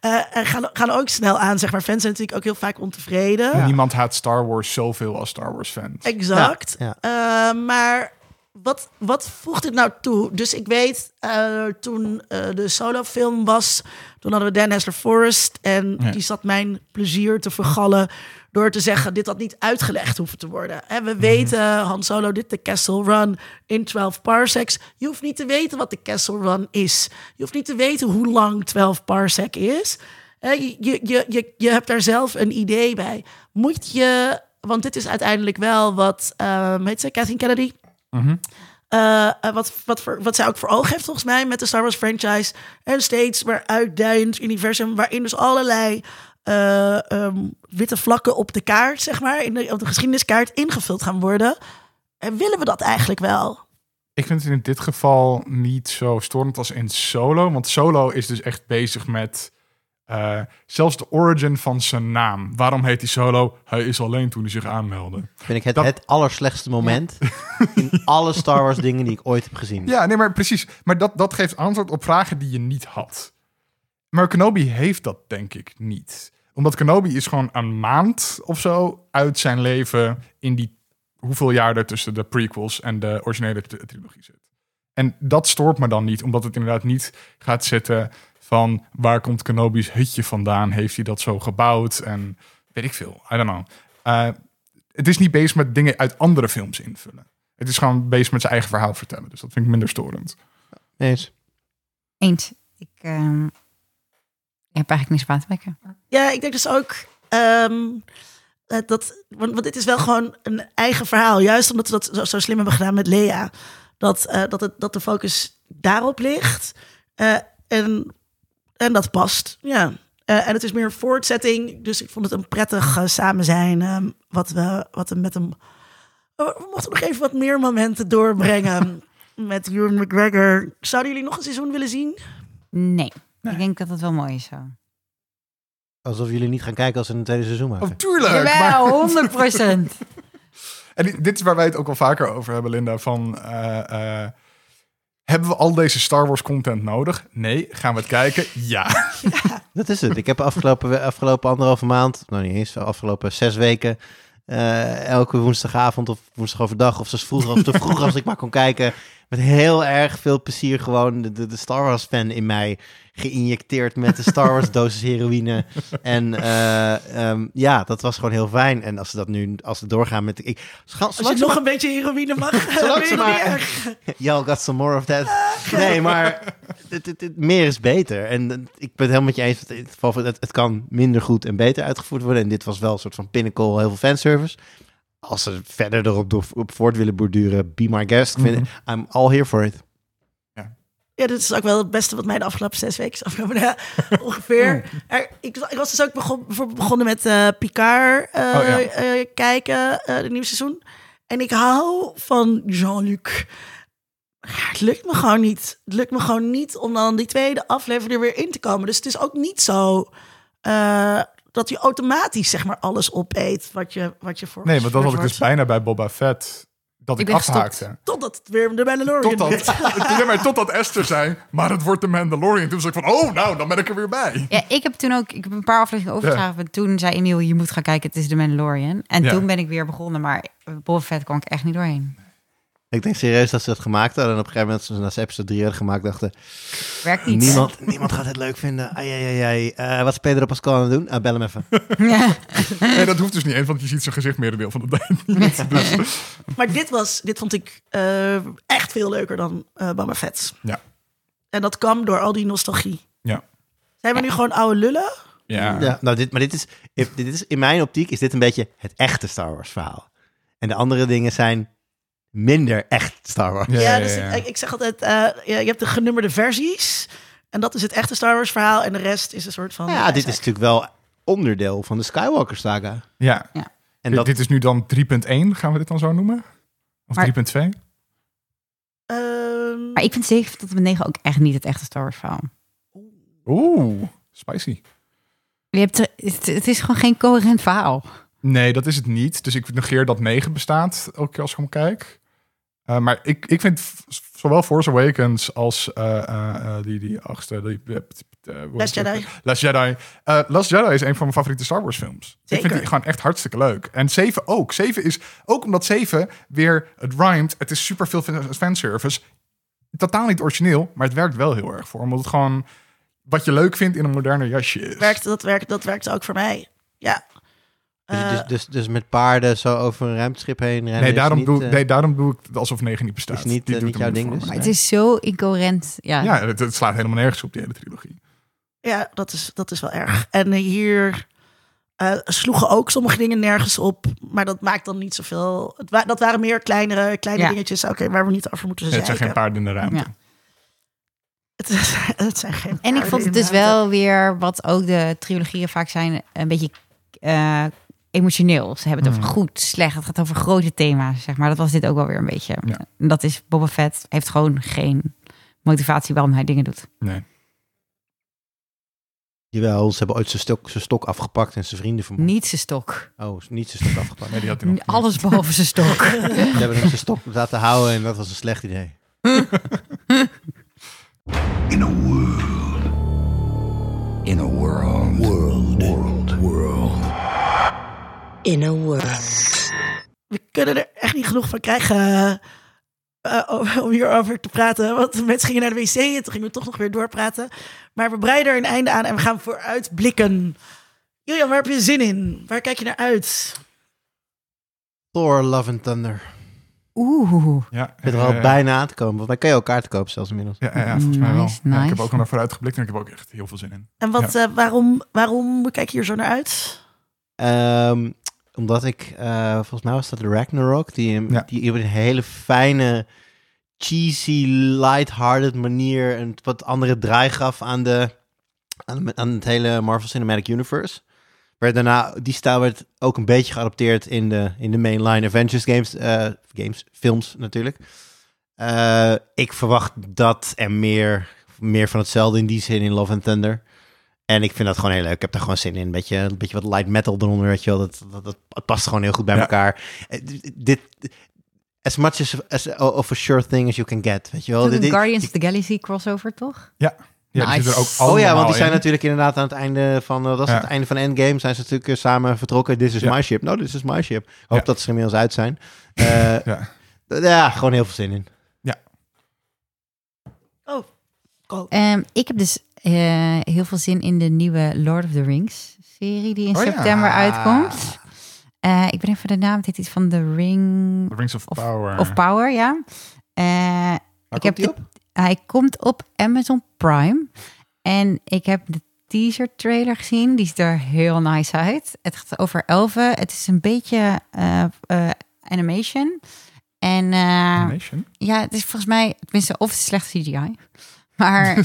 eh, en gaan, gaan ook snel aan, zeg maar. Fans zijn natuurlijk ook heel vaak ontevreden.
Niemand haat Star Wars zoveel als Star Wars fans.
Exact.
Ja,
Eh, maar wat, wat voegt dit nou toe? Dus ik weet, eh, toen eh, de solofilm was, toen hadden we Dan Hessler Forrest. En
Ja.
die zat mijn plezier te vergallen door te zeggen, dit had niet uitgelegd hoeven te worden. En we weten, Han Solo dit, de Castle Run in 12 parsecs. Je hoeft niet te weten wat de Castle Run is. Je hoeft niet te weten hoe lang 12 parsec is. Hè, Je, je, je, je, je hebt daar zelf een idee bij. Moet je, want dit is uiteindelijk wel wat, ehm heet ze, Kathleen Kennedy? Eh, eh, wat, wat, voor, wat zij ook voor oog heeft volgens mij met de Star Wars franchise. Een steeds maar uitdijend universum waarin dus allerlei eh, ehm, witte vlakken op de kaart, zeg maar, in de, op de geschiedeniskaart ingevuld gaan worden. En willen we dat eigenlijk wel?
Ik vind het in dit geval niet zo storend als in Solo. Want Solo is dus echt bezig met eh, zelfs de origin van zijn naam. Waarom heet hij Solo? Hij is alleen toen hij zich aanmeldde.
vind ik het,
Dat-
het allerslechtste moment in alle Star Wars dingen die ik ooit heb gezien.
Ja, nee, maar precies. Maar dat, dat geeft antwoord op vragen die je niet had. Maar Kenobi heeft dat denk ik niet. Omdat Kenobi is gewoon een maand of zo uit zijn leven... in die hoeveel jaar er tussen de prequels en de originele tri- trilogie zit. En dat stoort me dan niet, omdat het inderdaad niet gaat zitten van... waar komt Kenobi's hutje vandaan? Heeft hij dat zo gebouwd? En weet ik veel, I don't know. Eh, het is niet bezig met dingen uit andere films invullen. Het is gewoon bezig met zijn eigen verhaal vertellen. Dus dat vind ik minder storend.
Nee, eens.
Eens. Ik ehm, heb eigenlijk niks op aan te merken.
Ja, ik denk dus ook ehm, eh, dat. Want, want dit is wel gewoon een eigen verhaal. Juist omdat we dat zo, zo slim hebben gedaan met Lea. Dat, eh, dat, het, dat de focus daarop ligt. Eh, en, en dat past. Ja. Eh, en het is meer een voortzetting. Dus ik vond het een prettig eh, samen zijn. ehm, wat, we, wat we met hem. Oh, We mochten nog even wat meer momenten doorbrengen. met Ewan McGregor. Zouden jullie nog een seizoen willen zien?
Nee. Ik denk dat het wel mooi is zo.
Alsof jullie niet gaan kijken als ze een tweede seizoen maken.
Oh, tuurlijk! maar-
Jawel, 100 procent.
en dit- dit is waar wij het ook al vaker over hebben, Linda. Van, eh, eh, hebben we al deze Star Wars content nodig? Nee. Gaan we het kijken? Ja.
Dat is het. Ik heb afgelopen, we- afgelopen anderhalve maand, nou niet eens, afgelopen zes weken, eh, elke woensdagavond of woensdag overdag of zo vroeg, of zo vroeg als ik maar kon kijken, met heel erg veel plezier gewoon de, de, de Star Wars fan in mij geïnjecteerd met de Star Wars dosis heroïne. En eh, ehm, ja, dat was gewoon heel fijn. En als ze dat nu, als ze doorgaan met, ik, scha-
Als je
zolang ze
nog een beetje heroïne mag.
Zolang
vind
ze
je dat niet
maar-
erg?
Y'all got some more of that. Nee, maar het, het, het- meer is beter. En eh, ik ben het helemaal met je eens. Het, het, geval van- het, het kan minder goed en beter uitgevoerd worden. En dit was wel een soort van pinnacle, heel veel fanservice. Als ze verder erop door- op voort willen borduren, be my guest. Ik vind, I'm all here for it.
Ja, dit is ook wel het beste wat mij de afgelopen zes weken is afgekomen. Ja, ongeveer.
Hmm.
Er- ik, was- ik was dus ook begon, bijvoorbeeld begonnen met eh, Picard eh,
Oh, ja.
eh, kijken, eh het nieuwe seizoen. En ik hou van Jean-Luc. Ja, het lukt me gewoon niet. Het lukt me gewoon niet om dan die tweede aflevering er weer in te komen. Dus het is ook niet zo eh, dat je automatisch zeg maar alles opeet wat je, wat je voor
Nee, want dat had ik dus
bij.
bijna bij Boba Fett. Dat ik,
ben gestopt.
afhaakte.
Totdat het weer de Mandalorian
Totdat,
werd.
nee, maar totdat Esther zei, maar het wordt de Mandalorian. Toen was ik van, oh, nou, dan ben ik er weer bij.
Ja, ik heb toen ook ik heb een paar afleveringen overgedragen. want Toen zei Emiel, je moet gaan kijken, het is de Mandalorian. En
Ja.
toen ben ik weer begonnen, maar Boba Fett kwam ik echt niet doorheen.
Ik denk serieus dat ze dat gemaakt hadden. En op een gegeven moment, toen ze na episode 3 hadden gemaakt, dachten...
Werkt niet.
Niemand, niemand gaat het leuk vinden. Ai, ai, ai, ai. Eh, wat is Pedro Pascal aan het doen? Ah, bel hem even.
Ja.
Nee, dat hoeft dus niet eens, want je ziet zijn gezicht merendeel van de tijd niet. Dus,
Maar dit, was, dit vond ik eh, echt veel leuker dan eh Boba Fett.
ja.
En dat kwam door al die nostalgie.
Ja.
Zijn we nu gewoon oude lullen?
Ja.
Ja, nou, dit, maar dit is, dit is, in mijn optiek is dit een beetje het echte Star Wars verhaal. En de andere dingen zijn minder echt Star Wars.
Ja,
Ja,
ja,
dus
ja.
Ik, ik zeg altijd, eh, ja, je hebt de genummerde versies. En dat is het echte Star Wars verhaal. En de rest is een soort van...
Ja, dit is
bijzaak.
natuurlijk wel onderdeel van de Skywalker saga.
Ja.
En
Dit-
dat,
Dit is nu dan 3.1, gaan we dit dan zo noemen? Of
Maar-
3.2?
Ehm,
Maar ik vind 7 tot en met 9 ook echt niet het echte Star Wars verhaal.
Oeh, spicy.
Je hebt, er- het, het is gewoon geen coherent verhaal.
Nee, dat is het niet. Dus ik negeer dat 9 bestaat, elke keer als ik hem kijk. Eh, maar ik, ik vind v- zowel Force Awakens als eh, eh, eh, die, die achtste... Die, eh, eh, hoe
Last
heet het?
Jedi.
Last Jedi. Eh, Last Jedi is een van mijn favoriete Star Wars films. Ik
Zeker.
vind die gewoon echt hartstikke leuk. En 7 ook. 7 is, ook omdat 7 weer, het rhymed, het is super veel fanservice. Totaal niet origineel, maar het werkt wel heel erg voor. Omdat het gewoon wat je leuk vindt in een moderner jasje is.
werkt, dat, werkt, dat werkte ook voor mij. Ja.
dus,
Eh,
dus, dus, dus met paarden zo over een ruimteschip heen rennen.
Nee,
is
daarom,
niet,
doe, ik-
eh,
nee, daarom doe ik het alsof 9 niet bestaat.
is niet,
Die
eh,
doet
niet
hem
jouw
voor
ding
me.
Maar
dus.
het eh, is zo incoherent. Ja.
Ja, het, het slaat helemaal nergens op, die hele trilogie.
Ja, dat is, dat is wel erg. En eh, hier eh, sloegen ook sommige dingen nergens op. Maar dat maakt dan niet zoveel. Het wa- dat waren meer kleinere, kleine
Ja.
dingetjes. Oké, waar we niet over moeten
het zijn
zeiken.
geen paarden in de ruimte.
Ja.
Het, is- het zijn geen
En ik
paarden
vond het
in
dus
de ruimte.
wel weer, wat ook de trilogieën vaak zijn, een beetje eh, emotioneel. Ze hebben het
Mm.
over goed, slecht. Het gaat over grote thema's, zeg maar. Dat was dit ook wel weer een beetje.
Ja.
En dat is, Boba Fett heeft gewoon geen motivatie waarom hij dingen doet.
Nee.
Jawel, ze hebben ooit zijn stok, zijn stok afgepakt en zijn vrienden vermoord.
Niet zijn stok.
Oh, niet zijn stok afgepakt.
nee, die had hij nog niet.
Alles behalve zijn stok.
Ze hebben hem zijn stok laten houden en dat was een slecht idee.
In a world. In a world. World. World. World.
in a world.
We kunnen er echt niet genoeg van krijgen. eh, om- om hierover te praten. Want de mensen gingen naar de wc en toen gingen we toch nog weer doorpraten. Maar we breiden er een einde aan en we gaan vooruit blikken. Julian, waar heb je zin in? Waar kijk je naar uit?
Thor, Love and Thunder.
Oeh.
Ja,
Ik ben er
eh,
al bijna aan te komen. Want wij kan je elkaar te koop zelfs inmiddels.
Ja, ja, ja, volgens mij wel.
Nice,
Ja, ik heb
nice.
ook al naar vooruit geblikt en ik heb ook echt heel veel zin in.
En wat, eh, waarom, waarom kijk je hier zo naar uit?
Ehm, omdat ik, eh, volgens mij was dat Ragnarok, die, hem-
Ja.
die op een hele fijne, cheesy, lighthearted manier een wat andere draai gaf aan, de, aan, aan het hele Marvel Cinematic Universe. Werd daarna, die stijl werd ook een beetje geadopteerd in de, in de mainline Avengers games, eh, games films natuurlijk. Eh, ik verwacht dat en meer, meer van hetzelfde in die zin in Love and Thunder. En ik vind dat gewoon heel leuk. Ik heb daar gewoon zin in. Een beetje, een beetje wat light metal eronder, weet je wel. Dat, dat, dat, dat past gewoon heel goed bij
Ja.
elkaar. Eh, d- Dit, as much as, as of a sure thing as you can get, weet je wel. Dit-
Een
dit-
Guardians of the Galaxy crossover, toch?
Ja, die
Nice.
zitten er ook
Oh ja, want
allemaal
die zijn
in.
natuurlijk inderdaad aan het einde van... eh, dat is
Ja.
het einde van Endgame. Zijn ze natuurlijk eh, samen vertrokken. This is
Ja.
my ship. No, this is my ship. Ik hoop
Ja.
dat ze er inmiddels uit zijn. Eh,
Ja.
d- ja, gewoon heel veel zin in.
Oh,
Ehm, ik heb dus eh, heel veel zin in de nieuwe Lord of the Rings serie die in
Oh ja.
september uitkomt. Eh, ik ben even de naam, het heet iets van The Ring
The Rings of,
Of-
Power.
of Power, ja. Eh,
Waar
Ik heb
komt die
de-
op?
hij komt op Amazon Prime. En ik heb de teaser trailer gezien. Die ziet er heel nice uit. Het gaat over elfen. Het is een beetje eh, eh, animation. En eh,
Nation.
ja, het is volgens mij, tenminste, of het is slecht CGI. Maar eh,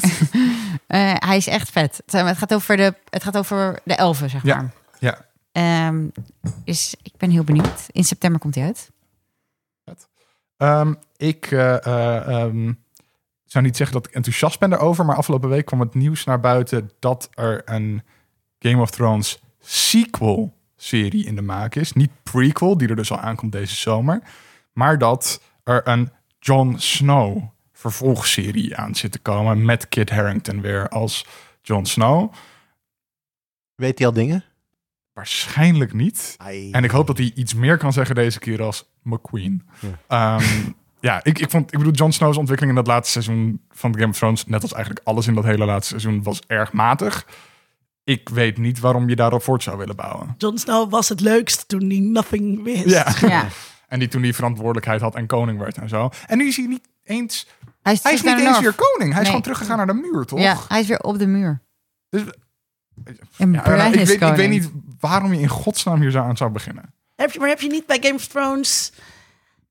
hij is echt vet. Het gaat over de, het gaat over de elfen, zeg
Ja,
maar.
ja.
Ehm, dus ik ben heel benieuwd. In september komt hij uit.
Ehm, ik eh, eh, ehm, zou niet zeggen dat ik enthousiast ben daarover, maar afgelopen week kwam het nieuws naar buiten dat er een Game of Thrones sequel serie in de maak is. Niet prequel, die er dus al aankomt deze zomer, maar dat er een Jon Snow vervolgserie aan zit te komen met Kit Harington weer als Jon Snow.
Weet hij al dingen?
Waarschijnlijk niet. En ik hoop dat hij iets meer kan zeggen deze keer als McQueen.
Ja.
Ehm, Ja, ik, ik, vond, ik bedoel, Jon Snow's ontwikkeling in dat laatste seizoen van Game of Thrones, net als eigenlijk alles in dat hele laatste seizoen, was erg matig. Ik weet niet waarom je daarop voort zou willen bouwen.
Jon Snow was het leukst toen hij nothing wist.
Ja.
Ja.
En die toen die verantwoordelijkheid had en koning werd en zo. En nu is hij niet eens.
Hij is,
Hij is
terug
niet
naar de
eens
North.
weer koning. Hij is
Nee.
gewoon teruggegaan naar de muur, toch?
Ja, hij is weer op de muur.
Dus-
en
Ja,
Bran
nou, ik,
is
weet, ik
koning.
weet niet waarom je in godsnaam hier zo aan zou beginnen.
Heb je, maar heb je niet bij Game of Thrones...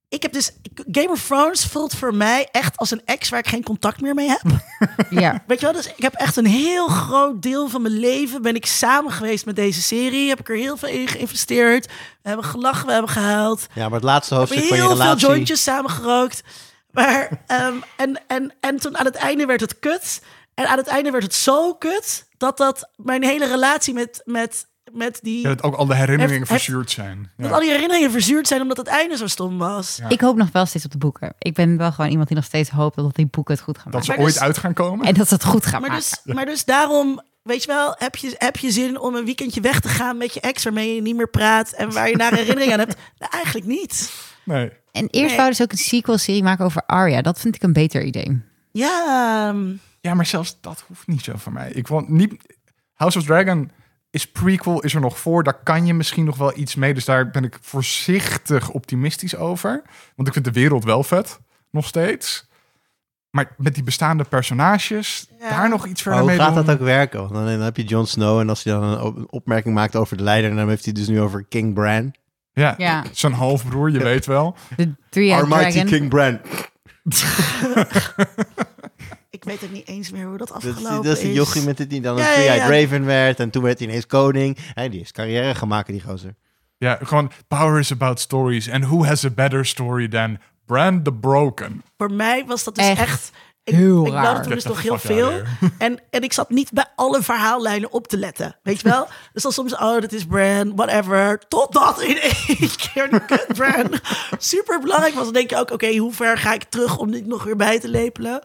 Ik heb dus... Game of Thrones voelt voor mij echt als een ex waar ik geen contact meer mee heb.
Ja.
Weet je wel, dus ik heb echt een heel groot deel van mijn leven ben ik samen geweest met deze serie. Heb ik er heel veel in geïnvesteerd. We hebben gelachen, we hebben gehuild.
Ja, maar het laatste
We
hoofdstuk
hebben
van je
heel veel
relatie...
jointjes samen gerookt. Maar, ehm, en, en, en toen aan het einde werd het kut. En aan het einde werd het zo kut dat dat mijn hele relatie met, met, met die...
Ja, dat ook al de herinneringen
Heeft- heeft-
verzuurd zijn. Ja.
Dat al die herinneringen verzuurd zijn omdat het einde zo stom was.
Ik hoop nog wel steeds op de boeken. Ik ben wel gewoon iemand die nog steeds hoopt dat die boeken het goed gaan
dat ze
maken.
maar
ooit
dus-
uit gaan komen.
En dat ze het goed gaan
Maar
maken.
dus, maar dus daarom, weet je wel, heb je, heb je zin om een weekendje weg te gaan met je ex waarmee je niet meer praat en waar je naar herinnering aan hebt? Nou, eigenlijk niet.
Nee.
En eerst
Nee.
wouden ze ook een sequel-serie maken over Arya. Dat vind ik een beter idee.
Ja, ehm,
Ja, maar zelfs dat hoeft niet zo voor mij. Ik want niet. House of Dragon is prequel, is er nog voor. Daar kan je misschien nog wel iets mee. Dus daar ben ik voorzichtig optimistisch over. Want ik vind de wereld wel vet, nog steeds. Maar met die bestaande personages, daar nog iets verder
Maar Oh, hoe
mee
gaat
doen.
dat ook werken? Want dan, dan heb je Jon Snow en als hij dan een op- een opmerking maakt over de leider... dan heeft hij dus nu over King Bran.
Ja,
Ja.
zijn halfbroer, je weet wel.
De Three-Eyed
Almighty
Dragon.
King Bran.
ik weet ook niet eens meer hoe dat
Dat is,
afgelopen
die- dat is die jochie met het die dan een
Ja, ja,
Three-Eyed
ja.
Raven werd... en toen werd hij ineens koning. Hij die is carrière gaan maken, die gozer.
Ja, gewoon power is about stories. And who has a better story than Brand the Broken?
Voor mij was dat dus echt...
Echt
ik,
heel
ik belde
raar.
toen dus
Get
nog
the
heel
fuck out
veel.
of
En, en ik zat niet bij alle verhaallijnen op te letten. Weet je wel? dus dan soms, oh, dat is Bran, whatever. Totdat in één keer de kut Bran super belangrijk was. Dan denk je ook, oké, hoe ver ga ik terug om dit nog weer bij te lepelen?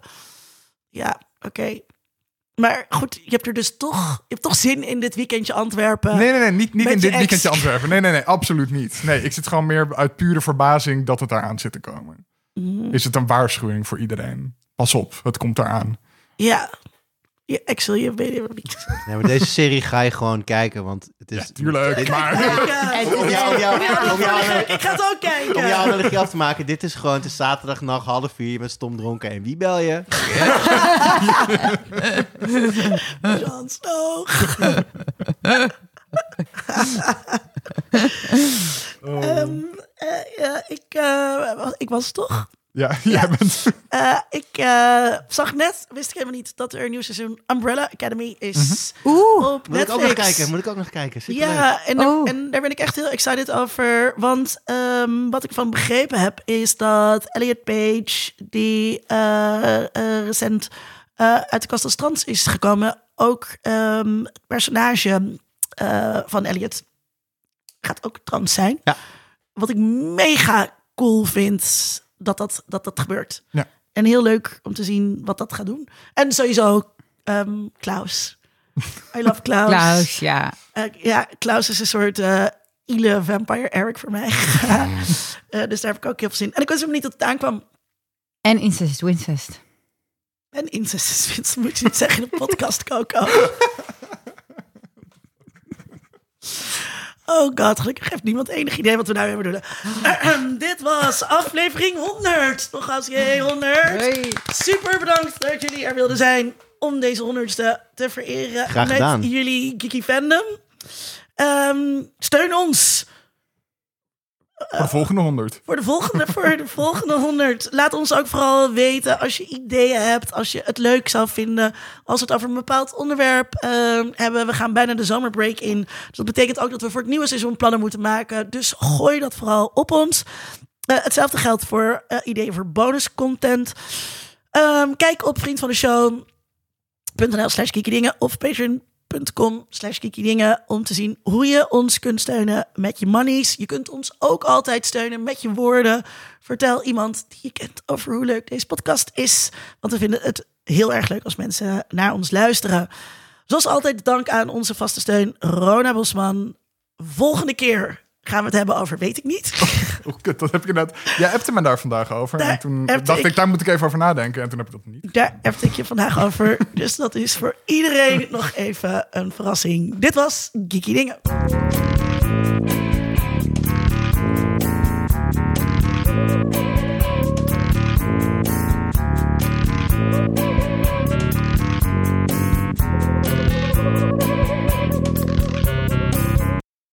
Ja, oké. Maar goed, je hebt er dus toch, je hebt toch zin in dit weekendje Antwerpen.
Nee, nee, nee, niet, niet
Met
in
je
dit
ex.
weekendje Antwerpen. Nee, nee, nee, absoluut niet. Nee, ik zit gewoon meer uit pure verbazing dat het eraan zit te komen.
Mm-hmm.
Is het een waarschuwing voor iedereen? Pas op, het komt eraan.
Ja. Je Excel, je weet het niet.
Nee, maar deze serie ga je gewoon kijken, want het is...
Tuurlijk, maar...
Ja.
Om jou, om jou, om jou,
Ik ga het ook kijken.
om jouw analogie af te maken, dit is gewoon de zaterdagnacht half vier, je bent stom dronken en wie bel je?
Jon Snow. Ehm, eh, ja, ik, eh, was- ik was het toch.
Ja, jij bent...
Eh, ik eh, zag net, wist ik helemaal niet, dat er een nieuw seizoen Umbrella Academy is.
Oeh.
op
Moet Mhm. ik ook
Netflix.
nog kijken, moet ik ook nog kijken. Superleuk.
Ja, en daar,
Oh.
en daar ben ik echt heel excited over. Want ehm, wat ik van begrepen heb, is dat Elliot Page, die eh, eh, recent eh, uit de kast als trans is gekomen, ook ehm, het personage eh, van Elliot gaat ook trans zijn.
Ja.
Wat ik mega cool vind dat dat, dat, dat gebeurt.
Ja.
En heel leuk om te zien wat dat gaat doen. En sowieso ehm, Klaus. I love
Klaus, Nou, ja.
eh, ja, Klaus is een soort eh ile vampire Eric voor mij.
Mm.
Eh, dus daar heb ik ook heel veel zin in. En ik wist hem niet dat het aankwam.
En Incest is Wincest.
En incest is winst, moet je niet zeggen in de podcast, Coco. Oh god, gelukkig heeft niemand enig idee wat we nou weer bedoelen. Ahem, dit was aflevering 100. Nogmaals, jee, 100. Super bedankt dat jullie er wilden zijn om deze honderdste te vereren
Graag
met
gedaan.
jullie geeky fandom. Ehm, steun ons
Voor de volgende honderd.
voor de volgende, voor de volgende 100. Laat ons ook vooral weten als je ideeën hebt, als je het leuk zou vinden, als we het over een bepaald onderwerp ehm, hebben. We gaan bijna de zomerbreak in. Dus dat betekent ook dat we voor het nieuwe seizoen plannen moeten maken. Dus gooi dat vooral op ons. Eh, hetzelfde geldt voor eh, ideeën voor bonuscontent. Ehm, kijk op vriend van de show nl slash kiekidingen of patreon.com slash kiekidingen om te zien hoe je ons kunt steunen met je monies. Je kunt ons ook altijd steunen met je woorden. Vertel iemand die je kent over hoe leuk deze podcast is. Want we vinden het heel erg leuk als mensen naar ons luisteren. Zoals altijd dank aan onze vaste steun Rona Bosman. Volgende keer gaan we het hebben over weet ik niet.
Hoe Oh, kut, dat heb je net... Jij appte me daar vandaag over.
Daar
en toen
appte
dacht ik...
ik.
daar moet ik even over nadenken. En toen heb ik dat niet.
Daar heb ik je vandaag over. Dus dat is voor iedereen nog even een verrassing. Dit was Geeky Dingen.